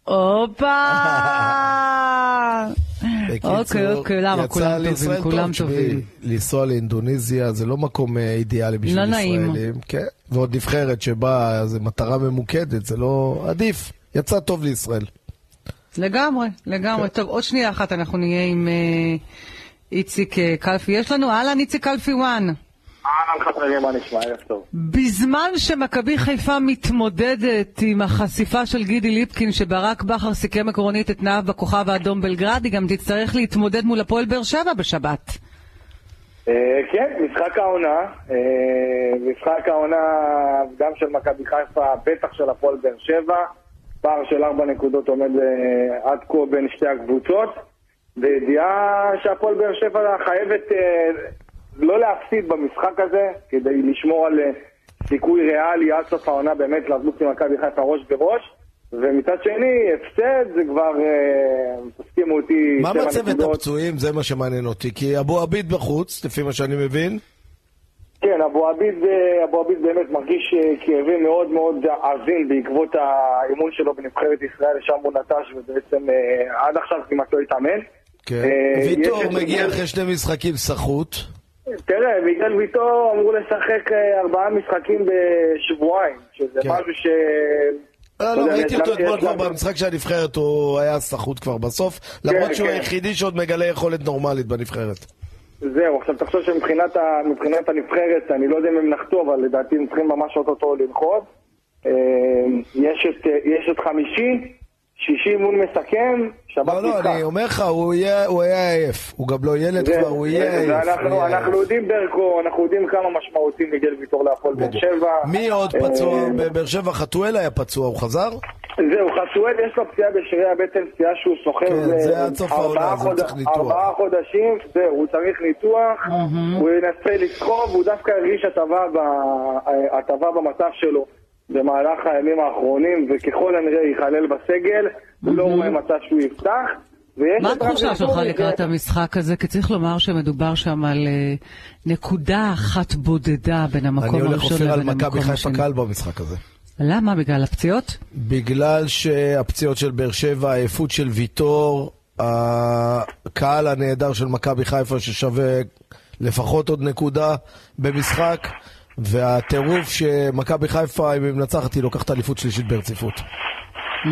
S2: הופה!
S3: בקיצור,
S2: אוקיי, אוקיי, למה?
S3: יצא
S2: כולם
S3: לישראל
S2: טובים,
S3: טוב,
S2: כולם
S3: תשמעי,
S2: טובים.
S3: לנסוע לאינדונזיה זה לא מקום אה, אידיאלי בשביל
S2: לא
S3: ישראלים.
S2: נעים.
S3: כן, ועוד נבחרת שבאה, זו מטרה ממוקדת, זה לא... עדיף. יצא טוב לישראל.
S2: לגמרי, לגמרי.
S3: כן.
S2: טוב, עוד שנייה אחת אנחנו נהיה עם אה, איציק אה, קלפי. יש לנו, אהלן, איציק קלפי וואן.
S6: אהלן חברים, מה נשמע? ערב טוב.
S2: בזמן שמכבי חיפה מתמודדת עם החשיפה של גידי ליפקין שברק בכר סיכם עקרונית את תנאיו בכוכב האדום בלגרד, היא גם תצטרך להתמודד מול הפועל באר שבע בשבת.
S6: אה, כן, משחק העונה, אה, משחק העונה גם של מכבי חיפה, בטח של הפועל באר שבע, פער של ארבע נקודות עומד אה, עד כה בין שתי הקבוצות, בידיעה שהפועל באר שבע חייבת אה, לא להפסיד במשחק הזה, כדי לשמור על אה, סיכוי ריאלי עד סוף העונה באמת לזוז עם מכבי חיפה ראש בראש. ומצד שני, הפסד זה כבר, אה, תסכימו אותי,
S3: מה
S6: שבע
S3: מצבת
S6: נקודות.
S3: הפצועים? זה מה שמעניין אותי. כי אבו עביד בחוץ, לפי מה שאני מבין.
S6: כן, אבו עביד, אה, אבו עביד באמת מרגיש אה, כאבים מאוד מאוד עזים בעקבות האימון שלו בנבחרת ישראל, שם הוא נטש ובעצם אה, עד עכשיו כמעט לא התאמן.
S3: כן.
S6: אה, יש
S3: ויטור
S6: את
S3: מגיע
S6: מיגל-
S3: אחרי שני משחקים סחוט.
S6: תראה, מיגל ויטור אמור לשחק אה, ארבעה משחקים בשבועיים, שזה
S3: כן.
S6: משהו ש...
S3: לא,
S6: אתה
S3: לא,
S6: יודע,
S3: ראיתי
S6: יש
S3: אותו
S6: גם-
S3: אתמול
S6: יש
S3: כבר
S6: גם-
S3: במשחק של הנבחרת, הוא היה סחוט כבר בסוף, למרות שהוא
S6: כן.
S3: היחידי שעוד מגלה יכולת נורמלית בנבחרת.
S6: זהו, עכשיו תחשוב שמבחינת ה, מבחינת הנבחרת, אני לא יודע אם הם נחתו, אבל לדעתי הם צריכים ממש אוטוטו לנחות. אה, יש את, אה, יש את חמישי, שישי אימון מסכם, שבת
S3: לא, לא,
S6: משחק.
S3: אני אומר לך, הוא יהיה- הוא היה עייף. הוא גם לא ילד
S6: זה-
S3: כבר, הוא יהיה
S6: זה-
S3: עייף. הוא
S6: ואנחנו
S3: יהיה
S6: אנחנו
S3: עייף.
S6: יודעים דרכו, אנחנו יודעים כמה משמעותי מיגל ויטור להפועל באר שבע.
S3: מי עוד
S6: אה,
S3: פצוע? בבאר שבע חתואל היה פצוע, הוא חזר?
S6: זהו, חסואל יש לו פציעה בשרי הבטן, פציעה שהוא סוחב
S3: כן, זה
S6: אה,
S3: עד סוף
S6: ארבעה
S3: העונה, אז הוא
S6: חוד-
S3: צריך ניתוח.
S6: ארבעה חודשים, זהו, הוא צריך ניתוח, הוא ינסה לסחוב, הוא דווקא הרגיש הטבה ב- אה, הטבה במצב שלו במהלך הימים האחרונים, וככל הנראה ייכלל בסגל, לא רואה מצב שהוא יפתח. ויש
S2: מה
S6: את רפי
S2: התחושה שלך
S6: טורי,
S2: לקראת המשחק הזה? כי צריך לומר שמדובר שם על אה, נקודה אחת בודדה בין המקום
S3: אני הולך
S2: נכון, הראשון
S3: אופיר על
S2: לבין
S3: מכבי
S2: המקום
S3: חיפה
S2: השני.
S3: קל במשחק הזה.
S2: למה? בגלל הפציעות?
S3: בגלל שהפציעות של באר שבע, העייפות של ויטור, הקהל הנהדר של מכבי חיפה ששווה לפחות עוד נקודה במשחק, והטירוף שמכבי חיפה, אם היא מנצחת, היא לוקחת אליפות שלישית ברציפות.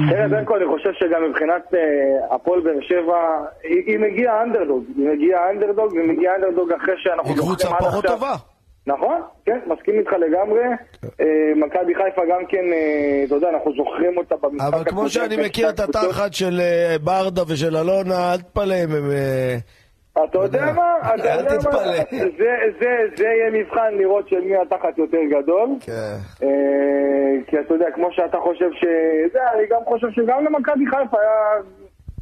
S6: תראה, ברקו, אני חושב שגם מבחינת אה, הפועל באר שבע, היא היא מגיעה אנדרדוג. היא מגיעה אנדרדוג, והיא מגיעה אנדרדוג אחרי שאנחנו...
S3: היא קבוצה
S6: זוכרים עד
S3: פחות
S6: עכשיו.
S3: טובה.
S6: נכון, כן, מסכים איתך לגמרי.
S3: כן.
S6: אה, מכבי חיפה גם כן, אה, אתה יודע, אנחנו זוכרים אותה במשחק
S3: אבל כמו
S6: הקודם
S3: שאני
S6: בין שתי
S3: מכיר את
S6: הקבוצות.
S3: התחת של אה, ברדה ושל אלונה, אל תתפלא אם הם... אה,
S6: אתה יודע מה? אתה
S3: אל
S6: יודע מה?
S3: תתפלא.
S6: זה- זה- זה יהיה מבחן לראות של מי התחת יותר גדול.
S3: כן.
S6: אה, כי אתה יודע, כמו שאתה חושב ש... זה, אני גם חושב שגם למכבי חיפה היה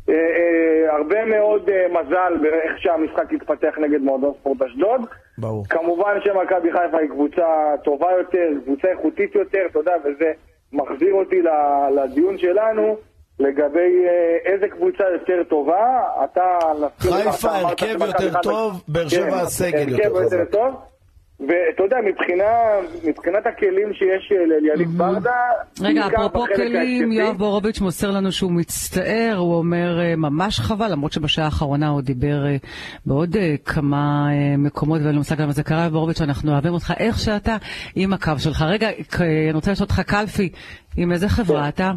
S6: אה, אה, הרבה מאוד אה, מזל באיך שהמשחק התפתח נגד מועדון ספורט אשדוד.
S3: ברור.
S6: כמובן שמכבי חיפה היא קבוצה טובה יותר, קבוצה איכותית יותר, אתה יודע, וזה מחזיר אותי ל- לדיון שלנו. לגבי אה, איזה קבוצה יותר טובה, אתה... נזכיר לך, אתה
S3: חיפה
S6: אמרת
S3: הרכב
S6: שמכבי
S3: יותר
S6: חיפה-
S3: טוב, באר שבע
S6: כן,
S3: הסגל
S6: הרכב
S3: יותר
S6: יותר
S3: חזק.
S6: טוב. ואתה יודע, מבחינה, מבחינת הכלים שיש אה, לאליניב ברדה,
S2: רגע,
S6: בעיקר
S2: אפרופו
S6: בחלק
S2: כלים,
S6: ההתקפי,
S2: יואב בורוביץ' מוסר לנו שהוא מצטער, הוא אומר אה, ממש חבל, למרות שבשעה האחרונה הוא דיבר אה, בעוד אה, כמה אה, מקומות, ואין לי מושג למה זה קרה, יואב בורוביץ', אנחנו אוהבים אותך איך שאתה, עם הקו שלך. רגע, כ- אה, אני רוצה לשאול אותך קלפי, עם איזה חברה אתה?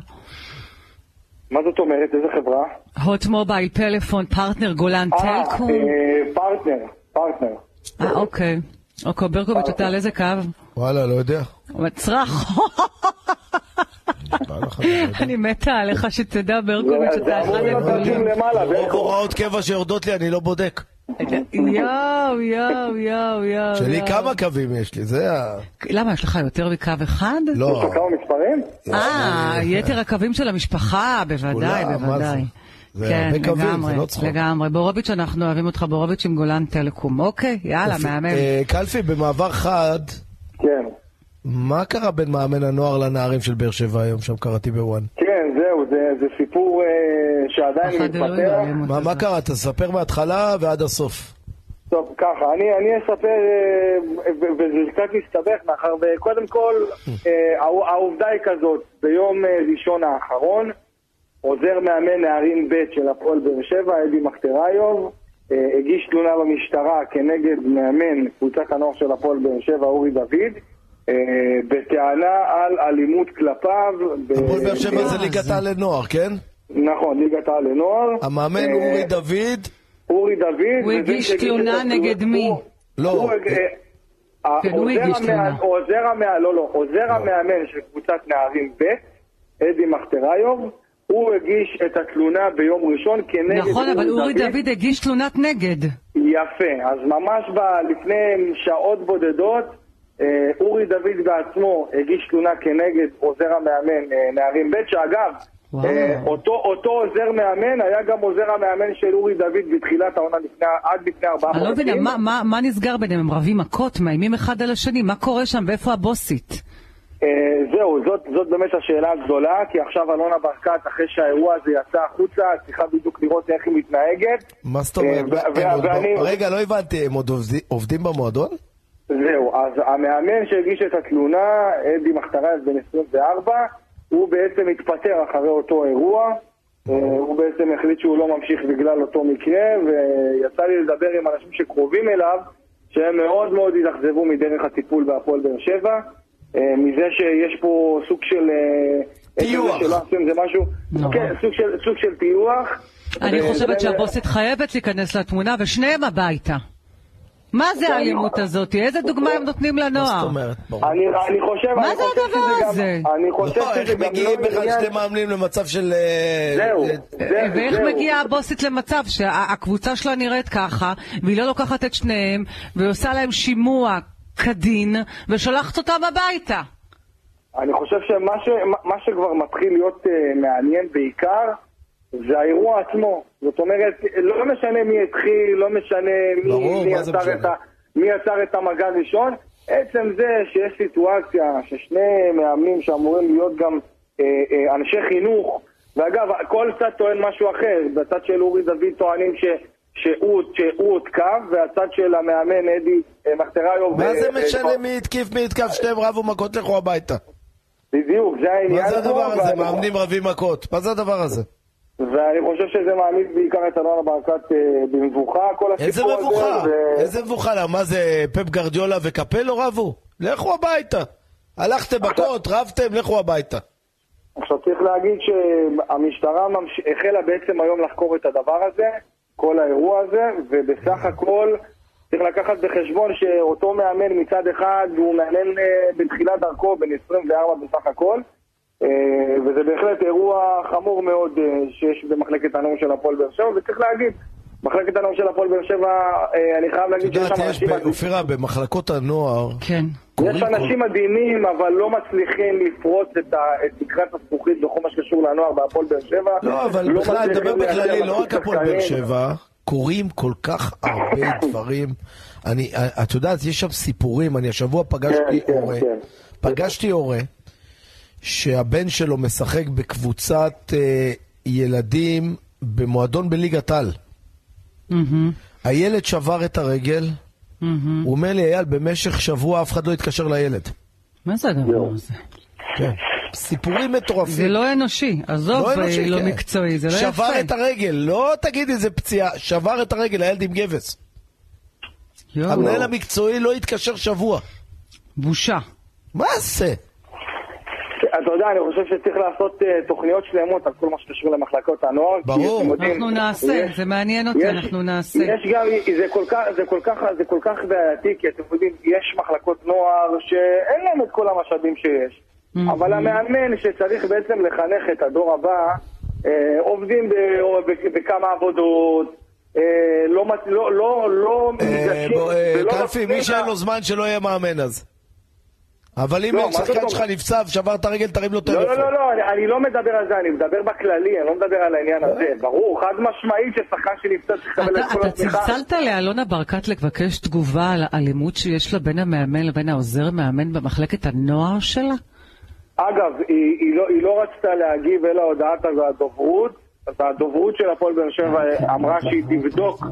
S6: מה זאת אומרת? איזה חברה?
S2: הוט מובייל, פלאפון, פרטנר, גולן, טלקום?
S6: אה, פרטנר, פרטנר.
S2: אה, אוקיי.
S6: אה,
S2: אוקיי, ברקוביץ', אתה על איזה קו?
S3: וואלה, לא יודע.
S2: מצרח. אני מתה עליך שתדע, ברקוביץ', אתה אחד הגדולים.
S3: רוב הוראות קבע שיורדות לי, אני לא בודק.
S2: יואו, יואו, יואו, יואו.
S3: שלי
S2: יואו.
S3: כמה קווים יש לי, זה ה...
S2: למה, יש לך יותר מקו אחד?
S3: לא.
S6: כמה מספרים?
S2: אה, יתר הקווים של המשפחה, בוודאי,
S3: כולם, מה
S2: בוודאי.
S3: זה? זה
S2: כן,
S3: הרבה קווים,
S2: לגמרי,
S3: זה לא צחוק.
S2: לגמרי. בורוביץ', אנחנו אוהבים אותך, בורוביץ' עם גולן טלקום. אוקיי, יאללה,
S3: אופי-
S2: מהמם.
S3: אה, קלפי, במעבר חד...
S6: כן.
S3: מה קרה בין מאמן הנוער לנערים של באר שבע היום, שם קראתי בוואן?
S6: כן, זהו, זה, זה סיפור אה, שעדיין
S2: לא
S6: מתפתח.
S3: מה מה קרה? תספר מההתחלה ועד הסוף.
S6: טוב, ככה, אני, אני אספר, אה, ו- וזה קצת מסתבך, מאחר וקודם כל, אה, העו- העובדה היא כזאת, ביום אה, ראשון האחרון, עוזר מאמן נערים ב' של הפועל באר שבע, אדי מחטריוב, אה, הגיש תלונה במשטרה כנגד מאמן קבוצת הנוער של הפועל באר שבע, אורי דוד, אה, בטענה על אלימות כלפיו. ב-
S3: הפועל באר שבע
S6: אה,
S3: זה ליגת העל לנוער, כן?
S6: נכון, ליגת העל לנוער.
S3: המאמן
S6: אה,
S3: אורי דוד.
S6: אורי דוד.
S2: הוא
S6: וזה
S2: הגיש
S6: שהגיש את
S2: תלונה
S6: התלונה-
S2: נגד מי?
S3: לא.
S6: הוא, אה,
S2: כן, הוא
S6: העוזר
S2: הגיש
S6: המא-
S2: תלונה.
S6: עוזר המאמן, לא, לא, עוזר המאמן של קבוצת נערים ב', אדי מחטריוב, הוא הגיש את התלונה ביום ראשון כנגד
S2: נכון, אבל אורי דוד הגיש תלונת נגד.
S6: יפה, אז ממש ב- לפני שעות בודדות, אה, אורי דוד בעצמו הגיש תלונה כנגד עוזר המאמן אה, נערים ב', שאגב,
S2: וואו.
S6: אה, אותו, אותו עוזר מאמן היה גם עוזר המאמן של אורי דוד בתחילת העונה לפני, עד לפני ארבעה
S2: אני
S6: חודשים.
S2: לא מבינה, מה- מה- מה נסגר ביניהם? הם רבים מכות, מאיימים אחד על השני, מה קורה שם ואיפה הבוסית?
S6: אה, זהו, זאת, זאת באמת השאלה הגדולה, כי עכשיו אלונה ברקת, אחרי שהאירוע הזה יצא החוצה, צריכה בדיוק לראות איך היא מתנהגת.
S3: מה זאת
S6: אה,
S3: אומרת?
S6: ו-
S3: הם
S6: ו-
S3: עוד
S6: ואני-
S3: ב- רגע, לא הבנתי, הם עוד עובדי- עובדים במועדון?
S6: זהו, אז המאמן שהגיש את התלונה, אדי מחטרז בן 24, הוא בעצם התפטר אחרי אותו אירוע. אה, הוא בעצם החליט שהוא לא ממשיך בגלל אותו מקרה, ויצא לי לדבר עם אנשים שקרובים אליו, שהם מאוד מאוד התאכזבו מדרך הטיפול בהפועל באר שבע, אה, מזה שיש פה סוג של... אה,
S3: טיוח.
S6: איך זה שלא עושים, זה משהו... כן, סוג של- סוג של טיוח.
S2: נכון.
S6: אה,
S2: אני
S6: וזה-
S2: חושבת שהבוסית חייבת להיכנס לתמונה, ושניהם הביתה. מה זה האלימות הזאת? איזה דוגמה הם נותנים לנוער?
S6: אני אני חושב...
S2: מה
S6: אני
S2: זה
S6: חושב
S2: הדבר
S6: שזה גם-
S2: הזה?
S6: אני חושב
S3: לא, איך
S6: שזה גם
S3: מגיעים
S6: לא
S3: בכלל
S6: עניין-
S3: שני מאמנים למצב של... אה,
S6: זהו,
S3: אה,
S6: זהו,
S2: ואיך
S6: זהו.
S2: מגיעה הבוסית למצב שהקבוצה שלה נראית ככה, והיא לא לוקחת את שניהם, ועושה להם שימוע כדין, ושולחת אותם הביתה?
S6: אני חושב שמה ש, מה שכבר מתחיל להיות uh, מעניין בעיקר זה האירוע עצמו. זאת אומרת, לא משנה מי התחיל, לא משנה מי,
S3: ברור,
S6: מי,
S3: מה זה
S6: יצר,
S3: משנה?
S6: את ה, מי יצר את המגע הראשון, עצם זה שיש סיטואציה ששני מאמנים שאמורים להיות גם אה, אה, אנשי חינוך, ואגב, כל צד טוען משהו אחר, בצד של אורי דוד טוענים ש... שהוא שהוא הותקף, והצד של המאמן אדי אה, מחטריוב...
S3: מה
S6: אה,
S3: זה
S6: אה,
S3: משנה מי התקיף, מי התקף, שניהם רבו מכות, לכו הביתה.
S6: בדיוק, זה העניין.
S3: מה זה הדבר
S6: פה,
S3: הזה?
S6: ואני-
S3: מאמנים רבים מכות. מה זה הדבר הזה?
S6: ואני חושב שזה מעמיד בעיקר את אלונה ברקת אה, במבוכה, כל
S3: איזה
S6: הסיפור הזה.
S3: מבוכה?
S6: ו-
S3: איזה מבוכה? למה, מה זה, פפ גרדיולה וקפלו רבו? לכו הביתה. הלכתם מכות, רבתם, לכו הביתה.
S6: עכשיו צריך להגיד שהמשטרה ממש... החלה בעצם היום לחקור את הדבר הזה, כל האירוע הזה, ובסך הכל צריך לקחת בחשבון שאותו מאמן מצד אחד הוא מאמן אה, בתחילת דרכו, בן 24 בסך הכל, אה, וזה בהחלט אירוע חמור מאוד אה, שיש במחלקת הנאום של הפועל באר שבע, וצריך להגיד, מחלקת הנאום של הפועל באר שבע, אה, אני חייב
S3: את
S6: להגיד שיש
S3: יודעת,
S6: שם
S3: יש,
S6: אנשים...
S3: ב- אופירה, במחלקות הנוער,
S2: כן.
S6: יש אנשים מדהימים, אבל לא מצליחים לפרוץ את ה- את תקרת הזכוכית בכל מה שקשור לנוער בהפועל באר שבע.
S3: לא, אבל בכלל, אני מדבר
S6: מצליחים לייצר
S3: בכללי, לא רק
S6: מספיק
S3: הפועל באר
S6: שחקנים.
S3: שבע, קורים כל כך הרבה דברים. אני, את יודעת, יש שם סיפורים, אני השבוע פגשתי
S6: כן,
S3: הורה,
S6: כן.
S3: פגשתי הורה, שהבן שלו משחק בקבוצת אה, ילדים במועדון בליגת על.
S2: מהמם,
S3: הילד שבר את הרגל,
S2: מהמם.
S3: הוא אומר לי, אייל, במשך שבוע אף אחד לא התקשר לילד.
S2: מה זה הדבר הזה?
S3: כן. סיפורים מטורפים.
S2: זה לא אנושי, עזוב,
S3: לא אנושי,
S2: אה, לא
S3: כן.
S2: מקצועי, זה לא יפה.
S3: שבר את הרגל, לא תגידי זה פציעה, שבר את הרגל, הילד עם גבס.
S2: יואו,
S3: המנהל המקצועי לא התקשר שבוע.
S2: בושה.
S3: מה זה?
S6: אתה יודע, אני חושב שצריך לעשות אה, תוכניות שלמות על כל מה שקשור למחלקות הנוער. כי
S3: ברור.
S6: אתם יודעים,
S2: אנחנו נעשה,
S6: יש-
S2: זה מעניין אותי,
S6: יש-
S2: אנחנו נעשה.
S6: יש גם, זה כל כך, זה כל כך, זה כל כך בעייתי, כי אתם יודעים, יש מחלקות נוער שאין להם את כל המשאבים שיש. אבל המאמן שצריך בעצם לחנך את הדור הבא, אה, עובדים ב- או ב- בכמה עבודות, אה, לא מצ- לא- לא- לא מתגשים
S3: בוא, אה,
S6: ולא
S3: קלפי, מי שאין לו זמן שלא יהיה מאמן אז. אבל אם
S6: לא, מה זאת
S3: שחקן
S6: אומרת?
S3: שלך נפצע ושבר את הרגל, תרים לו
S6: לא,
S3: טלפון.
S6: לא, לא, לא, אני- אני לא מדבר על זה, אני מדבר בכללי, אני לא מדבר על העניין הזה. ברור, חד משמעית ששחקן שנפצע צריך לקבל את
S2: אתה-
S6: כל
S2: אתה
S6: התמיכה.
S2: צלצלת לאלונה ברקת לבקש תגובה על האלימות שיש לה בין המאמן לבין העוזר מאמן במחלקת הנוער שלה?
S6: אגב, היא, היא, לא, היא לא רצתה להגיב אלא הודעת הדוברות, אז הדוברות של הפועל באר
S3: אוקיי.
S6: שבע אמרה שהיא תבדוק,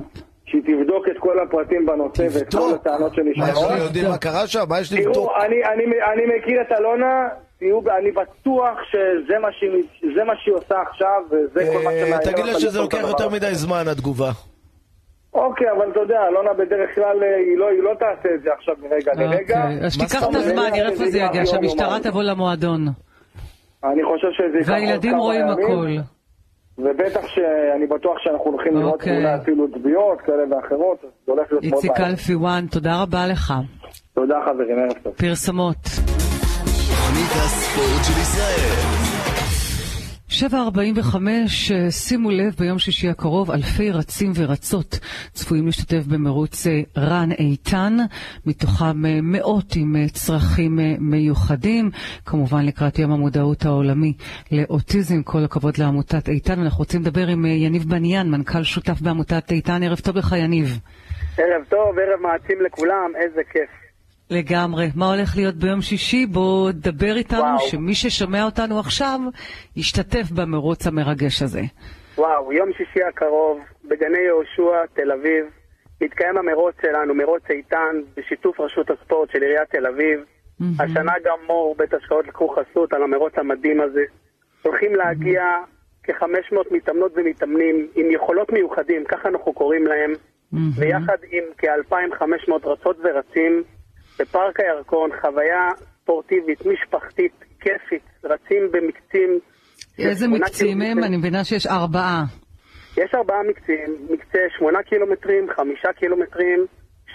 S6: שהיא תבדוק את כל הפרטים בנושא ואת כל הטענות
S3: מה,
S6: שנשארות.
S3: אנחנו יודעים מה קרה שם? מה יש לבדוק?
S6: תראו, אני, אני, אני מכיר את אלונה, תראו, אני בטוח שזה מה שהיא, זה מה שהיא עושה עכשיו, וזה כל מה
S3: אה,
S6: שמעניין
S3: תגיד
S6: אותה
S3: לה שזה
S6: בסוף
S3: לוקח
S6: הדבר
S3: יותר
S6: הזה.
S3: מדי זמן, התגובה.
S6: אוקיי, אבל אתה יודע, אלונה בדרך כלל אה, היא לא, היא לא תעשה את זה עכשיו מרגע לרגע.
S2: אוקיי, אז
S6: מה
S2: תיקח
S6: זאת
S2: את הזמן,
S6: אומרת? לא
S2: נראה איפה זה
S6: ייקח
S2: יגיע,
S6: יום,
S2: שהמשטרה
S6: יומיים.
S2: תבוא למועדון.
S6: אני חושב שזה ייקח עוד
S2: והילדים
S6: לא- כמה
S2: רואים
S6: ימים.
S2: הכל.
S6: ובטח שאני בטוח שאנחנו הולכים לראות
S2: אוקיי.
S6: אולי אפילו תביעות כאלה ואחרות, אז זה הולך להיות מאוד
S2: איציק
S6: מעניין.
S2: אלפי וואן, תודה רבה לך.
S6: תודה חברים, ערב טוב.
S2: פרסמות.
S1: תוכנית הספורט של ישראל.
S2: 745, אה, שימו לב, ביום שישי הקרוב אלפי רצים ורצות צפויים להשתתף במרוץ אה, רן איתן, מתוכם אה, מאות עם אה, צרכים אה, מיוחדים, כמובן לקראת יום המודעות העולמי לאוטיזם, כל הכבוד לעמותת איתן, ואנחנו רוצים לדבר עם אה, יניב בניין, מנכ"ל שותף בעמותת איתן, ערב טוב לך יניב.
S7: ערב טוב, ערב מעצים לכולם, איזה כיף.
S2: לגמרי. מה הולך להיות ביום שישי? בוא דבר איתנו, וואו. שמי ששומע אותנו עכשיו ישתתף במרוץ המרגש הזה.
S7: וואו, יום שישי הקרוב, בגני יהושע, תל אביב, מתקיים המרוץ שלנו, מרוץ איתן, בשיתוף רשות הספורט של עיריית תל אביב. השנה גם מור, בית השקעות לקחו חסות על המרוץ המדהים הזה. הולכים להגיע כ-500 מתאמנות ומתאמנים עם יכולות מיוחדים, ככה אנחנו קוראים להם, ביחד עם כ-2,500 רצות ורצים, בפארק הירקון, חוויה ספורטיבית, משפחתית, כיפית, רצים במקצים.
S2: איזה
S7: שמונה
S2: מקצים הם?
S7: קילומטר.
S2: אני מבינה שיש ארבעה.
S7: יש ארבעה מקצים, מקצה שמונה קילומטרים, חמישה קילומטרים,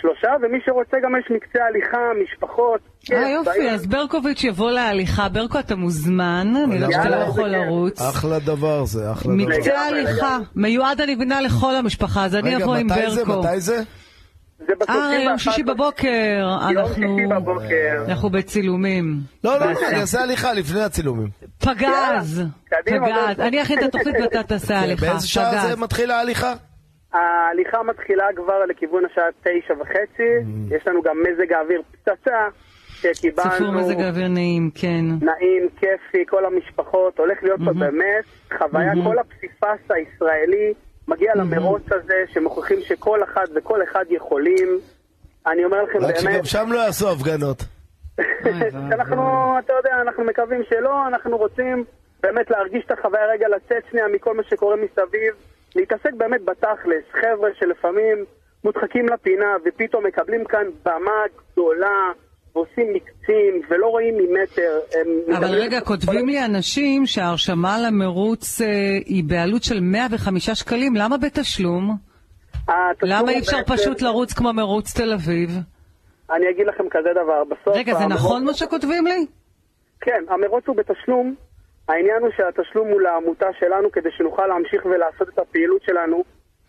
S7: שלושה, ומי שרוצה גם יש מקצה הליכה, משפחות.
S2: אה
S7: כיף, בעיר.
S2: יופי, אז ברקוביץ' יבוא להליכה. ברקו, אתה מוזמן, אני יודעת שאתה לא
S3: יאללה,
S2: יכול
S3: איזה כיף.
S2: לרוץ.
S3: אחלה דבר זה, אחלה דבר.
S2: מקצה הליכה, מיועד אני מבינה לכל המשפחה, אז אני
S3: רגע,
S2: אבוא עם
S3: מתי זה?
S2: ברקו.
S3: מתי זה?
S2: אה, יום שישי בבוקר. אנחנו- אנחנו בצילומים.
S3: לא, לא,
S2: בסדר.
S3: אני אעשה הליכה לפני הצילומים.
S2: פגז,
S7: קדימה,
S2: פגז.
S7: ברקו.
S2: אני אכין את התוכנית ואתה תעשה הליכה.
S3: כן, באיזה שעה
S2: פגז.
S3: זה מתחיל ההליכה?
S7: ההליכה מתחילה כבר לכיוון השעה תשע וחצי,
S3: Mm.
S7: יש לנו גם מזג האוויר פצצה, שקיבלנו...
S2: צפור מזג אוויר נעים, כן.
S7: נעים, כיפי, כל המשפחות, הולך להיות
S2: Mm-hmm.
S7: פה באמת חוויה,
S2: מהמם.
S7: כל הפסיפס הישראלי מגיע
S2: Mm-hmm.
S7: למרוץ הזה, שמוכיחים שכל אחת וכל אחד יכולים. אני אומר לכם
S3: רק
S7: באמת,
S3: שגם שם לא יעשו הפגנות.
S7: אנחנו, אתה יודע, אנחנו מקווים שלא, אנחנו רוצים באמת להרגיש את החוויה רגע, לצאת שנייה מכל מה שקורה מסביב, להתעסק באמת בתכלס, חבר'ה שלפעמים מודחקים לפינה ופתאום מקבלים כאן במה גדולה ועושים מקצים ולא רואים ממטר. הם
S2: אבל
S7: מקבלים-
S2: רגע, כותבים לי אנשים שההרשמה למרוץ אה, היא בעלות של 105 שקלים, למה בתשלום?
S7: התשלום
S2: למה אי
S7: הוא
S2: אפשר
S7: בעצם-
S2: פשוט לרוץ כמו מרוץ תל אביב?
S7: אני אגיד לכם כזה דבר, בסוף...
S2: רגע, זה
S7: המרוץ-
S2: נכון מה שכותבים לי?
S7: כן, המרוץ הוא בתשלום. העניין הוא שהתשלום הוא לעמותה שלנו כדי שנוכל להמשיך ולעשות את הפעילות שלנו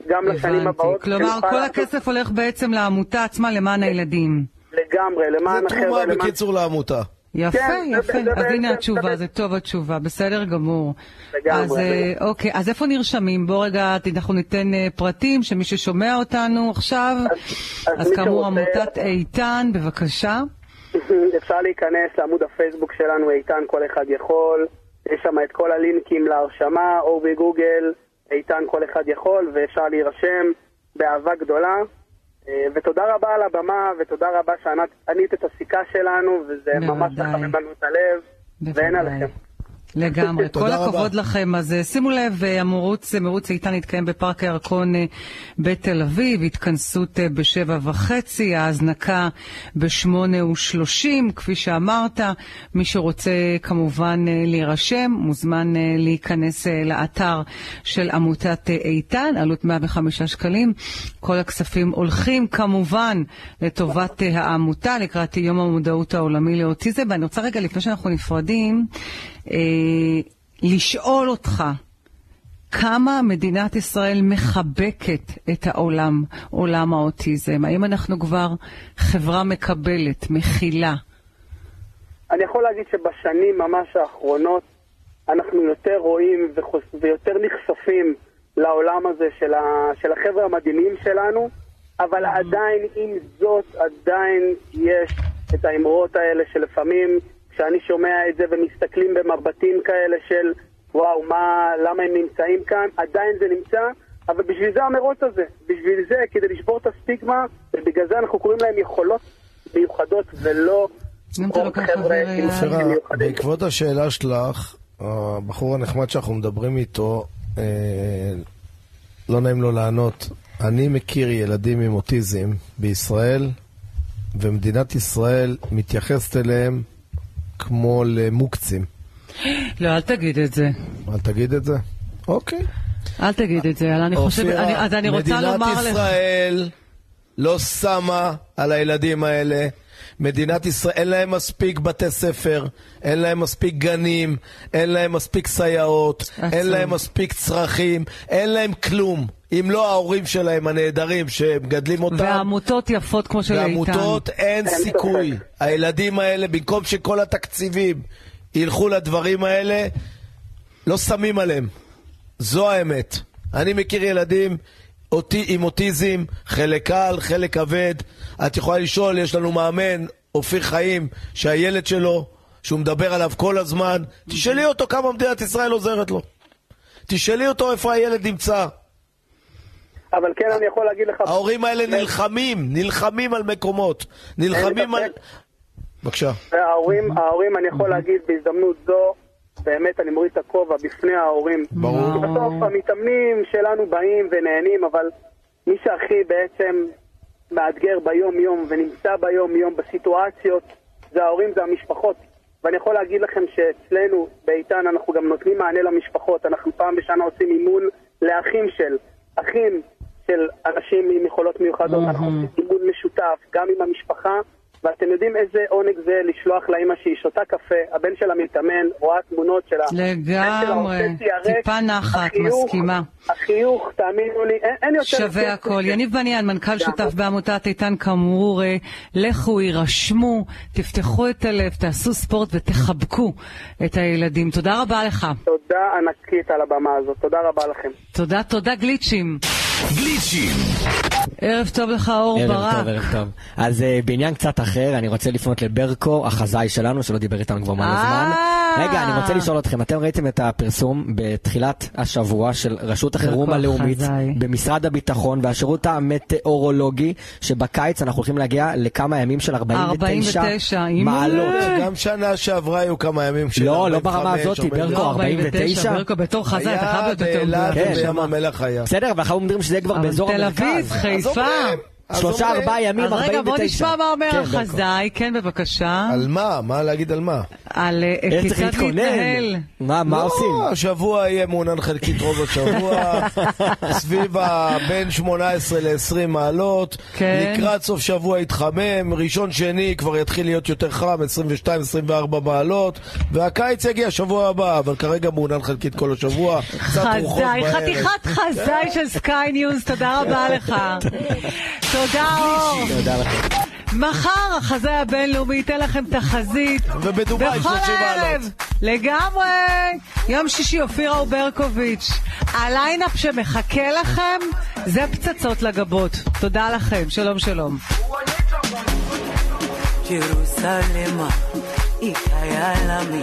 S7: גם לשנים
S2: הבנתי.
S7: הבאות. כן,
S2: כלומר,
S7: שנוכל
S2: כל
S7: לעשות
S2: הכסף הולך בעצם לעמותה עצמה למען
S7: כן.
S2: הילדים.
S7: לגמרי, למען
S3: זה תרומה
S7: החבר'ה, למען...
S3: בקיצור לעמותה.
S2: יפה,
S7: כן, זה-
S2: יפה.
S7: זה
S2: אז
S7: בעצם-
S2: הנה
S7: זה
S2: התשובה, זה טוב התשובה, בסדר גמור.
S7: לגמרי,
S2: אז אה, אוקיי, אז איפה נרשמים? בוא רגע, ת- אנחנו ניתן אה, פרטים, שמי ששומע אותנו עכשיו, אז
S7: מי
S2: כאמור
S7: שרוצה-
S2: עמותת איתן, בבקשה.
S7: אפשר להיכנס לעמוד הפייסבוק שלנו, איתן כל אחד יכול, יש שם את כל הלינקים להרשמה, או בגוגל, איתן כל אחד יכול, ואפשר להירשם באהבה גדולה. אה, ותודה רבה על הבמה, ותודה רבה שענית ענית את הסיכה שלנו, וזה ממש מחמם לנו את הלב, ואין עליכם.
S2: לגמרי. כל
S13: תודה רבה.
S2: הכבוד לכם. אז אה, שימו לב, אה, המרוץ, אה, מרוץ איתן יתקיים בפארק הירקון אה, בתל אביב, התכנסות אה, בשבע וחצי, ההזנקה בשמונה ושלושים, כפי שאמרת. מי שרוצה כמובן אה, להירשם, מוזמן אה, להיכנס אה, לאתר של עמותת אה, איתן, עלות 105 שקלים. כל הכספים הולכים כמובן לטובת אה, העמותה לקראת יום המודעות העולמי לאוטיזם. ואני רוצה רגע, לפני שאנחנו נפרדים, אה, לשאול אותך, כמה מדינת ישראל מחבקת את העולם, עולם האוטיזם? האם אנחנו כבר חברה מקבלת, מכילה?
S7: אני יכול להגיד שבשנים ממש האחרונות אנחנו יותר רואים וחוס... ויותר נחשפים לעולם הזה של, ה... של החבר'ה המדהימים שלנו, אבל עדיין, עם זאת, עדיין יש את האמרות האלה שלפעמים כשאני שומע את זה ומסתכלים במבטים כאלה של וואו, מה, למה הם נמצאים כאן, עדיין זה נמצא, אבל בשביל זה המרוץ הזה, בשביל זה, כדי לשבור את הסטיגמה, ובגלל זה אנחנו קוראים להם יכולות מיוחדות ולא... עוד חבר'ה עם
S3: אופירה, בעקבות השאלה שלך, הבחור הנחמד שאנחנו מדברים איתו, אה, לא נעים לו לענות. אני מכיר ילדים עם אוטיזם בישראל, ומדינת ישראל מתייחסת אליהם כמו למוקצים.
S2: לא, אל תגיד את זה.
S3: אל תגיד את זה. אוקיי.
S2: אל תגיד את זה, אלא אני חושבת, אני- אז אני רוצה לומר
S3: מדינת
S2: לך...
S3: ישראל לא שמה על הילדים האלה. מדינת ישראל, אין להם מספיק בתי ספר, אין להם מספיק גנים, אין להם מספיק סייעות, אין להם מספיק צרכים, אין להם כלום. אם לא ההורים שלהם הנהדרים שמגדלים אותם.
S2: והעמותות יפות כמו של איתן.
S3: לעמותות אין סיכוי. הילדים האלה, במקום שכל התקציבים ילכו לדברים האלה, לא שמים עליהם. זו האמת. אני מכיר ילדים אותי, עם אוטיזם, חלק קל, חלק כבד. את יכולה לשאול, יש לנו מאמן, אופיר חיים, שהילד שלו, שהוא מדבר עליו כל הזמן, תשאלי אותו כמה מדינת ישראל עוזרת לו. תשאלי אותו איפה הילד נמצא.
S7: אבל כן, אני יכול להגיד לך... אה,
S3: ההורים האלה נלחמים, נלחמים על מקומות. נלחמים על... בבקשה.
S7: וההורים,
S3: Mm-hmm.
S7: ההורים, אני יכול להגיד בהזדמנות זו, באמת אני מוריד את הכובע בפני ההורים.
S3: ברור.
S7: כי בסוף המתאמנים שלנו באים ונהנים, אבל מי שהכי בעצם מאתגר ביום-יום ונמצא ביום-יום בסיטואציות, זה ההורים, זה המשפחות. ואני יכול להגיד לכם שאצלנו, באיתן, אנחנו גם נותנים מענה למשפחות. אנחנו פעם בשנה עושים אימון לאחים של, אחים של אנשים עם יכולות מיוחדות. אנחנו עושים אימון משותף, גם עם המשפחה, ואתם יודעים איזה עונג זה לשלוח לאימא שהיא שותה קפה, הבן שלה מתאמן, רואה תמונות שלה.
S2: לגמרי. טיפה נחת,
S7: החיוך,
S2: מסכימה.
S7: החיוך, תאמינו לי, אין, אין יותר... כיף
S2: שווה הכל.
S7: מזה.
S2: יניב בניין, מנכ"ל שותף בעמותת איתן כמורה, לכו, הירשמו, תפתחו את הלב, תעשו ספורט ותחבקו את הילדים. תודה רבה לך.
S7: תודה ענקית על הבמה הזאת, תודה רבה לכם.
S2: תודה, תודה גליצ'ים.
S1: גליצ'ים.
S2: ערב טוב לך, אור
S14: ערב
S2: ברק.
S14: טוב, ערב טוב. אז אה, בעניין קצת אחר, אני רוצה לפנות לברקו, החזאי שלנו, שלא דיבר איתנו כבר מלא זמן.
S2: אה!
S14: רגע, אני רוצה לשאול אתכם, אתם ראיתם את הפרסום בתחילת השבוע של רשות החירום
S2: ברקו
S14: הלאומית
S2: החזאי.
S14: במשרד הביטחון והשירות המטאורולוגי, שבקיץ אנחנו הולכים להגיע לכמה ימים של 49 מעלות.
S3: גם שנה שעברה היו כמה ימים של
S14: לא, לא
S3: 45,
S14: ברמה הזאת,
S3: 49.
S14: ברקו 49.
S3: היה באילת ובים המלח היה.
S14: בסדר, אבל אנחנו אומרים שזה כן, כבר
S2: כן. אבל
S14: באזור
S2: תל
S14: המרכז.
S2: אביב, חיפה.
S14: שלושה, ארבעה ימים, 49.
S2: אז רגע, בוא נשמע מה אומר
S14: כן, ברקו.
S2: החזאי. כן, בבקשה.
S3: על מה? מה להגיד על מה?
S2: על אה, כיצד להתנהל.
S3: לא, השבוע יהיה מעונן חלקית רוב השבוע, סביב ה- בין 18 ל-20 מעלות,
S2: כן.
S3: לקראת סוף שבוע יתחמם, ראשון שני כבר יתחיל להיות יותר חם, 22-24 מעלות, והקיץ יגיע שבוע הבא, אבל כרגע מעונן חלקית כל השבוע, קצת רוחות
S2: חזאי,
S3: בערב.
S2: חתיכת חזאי של סקיי ניוז, תודה רבה לך. תודה אור.
S14: תודה לכם.
S2: מחר החזאי הבינלאומי ייתן לכם תחזית.
S3: ובדובאי
S2: בכל
S3: 30 מעלות.
S2: הערב. לגמרי. יום שישי אופירה וברקוביץ'. הליינאפ שמחכה לכם זה פצצות לגבות. תודה לכם, שלום שלום.
S15: Jerusalema ikayalami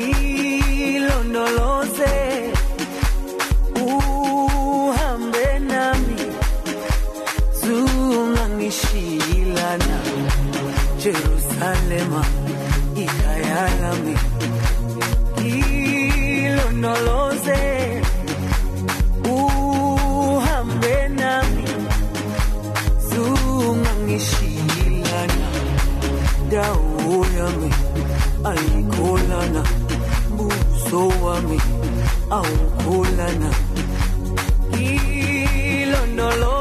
S15: ilondoloze uhambe nami zungangishilana Jerusalema ikayalami wadau yami alikolana buso wami aukolana hilo ndolo